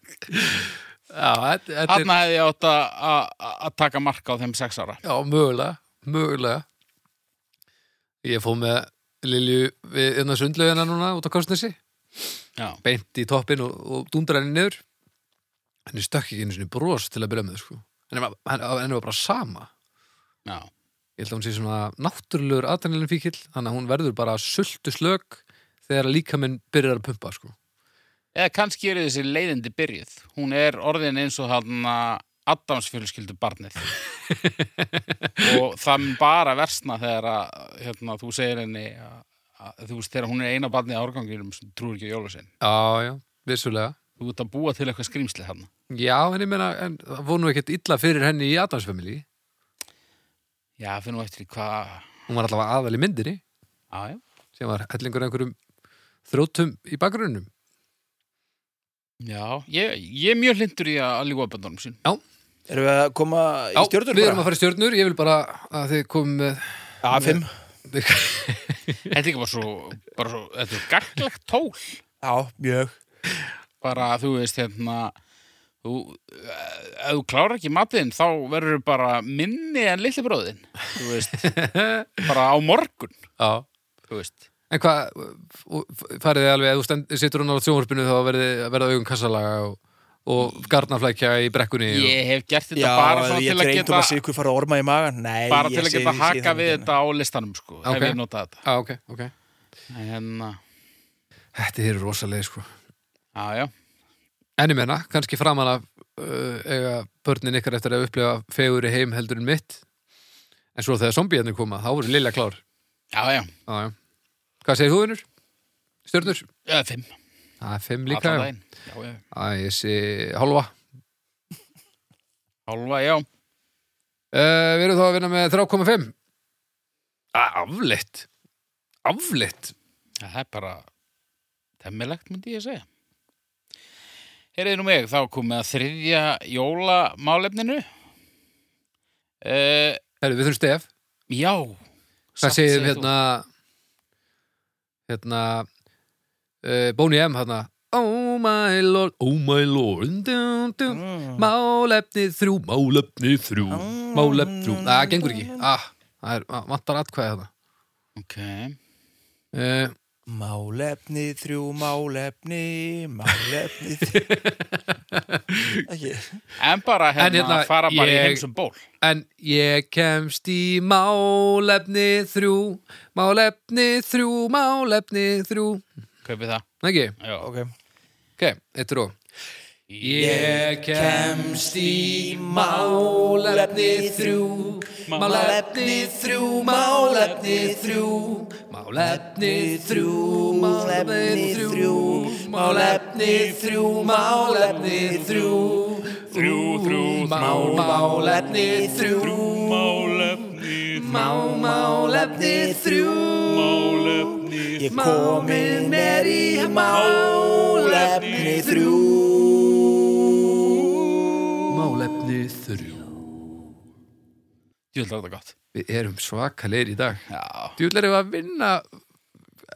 [SPEAKER 2] Já, þetta- þetta er
[SPEAKER 3] Þarna hefði ég átt að- að að taka marka á þeim sex ára.
[SPEAKER 2] Já, mögulega, mögulega. Ég fóð með Lilju við hérna sundlaugina núna út á Kostnesi,
[SPEAKER 3] Já.
[SPEAKER 2] beint í toppin og, og dundar henni niður. Henni stökk ekki einu sinni bros til að byrja með, sko. Henni var, henni, henni var bara sama.
[SPEAKER 3] Já.
[SPEAKER 2] Ég held að hún sé svona náttúrulegur aðdænilin fíkil, þannig að hún verður bara sultu slök þegar líka minn byrjar að pumpa, sko.
[SPEAKER 3] Eða kannski eru þessi leiðindi byrjuð. Hún er orðin eins og hann Adams fjölskyldu barnið. og það mun bara versna þegar að, hérna, þú segir henni að, að þú veist, þegar hún er eina barnið á árganginum sem trúir ekki á jólusinn.
[SPEAKER 2] Já, já, vissulega.
[SPEAKER 3] Þú ert að búa til eitthvað skrýmsli hann.
[SPEAKER 2] Já, en ég meina, en það voru nú ekkert illa fyrir henni í Adamsfamilí.
[SPEAKER 3] Já, finnum eftir í hvað...
[SPEAKER 2] Hún var allavega aðal í myndinni.
[SPEAKER 3] Já, já.
[SPEAKER 2] sem var hellingur af einhverjum þrótum í bakgrunnum
[SPEAKER 3] Já, ég, ég er mjög hlindur í að ljúga böndunum sín.
[SPEAKER 1] Erum við að koma í stjórnur
[SPEAKER 2] við erum að fara í stjórnur, ég vil bara að þið komum með
[SPEAKER 1] fara Já, fimm
[SPEAKER 3] Þetta er ekki bara svo, bara svo Þetta er gaglegt tól
[SPEAKER 1] Já, mjög
[SPEAKER 3] Bara þú veist hérna Þú, eh, ef þú klárar ekki matinn þá verður bara minni en litli bróðin þú veist bara á morgun
[SPEAKER 2] Já.
[SPEAKER 3] þú veist
[SPEAKER 2] En hvað, farið þið alveg, ef þú stend, situr hún á sjónvarpinu þá verði, verða augun kassalaga og, og garnaflækja í brekkunni og,
[SPEAKER 3] ég hef gert þetta
[SPEAKER 1] Já,
[SPEAKER 3] bara
[SPEAKER 1] ef ég
[SPEAKER 3] svona til að
[SPEAKER 1] drengum
[SPEAKER 3] geta
[SPEAKER 1] að sikur fara orma í magan Nei,
[SPEAKER 3] bara
[SPEAKER 1] ég
[SPEAKER 3] til að
[SPEAKER 1] sé-
[SPEAKER 3] geta
[SPEAKER 1] sé
[SPEAKER 3] haka
[SPEAKER 1] það
[SPEAKER 3] við
[SPEAKER 1] ekki.
[SPEAKER 3] þetta á listanum sko,
[SPEAKER 2] Ok.
[SPEAKER 3] ef ég nota þetta
[SPEAKER 2] ah, ok, ok
[SPEAKER 3] en uh,
[SPEAKER 2] Þetta er rosalega, sko
[SPEAKER 3] já, já,
[SPEAKER 2] En ég menna, kannski framan af uh, eiga börnin ykkar eftir að upplifa feguri heim heldur en mitt En svo þegar zombiðarnir koma, þá voru lilla klár
[SPEAKER 3] já, já,
[SPEAKER 2] Já, já Hvað segir þú, vinnur? Stjörnur?
[SPEAKER 3] já fimm
[SPEAKER 2] Það er fimm líka,
[SPEAKER 3] allan
[SPEAKER 2] já
[SPEAKER 3] daginn. já, já,
[SPEAKER 2] Æ, ég sé hálfa
[SPEAKER 3] hálfa, já
[SPEAKER 2] Uh, við erum þá að vinna með 3,5 Ah, Afleitt Afleitt
[SPEAKER 3] Já, það er bara temmilegt, myndi ég segja. Heyriði nú mig, þá komið að þriðja jólamálefninu. Uh,
[SPEAKER 2] Herru, við þurfum stef
[SPEAKER 3] já.
[SPEAKER 2] Hvað segir við hérna Hérna uh, Bóni M hérna Oh my lord, oh my lord dun, dun.
[SPEAKER 1] Mm.
[SPEAKER 2] Málefni þrjú, málefni þrjú Málefni þrjú, það gengur ekki ah, Það er, að- vantar atkvæði hérna
[SPEAKER 3] Ok.
[SPEAKER 2] uh,
[SPEAKER 1] Málefni þrjú, málefni Málefni þrjú Ekki
[SPEAKER 3] En bara hérna,
[SPEAKER 2] En hérna,
[SPEAKER 3] fara bara í
[SPEAKER 2] ég-
[SPEAKER 3] heimsum ból.
[SPEAKER 2] En ég kemst í málefni þrjú Málefni þrjú, málefni þrjú
[SPEAKER 3] Kaupið það.
[SPEAKER 2] Nei, Ekki?
[SPEAKER 3] Já.
[SPEAKER 1] Ok
[SPEAKER 2] Ok, eitt ró Ég kemst í málefni þrjú Málefni þrjú, málefni þrjú Málefni þrjú, málefni þrjú Málefni þrjú, málefni þrjú
[SPEAKER 3] Þrjú, þrjú,
[SPEAKER 2] Má, málefni þrjú
[SPEAKER 3] málefni,
[SPEAKER 2] Má, málefni þrjú
[SPEAKER 3] málefni.
[SPEAKER 1] Ég komin er í málefni þrjú
[SPEAKER 2] Málefni þrjú
[SPEAKER 3] Ég held að þetta gott.
[SPEAKER 2] Við erum svakalegir í dag
[SPEAKER 3] Já.
[SPEAKER 2] Djúll erum við að vinna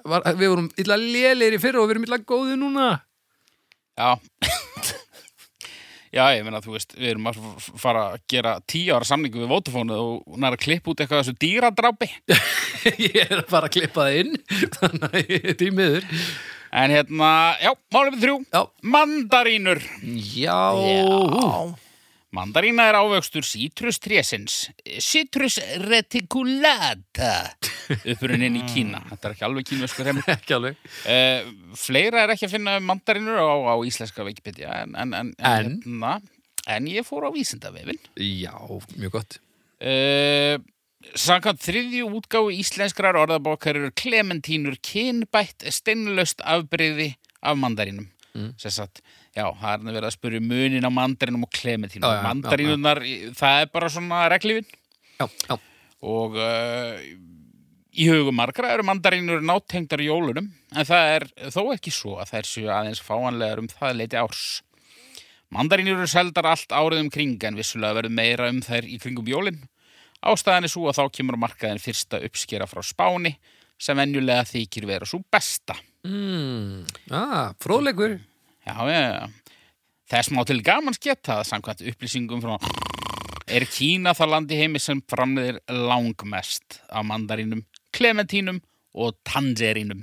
[SPEAKER 2] var, Við vorum illa lélegir í fyrra og við erum illa góði núna
[SPEAKER 3] Já. Já, ég meina, þú veist, við erum að f- fara að gera tíu ára samningu við Vótafónu og næra að klippa út eitthvað af þessu dýradrápi.
[SPEAKER 2] Ég er að fara að klippa það inn Þannig að ég er því miður
[SPEAKER 3] En hérna, já, málefni þrjú
[SPEAKER 2] Já,
[SPEAKER 3] Mandarínur
[SPEAKER 2] já.
[SPEAKER 3] Mandarína er ávöxtur sítrustresins Citrus reticulata Upprunin í Kína Þetta er ekki alveg kínvesku reymi
[SPEAKER 2] Ekki alveg
[SPEAKER 3] uh, Fleira er ekki að finna um mandarínur á, á íslenska Wikipedia En, en, en,
[SPEAKER 2] En?
[SPEAKER 3] Hérna, en ég fór á vísindavefin
[SPEAKER 2] Já, mjög gott
[SPEAKER 3] uh, Samkvæmt þriðju útgáfu íslenskrar orðabókar eru klementínur kynbætt steinlaust afbreyði af mandarínum. Mm. Sagt, já, það er verið að spyrja um munin á mandarínum og klementínum.
[SPEAKER 2] Já, já, já,
[SPEAKER 3] Mandarínunar, það er bara svona reglifin
[SPEAKER 2] Já, já,
[SPEAKER 3] og uh, í hugum margra eru mandarínur nátengdar jólunum en það er þó ekki svo að þær séu aðeins fáanlegar um það leiti árs Mandarínur eru seldar allt árið um kring en vissulega verður meira um þær í kringum jólin Ástæðan er svo að þá kemur á markaðin fyrsta uppskera frá Spáni sem venjulega þykir vera svo besta
[SPEAKER 2] mm. ah, fróðleikur
[SPEAKER 3] Já, já, já. Þess má til gamans geta að samkvæmt upplýsingum frá er Kína það landi heimi sem framleiðir langmest af mandarínum, klementínum og tangerínum.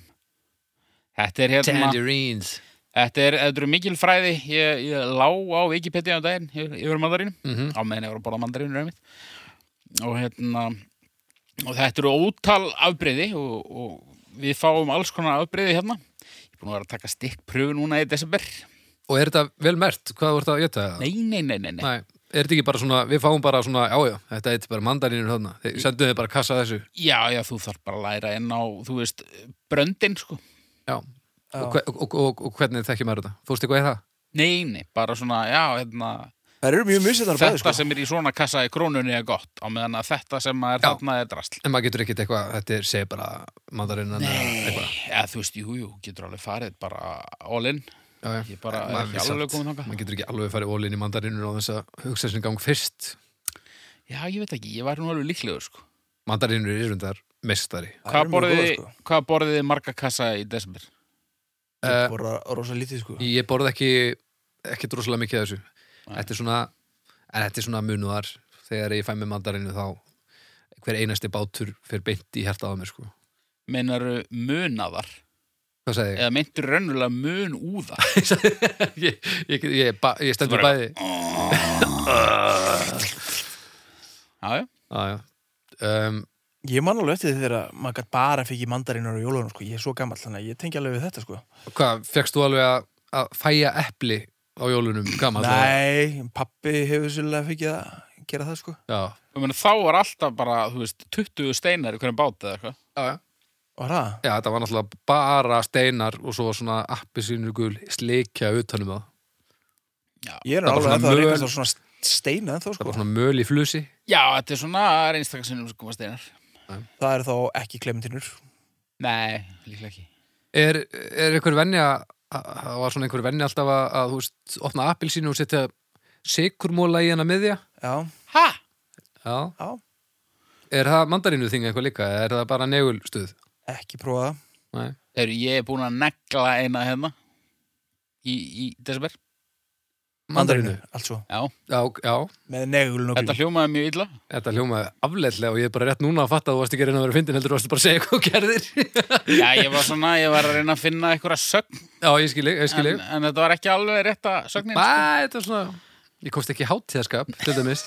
[SPEAKER 3] Þetta er hérna,
[SPEAKER 2] Tangerines
[SPEAKER 3] þetta er, þetta er mikil fræði, ég, ég lá á Wikipedia um daginn yfir yfir mandarínum,
[SPEAKER 2] Mhm.
[SPEAKER 3] á meðan ég voru að borða mandarínur einmitt. Og hérna, og þetta eru ótal afbreyði og, og við fáum alls konar afbreyði hérna. Ég er búin að vera að taka stikkpröfu núna í desember.
[SPEAKER 2] Og er þetta vel mert? Hvað voru þetta að geta það?
[SPEAKER 3] Nei, nei, nei, nei, nei.
[SPEAKER 2] Nei, er þetta ekki bara svona, við fáum bara svona, já, já, þetta er bara mandarínur þarna, Þeir- sendum þið bara kassa af þessu,
[SPEAKER 3] Já, já, þú þarf bara að læra inn á, þú veist, bröndin, sko.
[SPEAKER 2] já,
[SPEAKER 1] Já.
[SPEAKER 2] Og, hve- og, og, og, og hvernig þekkir maður þetta? Fórstu eitthvað í það?
[SPEAKER 3] Nei, nei, bara svona, já, hérna,
[SPEAKER 1] Það eru mjög misjöndar
[SPEAKER 3] þetta
[SPEAKER 1] bæði sko
[SPEAKER 3] sem er í svona kassa í krónunni er gott, á meðan að þetta sem er
[SPEAKER 2] Já.
[SPEAKER 3] þarna er drasl.
[SPEAKER 2] En maður getur ekkert eitthvað, þetta er segir bara mandarinn eða eitthvað.
[SPEAKER 3] Já, þú veist, jú, jú, getur alveg farið bara all in.
[SPEAKER 2] já, já.
[SPEAKER 3] Ég
[SPEAKER 2] Maður
[SPEAKER 3] bara er
[SPEAKER 2] er
[SPEAKER 3] ekki
[SPEAKER 2] samt.
[SPEAKER 3] alveg komin þangað.
[SPEAKER 2] maður getur ekki alveg farið ólinn í mandarínur á þess að hugsa sinni gang fyrst
[SPEAKER 3] Já, ég veit ekki, ég væri nú alveg líklegur sko.
[SPEAKER 2] mandarínur eru undar mestari
[SPEAKER 1] Það
[SPEAKER 3] Hvað
[SPEAKER 1] eru mjög
[SPEAKER 3] borðið
[SPEAKER 1] góðar,
[SPEAKER 3] sko. hvað borðið þið marga kassa í desember?
[SPEAKER 1] Ég borða rosa lítið sko
[SPEAKER 2] ég borð ekki ekki droslega mikið af þessu þetta er svona, en þetta er svona munuðar þegar ég fæ með mandarínu þá hver einasti bátur fer beint í hjartað á mér sko
[SPEAKER 3] Meinaru munaðar?
[SPEAKER 2] hvað sagði ég?
[SPEAKER 3] Eða meintur rönnulega mun úða?
[SPEAKER 2] ég, ég, ég, ba- ég stendur
[SPEAKER 3] Þú bara-
[SPEAKER 2] bæði
[SPEAKER 3] Já, já.
[SPEAKER 2] ah, um,
[SPEAKER 1] Ég man alveg eftir því þegar maður gætt bara fikk í mandarinur og jólunum sko Ég er svo gammal þannig að ég tengi alveg við þetta sko
[SPEAKER 2] hvað, fegst þú alveg að, að fæja epli á jólunum gaman
[SPEAKER 1] Nei, pappi hefur svolítið fikið að gera það sko
[SPEAKER 2] já,
[SPEAKER 3] Ég meina, þá var alltaf bara, þú veist, 20 steinar í hverjum bát eða eitthvað.
[SPEAKER 2] já, já
[SPEAKER 1] Var það?
[SPEAKER 2] Já, þetta var náttúrulega bara steinar og svo svona appisínu gul slikja utanum það.
[SPEAKER 1] Ég er
[SPEAKER 2] Það var
[SPEAKER 1] alveg
[SPEAKER 2] svona
[SPEAKER 1] ennþá að
[SPEAKER 2] möl.
[SPEAKER 1] reykast á svona steina ennþá
[SPEAKER 2] Það
[SPEAKER 1] sko
[SPEAKER 2] var svona möl í flusi.
[SPEAKER 3] Já, þetta er svona reynstakarsinnum sem koma steinar.
[SPEAKER 1] Það eru þá ekki klementinur
[SPEAKER 3] Nei, líklega ekki.
[SPEAKER 2] Er, er einhver venja, það var svona einhver venja alltaf að, að þú veist, opna appilsínu og setja sykurmóla í hana miðja?
[SPEAKER 1] Já,
[SPEAKER 3] Ha?
[SPEAKER 2] Já.
[SPEAKER 1] já,
[SPEAKER 2] Er það mandarínu þing eitthvað líka? eða Er það bara negulstuð?
[SPEAKER 1] ekki prófa það
[SPEAKER 2] Nei.
[SPEAKER 3] Þegar ég er búin að negla eina hérna í, í desember.
[SPEAKER 1] Mandarínu, allt svo
[SPEAKER 3] Já,
[SPEAKER 2] Já, ok- já.
[SPEAKER 1] Með negulun og
[SPEAKER 3] þetta hljómaði mjög illa.
[SPEAKER 2] Þetta hljómaði afleitlega og ég er bara rétt núna að fatta að þú varst ekki að reyna að vera fyndin heldur þú varst bara að segja hvað þú gerðir.
[SPEAKER 3] Já, ég var svona, ég var að reyna að finna einhverja sögn,
[SPEAKER 2] já, ég skilji, ég
[SPEAKER 3] en,
[SPEAKER 2] skilji.
[SPEAKER 3] en þetta var ekki alveg rétta sögnin.
[SPEAKER 2] Bæ, þetta var svona, ég komst ekki í hátíðaskap, til dæmis.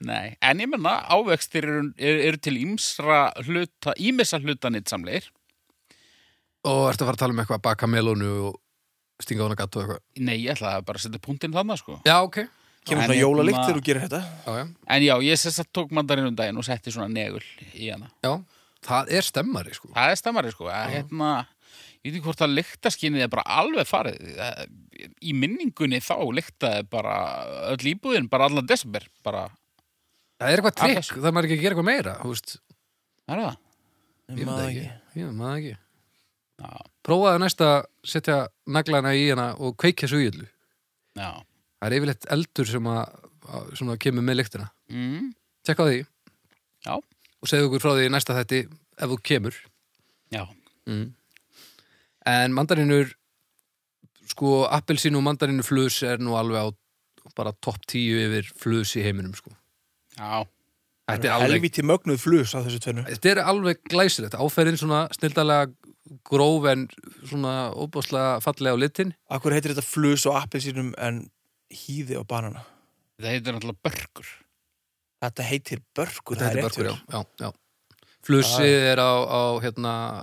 [SPEAKER 3] Nei, en ég menna ávextir eru, eru, eru til ímsra hluta, ímissa hluta nýtsamleir.
[SPEAKER 2] Og ertu að fara að tala um eitthvað að baka melónu og stinga á hana gatt og eitthvað?
[SPEAKER 3] Nei, ég ætlaði bara að setja punktinn þannig, sko.
[SPEAKER 2] Já, ok.
[SPEAKER 1] Kemur
[SPEAKER 3] En
[SPEAKER 1] svona
[SPEAKER 3] hérna-
[SPEAKER 1] jólalikt þegar þú gerir þetta
[SPEAKER 2] Já, já.
[SPEAKER 3] En já, ég sess að tók mandarinn um daginn og setti svona negul í hana.
[SPEAKER 2] já. Það er stemmari, sko.
[SPEAKER 3] Það er stammari, sko. Að, hérna, ég veit ekki hvort að lyktaskinnið er bara alveg farið. Það- Í minningunni þá lyktaði bara öll íbúðin, bara allan desember. Bara,
[SPEAKER 2] Það er eitthvað trikk,
[SPEAKER 3] Alltaf-
[SPEAKER 2] það er maður ekki að gera eitthvað meira, þú veist.
[SPEAKER 3] það er það.
[SPEAKER 1] Ég
[SPEAKER 2] veit
[SPEAKER 1] man það
[SPEAKER 2] Ég maður ekki.
[SPEAKER 3] Já,
[SPEAKER 2] Prófaðu næst að setja naglana í hana og kveikja svo í öllu.
[SPEAKER 3] já.
[SPEAKER 2] Það er yfirleitt eldur sem að, að- sem að kemur með lyktina.
[SPEAKER 3] Mm,
[SPEAKER 2] Tjekka á því.
[SPEAKER 3] Já.
[SPEAKER 2] Og segðu okkur frá því í næsta þætti ef þú kemur.
[SPEAKER 3] já.
[SPEAKER 2] Mm. En mandarinur, sko, appelsín og mandarinur flus er nú alveg á bara topp tíu yfir flus í heiminum, sko.
[SPEAKER 3] Já,
[SPEAKER 2] Þetta er alveg
[SPEAKER 1] Helviti mögnuð flus á þessu tvennu
[SPEAKER 2] Þetta er alveg glæsilegt, áferðin svona snildalega gróf en svona óbáslega fallega á litin
[SPEAKER 1] Akkur heitir þetta flus og appelsínum en hýði og banana
[SPEAKER 3] það heitir náttúrulega börgur.
[SPEAKER 1] Þetta heitir börkur,
[SPEAKER 2] Þetta
[SPEAKER 1] það
[SPEAKER 2] heitir
[SPEAKER 1] er
[SPEAKER 2] börkur, já,
[SPEAKER 1] rétt
[SPEAKER 2] já, já. Flusið er á, á hérna,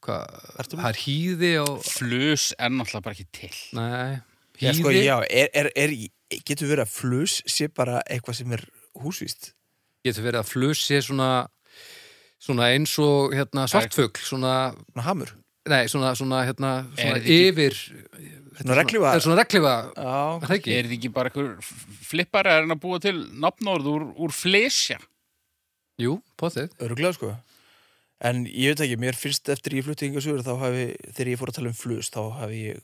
[SPEAKER 2] hvað,
[SPEAKER 1] Ertu með?
[SPEAKER 2] það er hýði á,
[SPEAKER 3] Flus er náttúrulega bara ekki til.
[SPEAKER 2] nei,
[SPEAKER 1] Já,
[SPEAKER 2] hýði,
[SPEAKER 1] sko, já, er, er, er, getur verið að flus sé bara eitthvað sem er húsvíst
[SPEAKER 2] getur verið að flusið svona, svona eins og hérna svartfugl, svona,
[SPEAKER 1] Svona hamur
[SPEAKER 2] nei, svona, svona hérna,
[SPEAKER 3] Er
[SPEAKER 2] svona
[SPEAKER 3] þetta ekki-
[SPEAKER 2] yfir,
[SPEAKER 1] Svona regliva
[SPEAKER 2] er svona reglifa,
[SPEAKER 1] Já,
[SPEAKER 2] það ekki?
[SPEAKER 3] Er þetta ekki bara einhver f- flippari að reyna að búa til nafnórð úr, úr flesja?
[SPEAKER 2] Jú, potið,
[SPEAKER 1] öruglega sko En ég veit ekki, mér finnst eftir ég flutti yngur sögur þá hafi, þegar ég fór að tala um flus þá hafi ég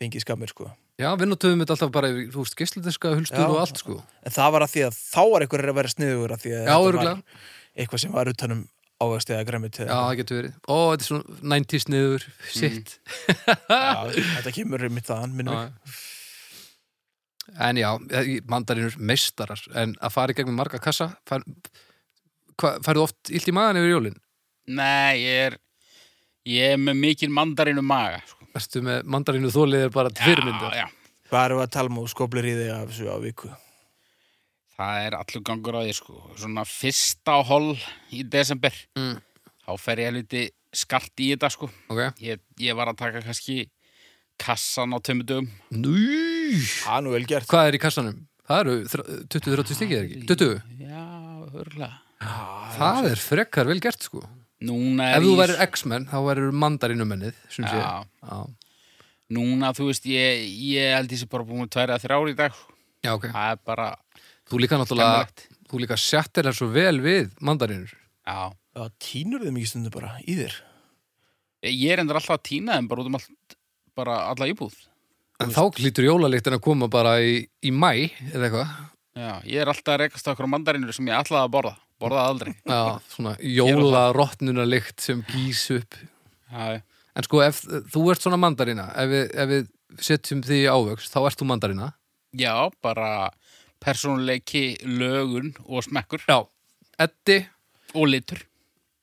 [SPEAKER 1] fengið skammir sko
[SPEAKER 2] já, við notuðum þetta alltaf bara, yfir, þú veist, geisladiska
[SPEAKER 1] Já.
[SPEAKER 2] hulstur og allt, sko.
[SPEAKER 1] En það var að því að þá var einhver að vera sniðugur að því að
[SPEAKER 2] Já,
[SPEAKER 1] þetta
[SPEAKER 2] örugglega.
[SPEAKER 1] var eitthvað sem var utanum ávegst eða græmið
[SPEAKER 2] Já, það getur verið. Ó, þetta er svona 90s niður, sitt.
[SPEAKER 1] Þetta kemur mitt þaðan, minnum við
[SPEAKER 2] Mm, En já, ég- mandarínur meistarar, en að fara í gegnum marga kassa, fær, hva, færðu oft illt í maðan yfir jólin?
[SPEAKER 3] Nei, ég er, ég er með mikil mandarinu maga. Sko.
[SPEAKER 2] Ertu með mandarínu þólið er bara tvirmyndu?
[SPEAKER 3] Já, já.
[SPEAKER 1] Hvað erum við að tala um og skoblir í þig af þessu á viku?
[SPEAKER 3] Það er allur gangur á því, sko. Svona fyrsta hol í desember.
[SPEAKER 2] Mm.
[SPEAKER 3] Þá fer ég helviti skart í þetta, sko.
[SPEAKER 2] Ok.
[SPEAKER 3] Ég, ég var að taka kannski kassan á tömmu dögum.
[SPEAKER 2] Nú,
[SPEAKER 1] Það er nú vel gert
[SPEAKER 2] hvað er í kassanum? Það eru þr- 20-30 stikið, er ekki? 20?
[SPEAKER 3] Já, hörlega.
[SPEAKER 2] Það er frekar vel gert, sko.
[SPEAKER 3] Núna
[SPEAKER 2] Ef
[SPEAKER 3] er
[SPEAKER 2] þú
[SPEAKER 3] ég-
[SPEAKER 2] værir X-Men, þá værir mandarínumennið, sem sé.
[SPEAKER 3] Já.
[SPEAKER 2] Já.
[SPEAKER 3] Núna, þú veist, ég, ég held ég sé bara búin að tværa þrjár í dag. sko.
[SPEAKER 2] Já, ok.
[SPEAKER 3] Það er bara...
[SPEAKER 2] Þú líka náttúrulega,
[SPEAKER 3] Skemmtilegt.
[SPEAKER 2] þú líka sjattir þær svo vel við mandarínur.
[SPEAKER 3] Já.
[SPEAKER 1] Já, tínur þeim ekki stundum bara í þér
[SPEAKER 3] Ég er endur alltaf að týna þeim bara út um allt bara alla íbúð
[SPEAKER 2] En þá hlýtur jólalíktin að koma bara í, í mæ eða eitthvað.
[SPEAKER 3] Já, ég er alltaf að rekast á okkur mandarinur sem ég ætlaði að borða Borðaði aldrei
[SPEAKER 2] Já, svona jólarottnunarlikt sem gís upp.
[SPEAKER 3] Já, já.
[SPEAKER 2] En sko, ef þú ert svona mandarina, ef við, ef við setjum því ávöxt, þá ert þú mandarina.
[SPEAKER 3] Já, bara persónuleiki, lögun og smekkur
[SPEAKER 2] Já. Eddi,
[SPEAKER 3] og litur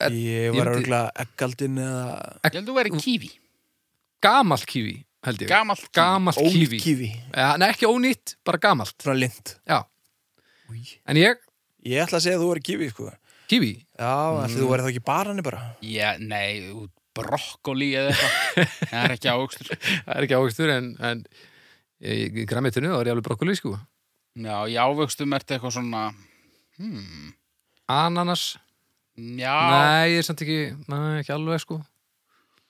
[SPEAKER 1] Ég
[SPEAKER 2] ég
[SPEAKER 1] var
[SPEAKER 2] myndi-
[SPEAKER 1] örgulega eggaldin eða
[SPEAKER 3] Ég held að þú væri kífi,
[SPEAKER 2] gamall kífi, held ég.
[SPEAKER 3] gamalt kífi.
[SPEAKER 2] Gamalt kífi.
[SPEAKER 1] ókífi,
[SPEAKER 2] Ja, nei, ekki ónýtt, bara gamalt.
[SPEAKER 1] svona lind.
[SPEAKER 2] Já. En ég,
[SPEAKER 1] Ég ætla að segja að þú er kífi, sko. Mm.
[SPEAKER 2] kífi.
[SPEAKER 1] Já, ætli þú væri þá ekki baranni bara.
[SPEAKER 3] Já, nei, út brokkoli eða eitthvað Það er ekki áugstur
[SPEAKER 2] Það er ekki ávöxtur, en, en í í græmitinu þá er ég alveg brokkoli, sko.
[SPEAKER 3] Já, í ávöxtum ertu eitthvað svona hmm,
[SPEAKER 2] Ananas,
[SPEAKER 3] Já,
[SPEAKER 2] nei, ég er samt ekki, nei, ekki alveg, sko.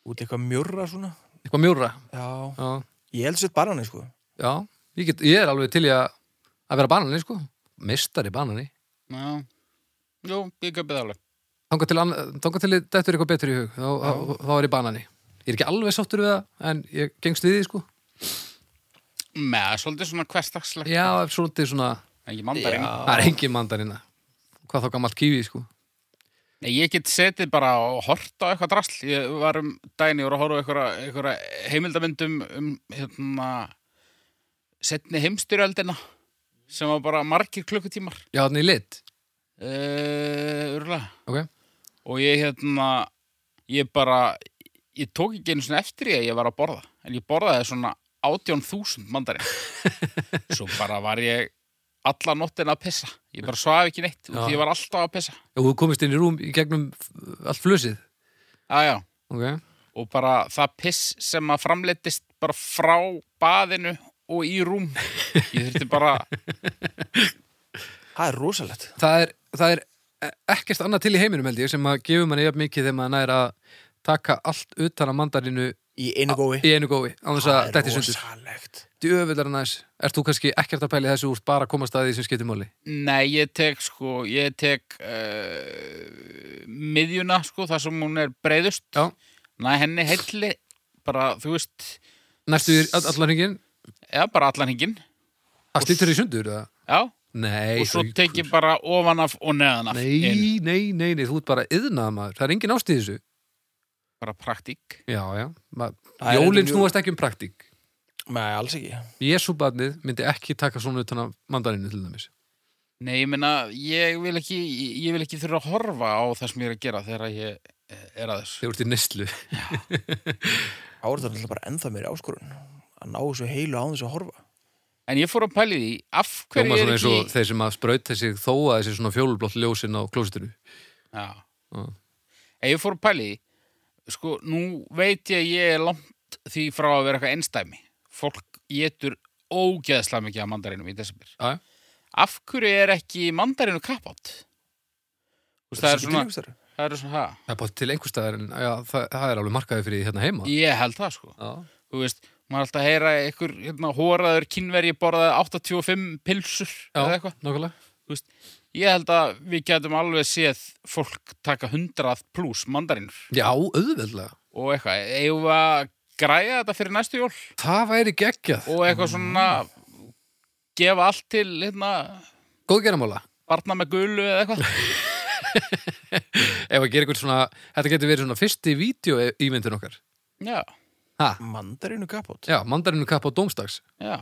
[SPEAKER 1] Út eitthvað mjörra svona.
[SPEAKER 2] Eitthvað mjúra,
[SPEAKER 1] Já.
[SPEAKER 2] já.
[SPEAKER 1] Ég held sér baranni, sko.
[SPEAKER 2] Já, ég, get, ég er alveg til í að, að vera banani, sko. Mistari banani.
[SPEAKER 3] já Jú, ég köpi það alveg
[SPEAKER 2] Þanga til, anna- þangað til þetta er eitthvað betur í hug. Þá, þá, þá er ég banani. Ég er ekki alveg sáttur við það, en ég gengst við því, sko.
[SPEAKER 3] Með, svolítið svona hversdagslegt
[SPEAKER 2] Já, ef svolítið svona,
[SPEAKER 3] Ekki mandarinn
[SPEAKER 2] það er engin mandarina. Hvað þá gamalt kífi, sko.
[SPEAKER 3] Nei, ég get setið bara og hort á eitthvað drasl. Ég var um daginn, ég voru að horfa á einhverja, einhverja heimildamyndum um hérna, setni heimstyrjöldina sem var bara margir klukkutímar.
[SPEAKER 2] Já, þannig í lit.
[SPEAKER 3] Uh, örgulega.
[SPEAKER 2] Ok.
[SPEAKER 3] Og ég hérna, ég bara, ég tók ekki einu svona eftir ég að ég var að borða. En ég borðaði svona 18.000 mandarinn. Svo bara var ég alla nóttina að pissa. Ég bara svaf ekki neitt og
[SPEAKER 2] Já.
[SPEAKER 3] því ég var alltaf að pissa.
[SPEAKER 2] Já, þú komist inn í rúm í gegnum f- allt flusið.
[SPEAKER 3] Já, já.
[SPEAKER 2] Ok.
[SPEAKER 3] og bara það piss sem að framleittist bara frá baðinu og í rúm ég þurfti bara
[SPEAKER 1] Það er rosalegt.
[SPEAKER 2] Það er, það er e- ekkert annað til í heiminum, held ég, sem að gefur manni jafn mikið þegar maður nær að taka allt utan að mandarinu
[SPEAKER 1] Í einu gói.
[SPEAKER 2] í einu gói, á þess að
[SPEAKER 1] Það
[SPEAKER 2] dætti
[SPEAKER 1] er
[SPEAKER 2] sundur.
[SPEAKER 1] rosalegt.
[SPEAKER 2] djöfular næs Ert þú kannski ekkert að pæli þessu úr bara að komast að því sem skiptir máli?
[SPEAKER 3] nei, ég tek sko ég tek uh, miðjuna sko, þar sem hún er breyðust
[SPEAKER 2] Já.
[SPEAKER 3] næ henni heilli bara, þú veist,
[SPEAKER 2] Næstu í all- allan hringin
[SPEAKER 3] eða bara allan hingin
[SPEAKER 2] að slítur í sundur? eða?
[SPEAKER 3] já,
[SPEAKER 2] Nei,
[SPEAKER 3] og svo
[SPEAKER 2] haukur.
[SPEAKER 3] tek ég bara ofan af og neðan af inn.
[SPEAKER 2] Nei, nei, nei, nei, þú ert bara yðnað maður Það er engin ást í þessu
[SPEAKER 3] bara praktík
[SPEAKER 2] Já, já, ma-
[SPEAKER 1] Það er
[SPEAKER 2] jólin
[SPEAKER 1] mjög-
[SPEAKER 2] snúast ekki um praktík
[SPEAKER 1] Nei, alls ekki.
[SPEAKER 2] Jésúbarnið myndi ekki taka svona utan af mandarinu til dæmis
[SPEAKER 3] nei, ég meina, ég vil ekki ég ég vil ekki þurfa að horfa á það sem ég er að gera þegar ég eh, er að þessu
[SPEAKER 2] Þegar ert í neslu
[SPEAKER 1] Árið er alltaf bara ennþá meiri áskorun. Að ná þessu heilu án þess að horfa.
[SPEAKER 3] En ég fór að pæli því, af hverju
[SPEAKER 2] Hljóma
[SPEAKER 3] er
[SPEAKER 2] svona eins
[SPEAKER 3] ekki...
[SPEAKER 2] og þeir sem að sprauta sig þó að þessi svona fjólublott ljósin á klósitinu
[SPEAKER 3] Já.
[SPEAKER 2] Já.
[SPEAKER 3] En ég fór að pæli því, sko, nú veit ég að ég er langt því frá að vera eitthvað einstæmi. Fólk getur ógeðslega mikið af mandarinum í desember.
[SPEAKER 2] Já, já.
[SPEAKER 3] Af hverju er ekki mandarinu kappátt? Þú veist, það er svona,
[SPEAKER 1] svona...
[SPEAKER 3] það er svona, ha,
[SPEAKER 2] Það er bara til einhver staðar en já, það, það er alveg markaði fyrir því hérna heima
[SPEAKER 3] ég held það, sko.
[SPEAKER 2] Já,
[SPEAKER 3] Þú veist, maður er alltaf að heyra einhver, hérna, hóraður kynveri borðaði 85 pilsur eða
[SPEAKER 2] já
[SPEAKER 3] eitthvað.
[SPEAKER 2] nokkulega
[SPEAKER 3] Ég held að við getum alveg séð fólk taka 100 pluss mandarinur.
[SPEAKER 2] Já, auðveldlega
[SPEAKER 3] og eitthvað, eigum við að græja þetta fyrir næstu jól
[SPEAKER 2] Það væri geggjað.
[SPEAKER 3] og eitthvað svona gefa allt til hérna,
[SPEAKER 2] Góðgerðamála.
[SPEAKER 3] barna með gulu eða eitthvað
[SPEAKER 2] Ef að gera eitthvað svona, þetta getur verið svona fyrsti vídeo ímyndin okkar.
[SPEAKER 3] já,
[SPEAKER 2] Ha,
[SPEAKER 1] Mandarinu kapot.
[SPEAKER 2] já, mandarinu kapp á dómstags.
[SPEAKER 3] já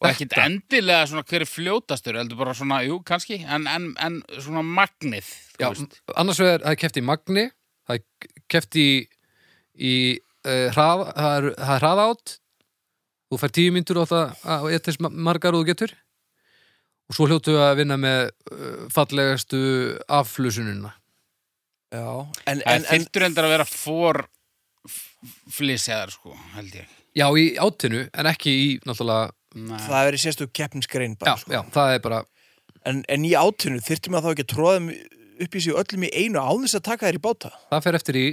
[SPEAKER 3] og ekkit endilega svona hver er fljótastur heldur bara svona, jú, kannski en, en, en svona magnið þú
[SPEAKER 2] Já,
[SPEAKER 3] veist.
[SPEAKER 2] annars vegar, það er keft í magni, það er keft í, í uh, hrað, það er, það er hraðátt, þú fær tíu myndur á það að ettis margar og þú getur. Og svo hljótu að vinna með uh, fallegastu afflusununa.
[SPEAKER 1] Já. En, en,
[SPEAKER 3] það
[SPEAKER 1] en,
[SPEAKER 3] en, þyrftur endur að vera for flýsjaðar sko, held ég
[SPEAKER 2] Já, í átinu, en ekki í, náttúrulega,
[SPEAKER 3] Nei.
[SPEAKER 1] það er í sérstu keppnisgrein
[SPEAKER 2] já,
[SPEAKER 1] bara. sko.
[SPEAKER 2] já, það er bara,
[SPEAKER 1] En, en í átinu þyrftum að þá ekki að tróða þeim upp í sig öllum í einu án þess að taka þér í báta.
[SPEAKER 2] það fer eftir í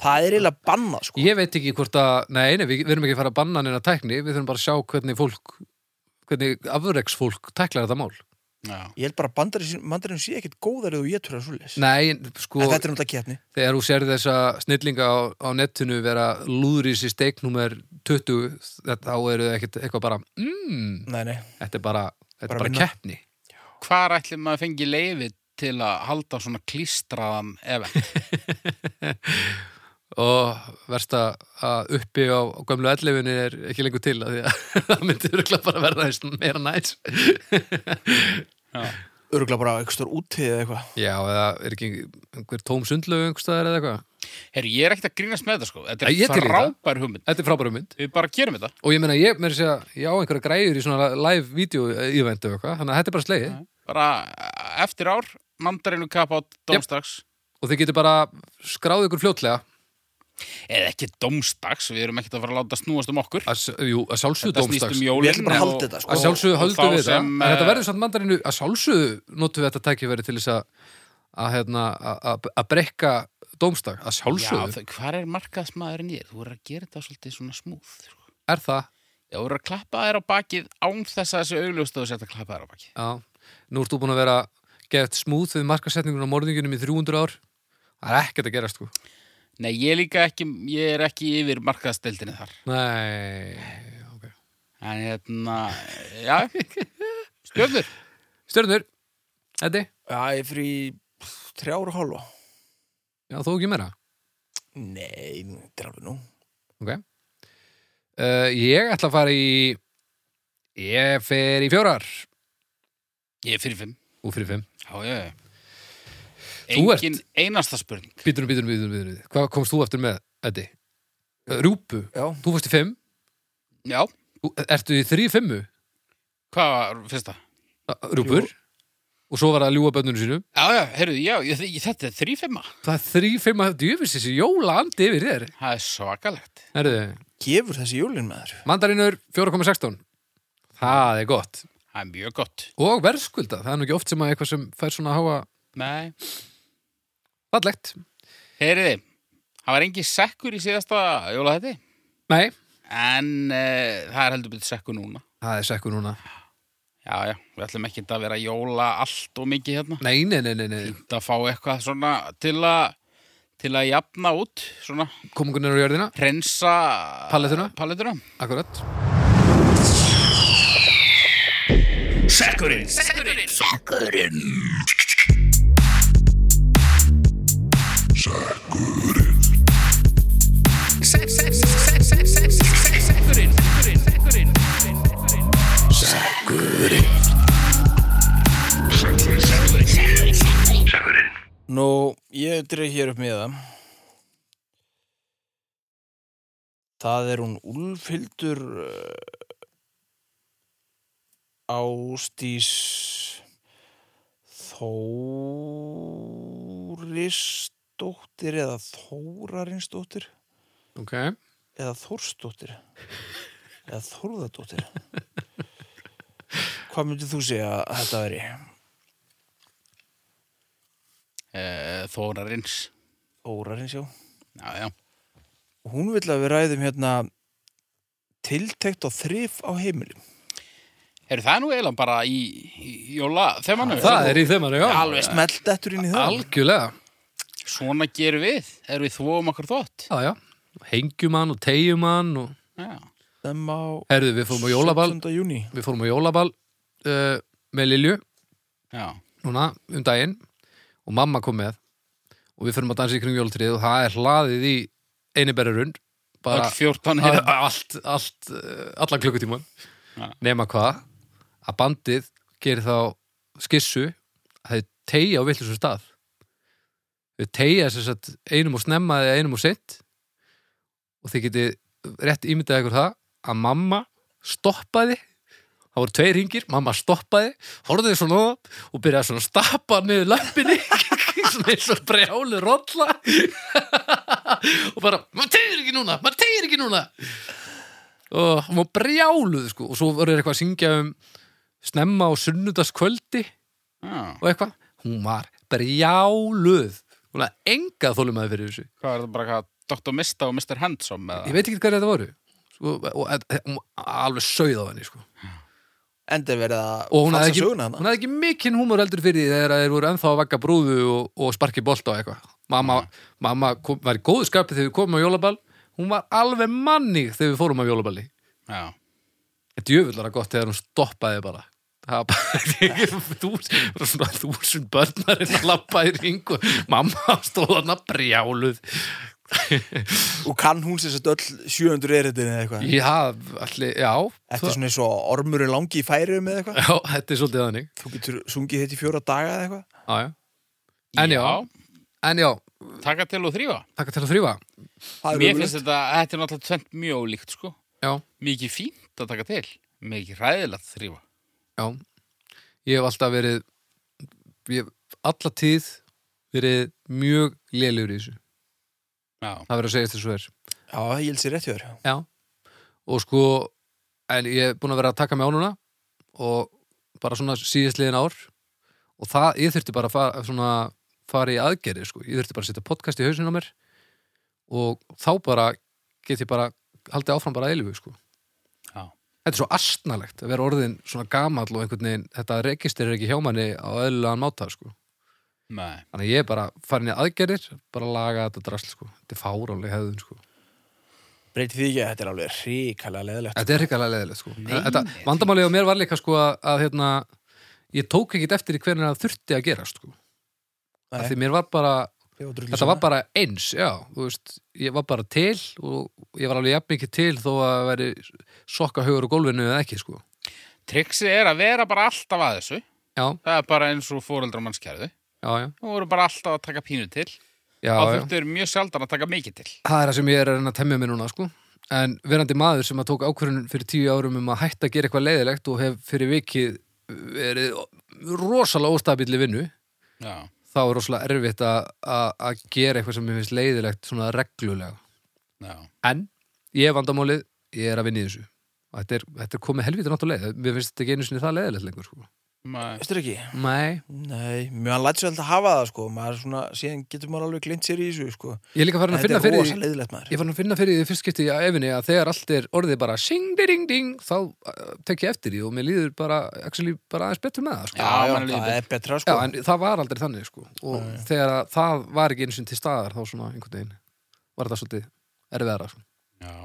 [SPEAKER 1] Það er eiginlega bannað, sko.
[SPEAKER 2] Ég veit ekki hvort að, nei, nei við, við erum ekki að fara að banna neina tækni, við þurfum bara að sjá hvernig fólk, hvernig afreksfólk tæklar þetta mál.
[SPEAKER 3] Já.
[SPEAKER 1] Ég held bara að bandarín, bandarín sé ekkit góðar eða ég tjóra svo leis.
[SPEAKER 2] Nei, sko,
[SPEAKER 1] en þetta er náttúrulega keppni.
[SPEAKER 2] þegar þú sér þessa snillinga á, á nettinu vera lúðrið sér steik nummer 20, þetta, þá eru þau ekkit eitthvað bara, mmm,
[SPEAKER 1] Nei, nei.
[SPEAKER 2] þetta er bara, þetta
[SPEAKER 1] Bara
[SPEAKER 2] er bara
[SPEAKER 1] vinna.
[SPEAKER 2] keppni.
[SPEAKER 3] Hvar ætlum maður að fengi leiði til að halda svona klístraðan ef
[SPEAKER 2] og verst að- að uppi á, á gömlu ellefinni er ekki lengur til að því að það myndi örugglega bara verða eins meira næs
[SPEAKER 1] Öruglega bara eitthvað stór útið eða eitthvað.
[SPEAKER 2] Já, eða er ekki einhver tóm sundlögu einhverstaðar eða eitthvað
[SPEAKER 3] Herru, ég er ekkert að grínast með þetta sko
[SPEAKER 2] Æ,
[SPEAKER 3] Þetta
[SPEAKER 2] ég
[SPEAKER 3] er
[SPEAKER 2] til í þetta.
[SPEAKER 3] frábær hugmynd
[SPEAKER 2] Þetta er frábæra mynd
[SPEAKER 3] Við bara gerum þetta
[SPEAKER 2] og ég meina ég meira að segja, ég á einhverja græður í svona live video ívendu eitthvað, þannig að þetta er bara slegið
[SPEAKER 1] Mm.
[SPEAKER 3] Bara eh, eftir ár, mandarinu kapp á domstags
[SPEAKER 2] og þið getur bara skráð ykkur fljótlega
[SPEAKER 3] Eða ekki domstags, við erum ekkert að fara að láta snúast um okkur
[SPEAKER 2] að, s- jú, að sjálfsögðu
[SPEAKER 3] Þetta snýst
[SPEAKER 2] dómstags
[SPEAKER 3] um jólin
[SPEAKER 1] Við ætlum bara að
[SPEAKER 3] og-
[SPEAKER 1] halda þetta, sko.
[SPEAKER 2] að sjálfsögðu
[SPEAKER 3] og
[SPEAKER 2] höldum
[SPEAKER 3] þá
[SPEAKER 2] við það
[SPEAKER 3] sem,
[SPEAKER 2] en þetta
[SPEAKER 3] eh,
[SPEAKER 2] verður samt mandarinu að sjálfsögðu notum við þetta tækifæri til þess að að hérna, að- að að brekka dómstag, að
[SPEAKER 3] Já,
[SPEAKER 2] sjálfsögðu
[SPEAKER 3] þau- hvar er markaðsmaðurinn ég? Þú verður að gera þetta svolítið svona smúð sko.
[SPEAKER 2] er það,
[SPEAKER 3] Já, þú verður að klappa þér á bakið án þess að þessi augljóst að þú setja að klappa þér á bakið
[SPEAKER 2] já nú ert þú búin að vera gett smúð við markasetningun á morðingunum í 300 ár það er ekkert að gera sko
[SPEAKER 3] Nei, ég er líka ekki, ég er ekki yfir markaðsdeildinni þar
[SPEAKER 2] nei, ok
[SPEAKER 3] En hérna, já Stjörnur
[SPEAKER 2] stjörnur, Eddi,
[SPEAKER 1] Já, ég fyrir í þrjára og hálfa.
[SPEAKER 2] já þú ekki meira
[SPEAKER 1] Nei, þetta er alveg nú.
[SPEAKER 2] uh, ég ætla að fara í ég fer í fjórar
[SPEAKER 3] Ég er fyrir fimm
[SPEAKER 2] og fyrir fimm,
[SPEAKER 3] Já, já, já
[SPEAKER 2] Þú ert-
[SPEAKER 3] Engin einasta spurning
[SPEAKER 2] býturum, býturum, býturum, býturum hvað komst þú eftir með, Eddi? Uh, Rúpu,
[SPEAKER 1] Já,
[SPEAKER 2] Þú fórst í fimm,
[SPEAKER 3] Já,
[SPEAKER 2] þú- ertu í þrý fimmu, Uh,
[SPEAKER 3] hvað var fyrsta?
[SPEAKER 2] Rúpur, og svo var það að ljúga bönnunum sínum.
[SPEAKER 3] Já, já, heyrðu, já, ég- þetta er þrífimma
[SPEAKER 2] Það er þrý fimma, djöfis þessi jóla andi yfir þér.
[SPEAKER 3] Það er svakalegt
[SPEAKER 2] Herðu,
[SPEAKER 1] gefur þessi jólin með þér.
[SPEAKER 2] mandarinur 4,16. Það er gott.
[SPEAKER 3] Það er mjög gott
[SPEAKER 2] Og verðskulda, það er nú ekki oft sem að eitthvað sem fær svona háa
[SPEAKER 3] Nei
[SPEAKER 2] fallegt.
[SPEAKER 3] Heyriði, það var engin sekkur í síðasta jólahætti
[SPEAKER 2] Nei,
[SPEAKER 3] En uh, það er heldur betur sekkur núna
[SPEAKER 2] það er sekkur núna.
[SPEAKER 3] Já, já, við ætlum ekki að vera að jóla allt og mikið hérna
[SPEAKER 2] Nei, nei, nei, nei, nei.
[SPEAKER 3] Þetta fá eitthvað svona til að til að jafna út, svona
[SPEAKER 2] komungunir á jörðina,
[SPEAKER 3] hrensa
[SPEAKER 2] Palettuna?
[SPEAKER 3] palettuna.
[SPEAKER 2] akkurat.
[SPEAKER 1] Nú, ég dreif hér upp með það. Það er hún Úlfhildur uh, Ástís Þórisdóttir eða Þórarinsdóttir
[SPEAKER 2] Ok,
[SPEAKER 1] eða Þórsdóttir eða Þórðardóttir Hvað myndir þú segja að þetta veri?
[SPEAKER 3] Uh, Þórarins.
[SPEAKER 1] Þórarins, já
[SPEAKER 3] Já, já.
[SPEAKER 1] Hún vill að við ræðum hérna tiltekt og þrif á heimilum
[SPEAKER 3] Eru það er nú eiginlega bara í, í jóla þemannu?
[SPEAKER 2] það er í þeimari, já.
[SPEAKER 1] Alveg smelt eftir inn í það
[SPEAKER 2] Algjörlega.
[SPEAKER 3] Svona gerum við. Erum við þvóum okkur þótt?
[SPEAKER 2] Já, já. Hengjum hann og tegjum hann og...
[SPEAKER 3] Já.
[SPEAKER 1] Þeim á
[SPEAKER 2] Herðu, við fórum á jólaball
[SPEAKER 1] 17. júní
[SPEAKER 2] við fórum á jólaball uh, með Lilju
[SPEAKER 3] Já.
[SPEAKER 2] núna um daginn og mamma kom með og við fyrum að dansa í kring jólatrið og það er hlaðið í einiberjarund bara
[SPEAKER 3] Öll 14
[SPEAKER 2] að-
[SPEAKER 3] er...
[SPEAKER 2] að- allt, allt, uh, allan klukkutíman
[SPEAKER 3] Ja.
[SPEAKER 2] nema hvað að bandið gerir þá skissu að þau tegja á villisum stað þau tegja sem sagt einum og snemma eða einum og seint og þið getið rétt ímyndað ykkur það að mamma stoppaði það voru tveir ringir, mamma stoppaði horfðið svona á það og byrjaði svona að stappa niður lappinni svona eins og brjálu rolla og bara, maður tegir ekki núna maður tegir ekki núna og hann var brjáluð sko og svo voru þeir eitthvað að syngja um snemma á sunnudagskvöldi
[SPEAKER 3] Já.
[SPEAKER 2] og eitthvað, hún var brjáluð hún var enga þólum fyrir þessu
[SPEAKER 3] Hvað er það bara hvað? Dr. Mista og Mr. Handsome?
[SPEAKER 2] ég
[SPEAKER 3] Eða?
[SPEAKER 2] veit ekki hvað þetta voru sko, og, og, og hún alveg sauð á henni sko.
[SPEAKER 1] enda er verið að
[SPEAKER 2] og hún hafði
[SPEAKER 1] falsa
[SPEAKER 2] ekki,
[SPEAKER 1] söguna
[SPEAKER 2] hún
[SPEAKER 1] hana
[SPEAKER 2] hafði ekki mikinn húmur heldur fyrir því þegar þeir voru ennþá að vagga brúðu og, og sparki bolt á eitthvað mamma, mamma kom, var í góðu skapi þegar við komum á jólaball hún var alveg mannig þegar við fórum á jólaballi
[SPEAKER 3] Já.
[SPEAKER 2] djöfull var það gott þegar hún stoppaði bara það var bara þús, svona þúsund börnarinn að lappa í ring og mamma stóð hann að brjáluð
[SPEAKER 1] og kann hún sér satt öll 700 eritin eða eitthvað
[SPEAKER 2] já, allir, já
[SPEAKER 1] Þetta er svona eins og ormurinn langi í færiðum eða eitthvað
[SPEAKER 2] já, þetta er svolítið þannig
[SPEAKER 1] Þú getur sungið þetta í fjóra daga eða eitthvað
[SPEAKER 2] já, já. en já, en já
[SPEAKER 3] Taka til og þrýfa.
[SPEAKER 2] takk til að þrýfa
[SPEAKER 1] Það er
[SPEAKER 3] Mér
[SPEAKER 1] ömurlegt.
[SPEAKER 3] finnst þetta, þetta er náttúrulega tvent mjög ólíkt, sko.
[SPEAKER 2] já,
[SPEAKER 3] Mikið fínt að taka til, mikið ræðilegt þrýfa.
[SPEAKER 2] Já, ég hef alltaf verið ég hef alla tíð verið mjög lélugur í þessu
[SPEAKER 3] Já.
[SPEAKER 2] það verið að segja þessu er
[SPEAKER 1] Já, ég held sér rétt hjá þér
[SPEAKER 2] Já. og sko, en ég hef búin að vera að taka mig á núna og bara svona síðastliðin ár og það, ég þurfti bara að fara, svona, fara í aðgerði sko, ég þurfti bara að setja podcast í hausinn á mér og þá bara get ég bara haldið áfram bara að eilfu sko
[SPEAKER 3] Já.
[SPEAKER 2] Þetta er svo astnalegt að vera orðin svona gamall og einhvern veginn, þetta register er ekki hjá manni á öðlulegan máta, sko.
[SPEAKER 3] Nei.
[SPEAKER 2] Þannig að ég er bara farin í aðgerðir, bara að laga þetta drasl, sko. Þetta er fárálega hefðun, sko.
[SPEAKER 1] Breyti því ekki að þetta er alveg hrikalega leðilegt
[SPEAKER 2] Þetta er hrikalega leðilegt, sko.
[SPEAKER 3] Nei,
[SPEAKER 2] þetta,
[SPEAKER 3] nei,
[SPEAKER 2] vandamálið á mér var líka, sko, að, að hérna, ég tók ekkit eftir í hvernig það þurfti að gerast, sko. Af Því mér var bara, þetta var bara eins, já, þú veist, ég var bara til og ég var alveg jafn mikið til þó að veri sokka hugur á gólfinu eða ekki, sko.
[SPEAKER 3] Trixið er að vera bara alltaf að þessu.
[SPEAKER 2] Já,
[SPEAKER 3] Það er bara eins og fóreldrar manns kærðu.
[SPEAKER 2] já, já.
[SPEAKER 3] Nú voru bara alltaf að taka pínu til.
[SPEAKER 2] já,
[SPEAKER 3] Já,
[SPEAKER 2] já.
[SPEAKER 3] það þurftur mjög sjaldan að taka mikið til.
[SPEAKER 2] það er það sem ég er að reyna að temja mér núna sko. en verandi maður sem að tók ákvörðun fyrir tíu árum um að hætta að gera eitthvað leiðilegt og hef fyrir vikið verið rosalega óstabilli vinnu
[SPEAKER 3] Já.
[SPEAKER 2] þá er rosalega erfitt að- að að gera eitthvað sem mér finnst leiðilegt svona reglulega
[SPEAKER 3] Já.
[SPEAKER 2] en ég er vandamálið, ég er að vinna í þessu og þetta er, þetta er komið helvítið náttúrulega leið mér finnst þetta ekki einu sinni það leiðilegt lengur sko.
[SPEAKER 3] Nei.
[SPEAKER 1] Veistu ekki?
[SPEAKER 2] Nei,
[SPEAKER 1] Nei, mjög hann lætt sér alltaf að hafa það sko maður svona, síðan getur maður alveg glint sér í þessu sko
[SPEAKER 2] ég er líka farin að
[SPEAKER 1] Þetta
[SPEAKER 2] finna
[SPEAKER 1] er
[SPEAKER 2] fyrir
[SPEAKER 1] rosa
[SPEAKER 2] því-
[SPEAKER 1] leðilegt maður
[SPEAKER 2] Ég fann að finna fyrir því fyrst skipti á efinni að þegar allt er orðið bara sing, ding, ding, þá uh, tek ég eftir því og mér líður bara, actually, bara aðeins betur með það, sko.
[SPEAKER 3] Já, mann er
[SPEAKER 1] það
[SPEAKER 3] líður betur.
[SPEAKER 1] er betra
[SPEAKER 2] Já,
[SPEAKER 1] sko
[SPEAKER 2] en það var aldrei þannig, sko. Og þegar að það var ekki eins og til staðar, þá svona einhvern veginn var þetta svolítið erfiðara, sko.
[SPEAKER 3] Já.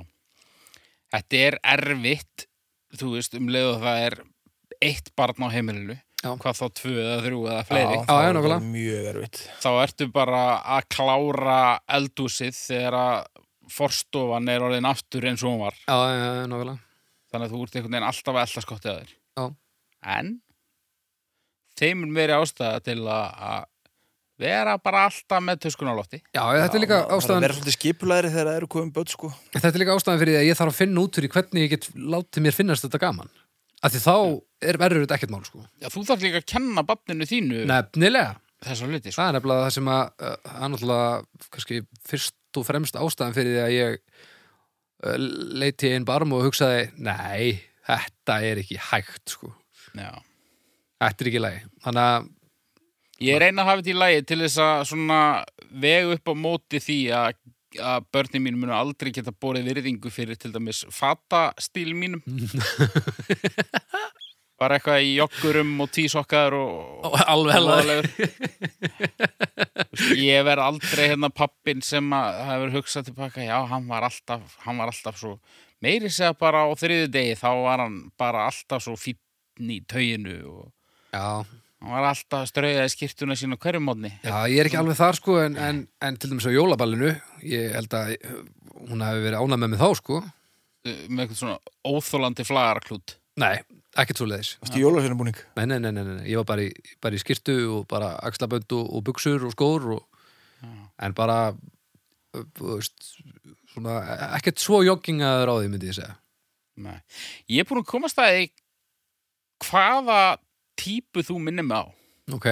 [SPEAKER 3] Þetta er erfitt, þú veist, um leið og það er eitt barn á heimilinu.
[SPEAKER 2] Já.
[SPEAKER 3] Hvað þá tvö eða þrjú eða fleiri.
[SPEAKER 1] það
[SPEAKER 2] Já, já,
[SPEAKER 1] er
[SPEAKER 2] nákvæmlega.
[SPEAKER 1] mjög erfitt
[SPEAKER 3] Þá ertu bara að klára eldúsið þegar að forstofan er orðin aftur eins og hún var.
[SPEAKER 2] Já, já, já, nákvæmlega.
[SPEAKER 3] Þannig að þú ert einhvern veginn alltaf að elda skottið að þér.
[SPEAKER 2] Já.
[SPEAKER 3] En þeim er meiri ástæða til að að vera bara alltaf með töskun á lofti.
[SPEAKER 2] Já, þetta er líka
[SPEAKER 1] Það
[SPEAKER 2] ástæðan,
[SPEAKER 1] verður svolítið skipulæri þegar það eru komið börn sko
[SPEAKER 2] þetta er líka ástæðan fyrir því að ég þarf að finna út úr í hvernig ég get látið mér finnast þetta gaman. Af því þá er verður þetta ekkert mál, sko.
[SPEAKER 3] Já, þú þarf líka að kenna banninu þínu
[SPEAKER 2] Nefnilega.
[SPEAKER 3] þessar hluti. Sko.
[SPEAKER 2] Það er nefnilega það sem að uh, það er náttúrulega kannski fyrst og fremst ástæðan fyrir því að ég uh, leiti einn barm og hugsaði nei, þetta er ekki hægt sko.
[SPEAKER 3] Já.
[SPEAKER 2] Þetta er ekki lægi. Þannig að
[SPEAKER 3] Ég reyna að hafa þetta í lægi til þess að svona vegu upp á móti því að, að börnin mín munu aldrei geta borið virðingu fyrir til dæmis fatastíl mínum. Bara eitthvað í joggurum og tísokkaður og,
[SPEAKER 2] alveg alveg
[SPEAKER 3] Ómögulegur. Þú veist, ég verð aldrei hérna pappin sem að hefur hugsað tilbaka já, hann var alltaf, hann var alltaf svo meiri segja bara á þriði degi þá var hann bara alltaf svo fínn í tauginu og
[SPEAKER 2] Já,
[SPEAKER 3] hann var alltaf að strauðaði skýrtuna sína á hverjum mótni
[SPEAKER 2] já, ég er ekki alveg þar sko en, en, en til dæmis á jólaballinu ég held að uh, hún hafi verið ánæg með mig þá sko.
[SPEAKER 3] eh, með eitthvað svona óþólandi flagarklút
[SPEAKER 2] Nei, ekkert svo leiðis.
[SPEAKER 1] Þú veist, jólasveinabúning
[SPEAKER 2] Nei, nei, nei, nei, nei, ég var bara í, bara í skirtu og bara axlabönd og, og buksur og skór og, en bara ö, þú veist, svona, ekkert svo joggingaður á því myndi ég segja
[SPEAKER 3] Nei. Ég er búin að komast að því hvaða típu þú minnir mig á
[SPEAKER 2] Ok,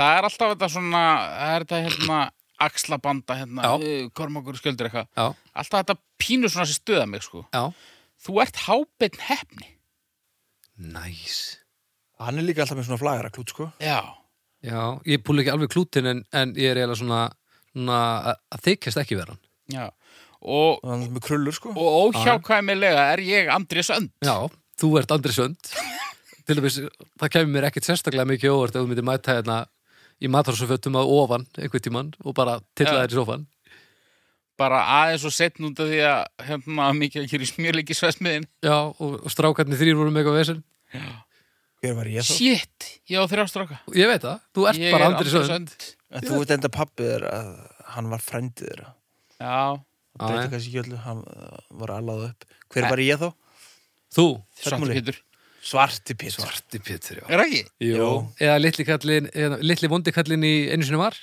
[SPEAKER 3] Það er alltaf þetta svona, það er þetta hérna axlabanda hérna,
[SPEAKER 2] Já.
[SPEAKER 3] kormakur skjöldur eitthvað
[SPEAKER 2] já,
[SPEAKER 3] alltaf þetta pínur svona sem stöða mig sko
[SPEAKER 2] já
[SPEAKER 3] þú ert hábeinn hefni
[SPEAKER 2] Næs
[SPEAKER 1] Hann er líka alltaf með svona flagara klút sko
[SPEAKER 3] já,
[SPEAKER 2] Já, ég púli ekki alveg klútin en, en ég er eiginlega svona, svona að- að þykjast ekki vera hann
[SPEAKER 3] já. Og,
[SPEAKER 1] Hann er með krullur sko
[SPEAKER 3] og óhjákvæmilega er ég Andrés Önd
[SPEAKER 2] Já, þú ert Andri Sönd til dæmis, það kemur mér ekkit sérstaklega mikið á óvart ef þú myndir mæta hérna í matvarsafötum að ofan einhvern tímann og bara tilla
[SPEAKER 3] Já.
[SPEAKER 2] þér í sofan
[SPEAKER 3] bara aðeins og setn út af því að hérna mikið að gera smjörleiki svæsmiðin
[SPEAKER 2] já, og, og strákarnir þrýr voru með eitthvað vesinn
[SPEAKER 1] Hver var ég þá?
[SPEAKER 3] Shit, ég á þrjá stráka
[SPEAKER 2] ég veit það, þú ert
[SPEAKER 3] Ég
[SPEAKER 2] bara
[SPEAKER 3] er
[SPEAKER 2] Andri
[SPEAKER 3] Andri
[SPEAKER 2] Sönd
[SPEAKER 3] Sönd.
[SPEAKER 1] En þú veit enda pappið þér að hann var frændið þér.
[SPEAKER 3] Já,
[SPEAKER 1] Það
[SPEAKER 2] Já,
[SPEAKER 1] breytir
[SPEAKER 2] já.
[SPEAKER 1] kannski ekki öllu, hann uh, var alveg upp. Hver var ég þá?
[SPEAKER 2] þú,
[SPEAKER 3] svartu
[SPEAKER 1] Múli.
[SPEAKER 3] Pétur
[SPEAKER 1] Svarti Pétur.
[SPEAKER 2] Svarti Pétur, já
[SPEAKER 3] Er það ekki?
[SPEAKER 2] Jú. eða litli, kallin, eða litli vondi kallin í einu sinni var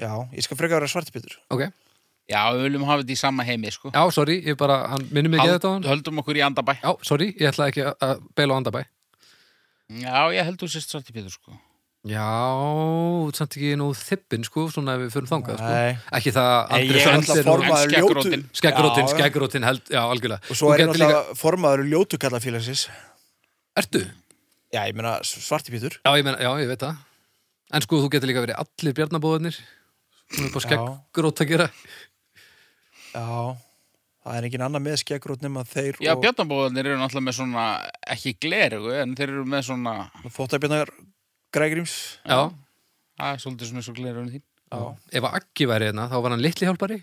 [SPEAKER 1] Já, ég skal freka að vera Svarti Pétur.
[SPEAKER 2] ok,
[SPEAKER 3] Já, við viljum hafa þetta í sama heimi sko
[SPEAKER 2] já, sorry, ég bara, hann minnum mig ekki
[SPEAKER 3] Hald-
[SPEAKER 2] þetta á hann
[SPEAKER 3] Höldum okkur í andabæ
[SPEAKER 2] já, sorry, ég ætla ekki að- að beila á andabæ
[SPEAKER 3] Já, ég held þú sérst svartu Pétur sko
[SPEAKER 2] já, samt ekki nú þippin, sko, svona ef við förum þangað, sko
[SPEAKER 1] Nei.
[SPEAKER 2] ekki það að
[SPEAKER 1] Ég
[SPEAKER 2] Andri
[SPEAKER 1] er
[SPEAKER 2] Sönd
[SPEAKER 1] alltaf
[SPEAKER 2] er nú-
[SPEAKER 1] formaður
[SPEAKER 3] En
[SPEAKER 1] ljótu.
[SPEAKER 3] skeggrótin.
[SPEAKER 1] Já,
[SPEAKER 2] Skeggrótin,
[SPEAKER 1] já.
[SPEAKER 2] skeggrótin held, já, algjörlega
[SPEAKER 1] Og svo er
[SPEAKER 2] Þú
[SPEAKER 1] ég
[SPEAKER 2] gætir líka-
[SPEAKER 1] alltaf formaður ljótu kalla félagsins.
[SPEAKER 2] Ertu?
[SPEAKER 1] Já, ég meina Svarti Pétur.
[SPEAKER 2] Já, ég, meina, já, ég veit það En sko, þú getur líka verið allir bjarnabóðarnir Hún er bara
[SPEAKER 1] Já.
[SPEAKER 2] skeggrót að gera
[SPEAKER 1] Já, það er engin annað með skeggrót nema þeir
[SPEAKER 3] Já,
[SPEAKER 1] og
[SPEAKER 3] bjarnabóðarnir eru náttúrulega með svona ekki glerugu, en þeir eru með svona
[SPEAKER 1] þóttabjarnar Grægrims.
[SPEAKER 2] Já,
[SPEAKER 3] að, svolítið svona svo glerugun þín
[SPEAKER 1] Já.
[SPEAKER 2] ef að Aggi væri hérna, þá var hann litli hjálpari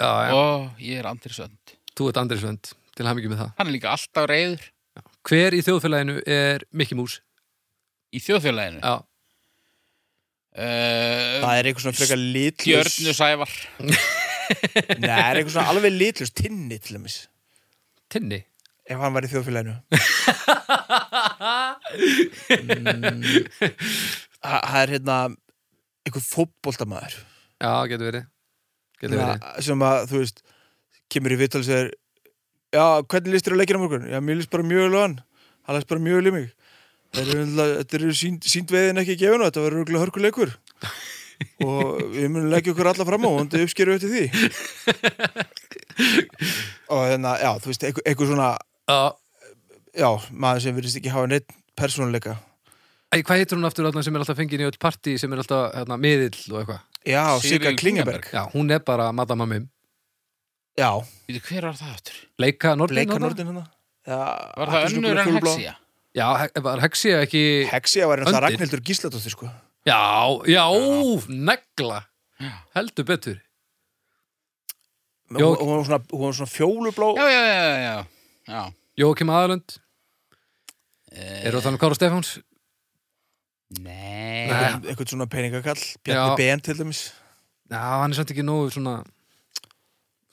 [SPEAKER 2] Já, já,
[SPEAKER 3] Ó, ég er Andri Sönd
[SPEAKER 2] þú ert Andri Svönd til hamingjum með það
[SPEAKER 3] Hann er líka alltaf reyður
[SPEAKER 2] Hver í þjóðfélaginu er Mickey Mouse?
[SPEAKER 3] í þjóðfélaginu
[SPEAKER 2] Já,
[SPEAKER 3] uh, Um,
[SPEAKER 1] Það er eitthvað svona frekar litlus.
[SPEAKER 3] Björnu Sævar
[SPEAKER 1] Nei, það er eitthvað svona alveg litlus, tinni til dæmis.
[SPEAKER 2] Tinni
[SPEAKER 1] Ef hann var í þjóðfélaginu. Mm, Það það er hérna einhver fótboltamaður
[SPEAKER 2] Já, getur verið Getur verið
[SPEAKER 1] Svona, sem að, þú veist, kemur í viðtal og segir, já, hvernig listir að leikina morgun? Já, mér list bara mjög vel á hann hann list bara mjög vel í mig Það eru náttúrulega- þetta eru sínd, síndveiðin ekki gefinu þetta verður örugglega hörkuleikur og við munum leggja okkur alla fram á og þetta uppskeru eftir því og þannig að, já, þú veist einhver, einhver svona,
[SPEAKER 2] Já,
[SPEAKER 1] já, maður sem virðist ekki hafa neitt persónuleika
[SPEAKER 2] Æ, hvað heitir hún aftur þarna sem er alltaf fengin í öll partí sem er alltaf hérna, miðill og eitthvað
[SPEAKER 1] Já,
[SPEAKER 3] Sigríður
[SPEAKER 1] Sigga Klingaberg
[SPEAKER 2] Já, hún er bara madama mim
[SPEAKER 1] Já,
[SPEAKER 3] Býtu, hver var það aftur?
[SPEAKER 2] Leika Nordin
[SPEAKER 1] Bleika
[SPEAKER 2] þarna?
[SPEAKER 1] Nordin hana Já,
[SPEAKER 3] Var það
[SPEAKER 1] Hallgrímskirkju
[SPEAKER 3] önnur en
[SPEAKER 1] fjólubláa.
[SPEAKER 3] Hexia?
[SPEAKER 2] Já, he- var Hexia ekki
[SPEAKER 1] Hexia var náttúrulega
[SPEAKER 2] Öndir.
[SPEAKER 1] Ragnhildur Gísladóttir sko
[SPEAKER 2] Já, já, negla Heldur betur
[SPEAKER 1] Jó,
[SPEAKER 2] Jó,
[SPEAKER 1] hún, var svona, hún var svona fjólublá
[SPEAKER 3] Já, já, já, já, já. já. Eh,
[SPEAKER 2] Jókim Aðalund Er það þannig Kára Stefáns?
[SPEAKER 3] Nei,
[SPEAKER 2] Nei.
[SPEAKER 1] einhvern einhvern svona peningakall Bjarni
[SPEAKER 2] Já.
[SPEAKER 1] Ben til dæmis
[SPEAKER 2] Já, hann er samt ekki nógu svona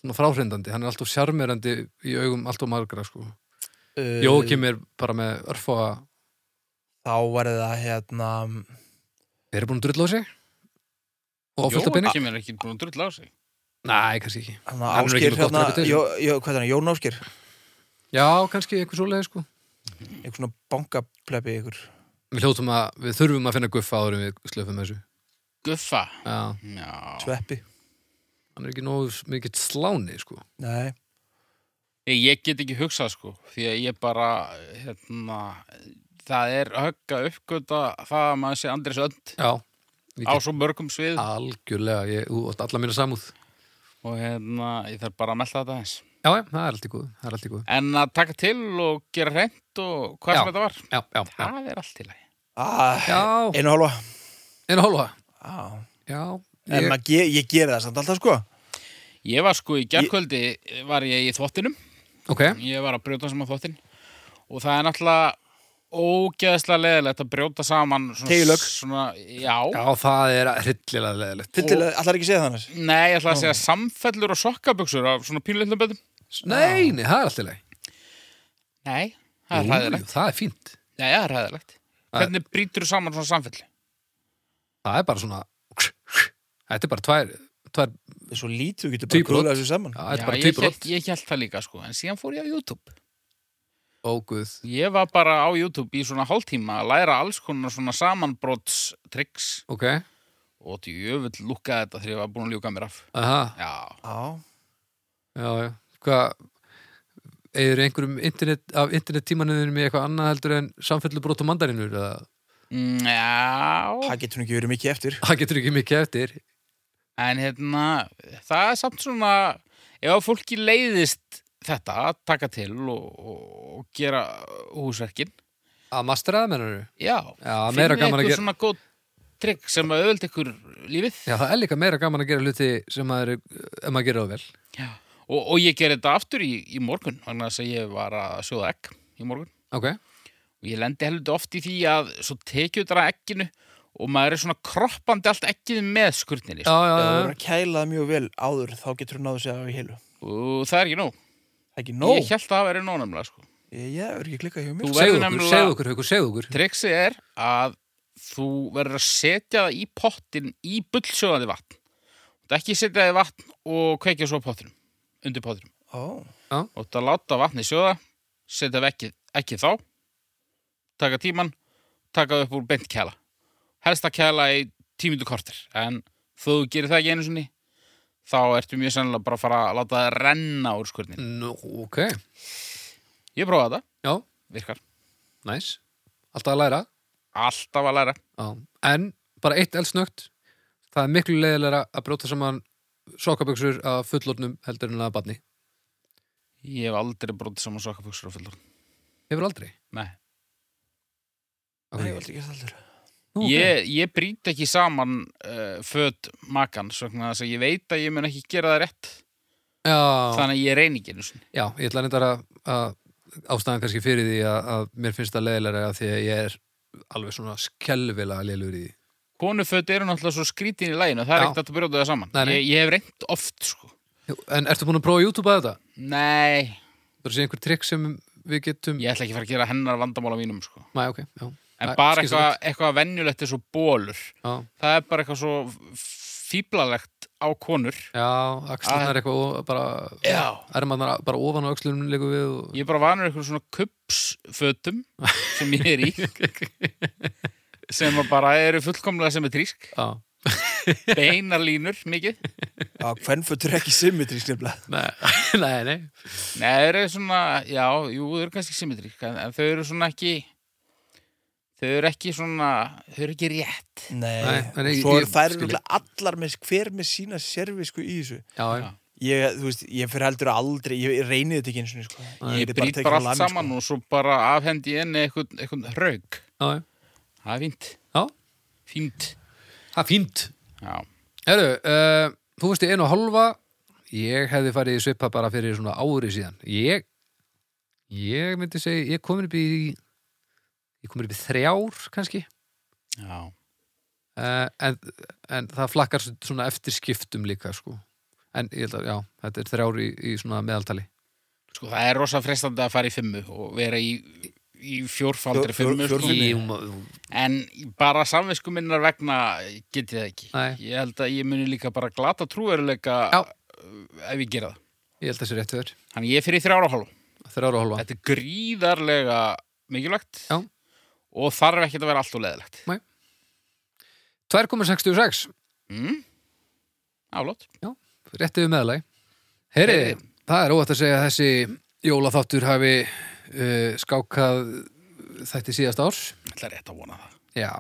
[SPEAKER 2] svona fráhrindandi, hann er alltof sjarmerandi í augum alltof margra sko
[SPEAKER 1] uh,
[SPEAKER 2] Jókim er bara með örfóa
[SPEAKER 1] Þá var það hérna
[SPEAKER 2] Er það búin að drulla á sig? Og fullt af
[SPEAKER 3] Jóa
[SPEAKER 2] pening?
[SPEAKER 3] kemur ekki búin að drulla á sig
[SPEAKER 2] Nei, kannski ekki
[SPEAKER 1] hann
[SPEAKER 2] Hann er ekki
[SPEAKER 1] Ásker
[SPEAKER 2] með gott
[SPEAKER 1] hérna,
[SPEAKER 2] reputation.
[SPEAKER 1] jó, jó, hvað er hann, Jón Ásker
[SPEAKER 2] Já, kannski eitthvað svoleiði sko
[SPEAKER 1] einhvern svona bankaplebi ykkur
[SPEAKER 2] Við hljótum að við þurfum að finna guffa áður en við slöfum þessu.
[SPEAKER 3] Guffa
[SPEAKER 2] Já,
[SPEAKER 3] Já.
[SPEAKER 1] sveppi
[SPEAKER 2] hann er ekki nógu mikið sláni, sko.
[SPEAKER 1] Nei,
[SPEAKER 3] Ég, ég get ekki hugsað sko því að ég bara hérna, það er högg að uppgöta það að maður sé Andri Sönd
[SPEAKER 2] Já,
[SPEAKER 3] á svo mörgum svið
[SPEAKER 2] Ah. algjörlega, ég, þú átt alla mínu samúð.
[SPEAKER 3] og hérna, ég þarf bara að melda þetta eins
[SPEAKER 2] Já, já, það er allt í góðu, það er allt í góðu.
[SPEAKER 3] en að taka til og gera reynd og hvað
[SPEAKER 2] Já.
[SPEAKER 3] sem þetta var
[SPEAKER 2] Já, já, já.
[SPEAKER 3] það er allt í lagi
[SPEAKER 1] ah,
[SPEAKER 2] Já,
[SPEAKER 1] einu hálfa
[SPEAKER 2] einu hálfa.
[SPEAKER 1] ah.
[SPEAKER 2] Já,
[SPEAKER 1] En
[SPEAKER 2] ég,
[SPEAKER 1] maður ge, ég geri það samt alltaf sko
[SPEAKER 3] ég var sko í gerkvöldi var ég í þvottinum
[SPEAKER 2] ok,
[SPEAKER 3] ég var að brjóta saman þvottin og það er náttúrulega ógeðslega leðilegt að brjóta saman svona,
[SPEAKER 1] Teygilögn.
[SPEAKER 3] svona, já,
[SPEAKER 2] já, það er hryllilega leðilegt.
[SPEAKER 1] Fyllilega, allar ekki segja það annars
[SPEAKER 3] nei, ég ætla að segja samfellur og sokkabuxur af svona pínleitlum betum
[SPEAKER 2] Nei, nei, það er allt í lagi.
[SPEAKER 3] nei, það er
[SPEAKER 2] Jú,
[SPEAKER 3] ræðilegt
[SPEAKER 2] Það er fínt.
[SPEAKER 3] nei, það er ræðilegt
[SPEAKER 2] Það-
[SPEAKER 3] hvernig brýtur þú saman svona samfellu
[SPEAKER 2] Það er bara svona, þetta er bara tvær, tvær, já,
[SPEAKER 1] Það er Svo lítið, þú getur bara
[SPEAKER 2] Tvíbrot.
[SPEAKER 1] kúlað þessu saman
[SPEAKER 2] þetta er bara
[SPEAKER 3] ég,
[SPEAKER 2] týpur
[SPEAKER 3] hélt, ég held það líka sko en síðan fór ég á YouTube
[SPEAKER 2] Ó, guð.
[SPEAKER 3] ég var bara á YouTube í svona hálftíma að læra alls konar svona samanbrottstricks
[SPEAKER 2] Ok,
[SPEAKER 3] og til jöfull lúkkaði þetta þegar ég var búin að ljúka mér af
[SPEAKER 2] aha,
[SPEAKER 3] já,
[SPEAKER 1] Já,
[SPEAKER 2] Já, já. Hvað, eigður einhverjum internet, af internettímanuðinum í eitthvað annað heldur en samfellubrót og mandarinur? Eða?
[SPEAKER 3] Mm, já
[SPEAKER 1] það getur nú ekki verið mikið eftir
[SPEAKER 2] Það getur ekki mikið eftir.
[SPEAKER 3] en hérna það er samt svona ef að fólki leiðist þetta að taka til og, og, og gera húsverkin
[SPEAKER 2] Að masteraða mennur
[SPEAKER 3] já,
[SPEAKER 2] Já, meira gaman að
[SPEAKER 3] eitthvað
[SPEAKER 2] gera-
[SPEAKER 3] svona góð trygg sem að öðvöld ykkur lífið
[SPEAKER 2] Já, það er líka meira gaman að gera hluti sem maður, ef maður gerir það vel.
[SPEAKER 3] og, og ég gerði þetta aftur í, í morgun vegna þess að ég var að sjóða egg í morgun
[SPEAKER 2] Ok.
[SPEAKER 3] og ég lendi helviti oft í því að svo tekið þetta egginu og maður er svona kroppandi allt eggið með skurninni
[SPEAKER 2] Já,
[SPEAKER 3] sko.
[SPEAKER 2] já,
[SPEAKER 1] Ef þú
[SPEAKER 2] já.
[SPEAKER 1] verður að kæla það mjög vel áður þá getur þú náðu sér af í heilu.
[SPEAKER 3] og það er ekki nóg
[SPEAKER 1] Það er ekki nóg.
[SPEAKER 3] ég held að það verið nóg nefnilega sko.
[SPEAKER 1] Ég, ég er ekki klikkað hjá mér.
[SPEAKER 3] Þú
[SPEAKER 1] sko.
[SPEAKER 3] verður
[SPEAKER 2] Segðu okkur,
[SPEAKER 3] nefnilega-
[SPEAKER 2] segðu okkur, Haukur, segðu okkur.
[SPEAKER 3] Trixið er að þú verður að setja það í pottin í bullsjóðandi vatn. Þú ert ekki að setja það í vatn og kveikja svo á pottinum, undir pottinum.
[SPEAKER 1] Ó,
[SPEAKER 3] Þú ert að láta vatni sjóða, setja ekki, ekki þá, taka tíman, taka upp úr beint kæla. Helst að kæla í tímindu kortir, en þú gerir það ekki einu sinni, þá ertu mjög sennilega bara að fara að láta það renna úr skurnin.
[SPEAKER 2] Nú, ok.
[SPEAKER 3] Ég prófaði þetta,
[SPEAKER 2] Já,
[SPEAKER 3] virkar.
[SPEAKER 2] næs. Alltaf að læra.
[SPEAKER 3] Alltaf að læra.
[SPEAKER 2] Já. En, bara eitt eldsnögt. Það er miklu leiðilega að brjóta saman sokkaböksur að fullornum heldur en að badni.
[SPEAKER 3] Ég hef aldrei brotið saman sokkabuxur á fullur.
[SPEAKER 2] Hefur aldrei.
[SPEAKER 3] Nei.
[SPEAKER 2] Af
[SPEAKER 1] nei, ég hef
[SPEAKER 2] hverju
[SPEAKER 1] aldrei
[SPEAKER 2] ekki?
[SPEAKER 1] gert það heldur.
[SPEAKER 2] Nú, ok.
[SPEAKER 3] Ég, ég brýt ekki saman uh, föt makan, svona þess að ég veit að ég mun ekki gera það rétt
[SPEAKER 2] Já.
[SPEAKER 3] þannig að ég reyni ekki einu sinni.
[SPEAKER 2] Já, ég ætla reyndar að, að ástæðan kannski fyrir því að, að mér finnst það leiðilega því að ég er alveg svona skelvilega leiðilegur í því.
[SPEAKER 3] Konuföt eru náttúrulega svo skrítin í læginu, það er
[SPEAKER 2] Já.
[SPEAKER 3] ekkert hægt að brjóta það saman.
[SPEAKER 2] Nei, nei.
[SPEAKER 3] Ég, ég hef reynt oft, sko.
[SPEAKER 2] Jú, En ertu búin að prófa að YouTube að þetta?
[SPEAKER 3] Nei,
[SPEAKER 2] Það sé einhver trikk sem við getum...
[SPEAKER 3] ég ætla ekki að fara að gera hennar vandamála mínum, sko.
[SPEAKER 2] Mæ, ok, já.
[SPEAKER 3] En
[SPEAKER 2] Nei,
[SPEAKER 3] bara
[SPEAKER 2] skilst
[SPEAKER 3] eitthvað, eitthvað venjulegt er svo bólur.
[SPEAKER 2] Já,
[SPEAKER 3] Það er bara eitthvað svo fíblalegt á konur.
[SPEAKER 2] já axlunar eitthvað og bara...
[SPEAKER 3] Já.
[SPEAKER 2] Ermannar bara ofan á axlunum líka við og...
[SPEAKER 3] Ég er bara vanur eitthvað svona kupsfötum sem ég er í, sem að bara eru fullkomlega sem er trísk.
[SPEAKER 2] Já.
[SPEAKER 3] Beinar línur, mikið.
[SPEAKER 1] Já, hvernfötur er ekki symmetrisk nefnilega.
[SPEAKER 2] Nei, nei, nei.
[SPEAKER 3] Nei, þau eru svona, já, jú, þau eru kannski symmetrík, en, en þau eru svona ekki, þau eru ekki svona, þau eru ekki rétt.
[SPEAKER 1] Nei,
[SPEAKER 2] Nei,
[SPEAKER 1] nei,
[SPEAKER 2] nei, nei,
[SPEAKER 1] svo
[SPEAKER 2] ég-
[SPEAKER 1] er þær
[SPEAKER 2] skil ég.
[SPEAKER 1] náttúrulega allar með hver með sína servisku í þessu.
[SPEAKER 2] Já, já.
[SPEAKER 1] Ég, þú veist, ég fyrir heldur aldrei, ég reyni þetta ekki eins og sko.
[SPEAKER 3] Ég
[SPEAKER 1] geti
[SPEAKER 3] brýt
[SPEAKER 1] tekið
[SPEAKER 3] bara
[SPEAKER 1] lami,
[SPEAKER 3] allt saman og svo bara afhendi ég henni eitthvað, eitthvað rauk.
[SPEAKER 2] Já, já.
[SPEAKER 3] Það er fínt,
[SPEAKER 2] Já,
[SPEAKER 3] fínt.
[SPEAKER 2] það er fínt.
[SPEAKER 3] Já,
[SPEAKER 2] Herru, uh, þú veist í einu og hálfa ég hefði farið í svipa bara fyrir svona ári síðan ég, ég myndi segja ég komin upp í ég komin upp í þrjár kannski
[SPEAKER 3] já.
[SPEAKER 2] uh, en, en það flakkar s- svona eftir skiptum líka sko en ég held að, já, þetta er þrjár í, í svona meðaltali
[SPEAKER 3] Sko, það er rosa frestandi að fara í fimmu og vera í, í fjórfaldri
[SPEAKER 1] Fjó-
[SPEAKER 3] fimmu,
[SPEAKER 1] fjórfimmu.
[SPEAKER 3] sko.
[SPEAKER 1] Í-
[SPEAKER 3] En bara samvisku minnar vegna get ég það ekki.
[SPEAKER 2] Nei.
[SPEAKER 3] Ég held að ég muni líka bara glata trúveruleika
[SPEAKER 2] Já.
[SPEAKER 3] ef ég gera það.
[SPEAKER 2] ég held að þessi rétt fyrir
[SPEAKER 3] Þannig ég er fyrir þrjára hálf.
[SPEAKER 2] þrjár og hálfa
[SPEAKER 3] Þetta er gríðarlega mikilvægt
[SPEAKER 2] Já.
[SPEAKER 3] og þarf ekki að vera allt og leðilegt.
[SPEAKER 2] 2,66,
[SPEAKER 3] Mm? Álót.
[SPEAKER 2] rétt yfir meðalagi Heyriði,
[SPEAKER 3] Heyrið.
[SPEAKER 2] það er óvægt að segja að þessi jólaþáttur hafi uh, skákað þætti síðast árs
[SPEAKER 3] Það er rétt að vona það.
[SPEAKER 2] Já,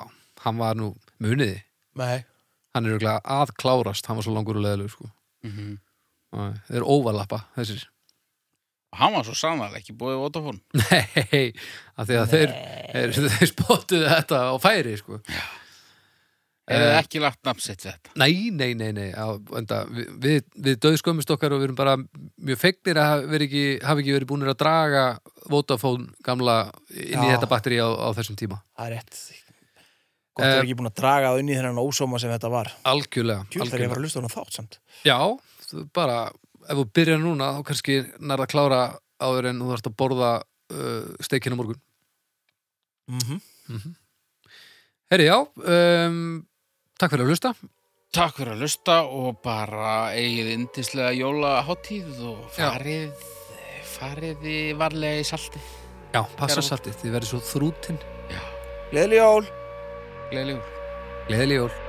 [SPEAKER 2] hann var nú muniði
[SPEAKER 1] Nei,
[SPEAKER 2] Hann er örugglega að klárast, hann var svo langur og leðilegur sko.
[SPEAKER 3] Mm
[SPEAKER 2] Æ, Þeir eru óvalappa, þessir
[SPEAKER 3] Og hann var svo sannlega ekki búið Vodafone.
[SPEAKER 2] Nei, af því að þeir, þeir, þeir spottuðu þetta á færi sko.
[SPEAKER 3] Eða
[SPEAKER 2] Eh.
[SPEAKER 3] ekki lagt nafn sitt við þetta.
[SPEAKER 2] Nei, nei, nei, nei á, enda, við, við, við döðskömmist okkar og við erum bara mjög fegnir að hafa ekki, hafa ekki verið búinir að draga Vodafone gamla inn í
[SPEAKER 1] Já.
[SPEAKER 2] þetta batteri á, á þessum tíma
[SPEAKER 1] það er rétt. Gott að
[SPEAKER 2] Eh,
[SPEAKER 1] vera ekki búin að draga það inn í þennan ósóma sem þetta var.
[SPEAKER 2] Algjörlega,
[SPEAKER 1] Tjúlar ég
[SPEAKER 2] algjörlega.
[SPEAKER 1] var að hlusta á hana þátt samt.
[SPEAKER 2] Já, þú bara ef þú byrjar núna þá kannski nærða að klára áður en þú þarft að borða uh, steikina morgun
[SPEAKER 1] Mm
[SPEAKER 2] Herri, já, um, takk fyrir að hlusta
[SPEAKER 3] Takk fyrir að lusta og bara eigið indislega jólaháttíð og
[SPEAKER 2] Já.
[SPEAKER 3] farið, farið í varlega í saltið.
[SPEAKER 2] Já, passa
[SPEAKER 3] Gerðu.
[SPEAKER 2] saltið, þið verður svo þrútin
[SPEAKER 1] Gleðileg jól!
[SPEAKER 3] Gleðilegur.
[SPEAKER 2] Gleðileg jól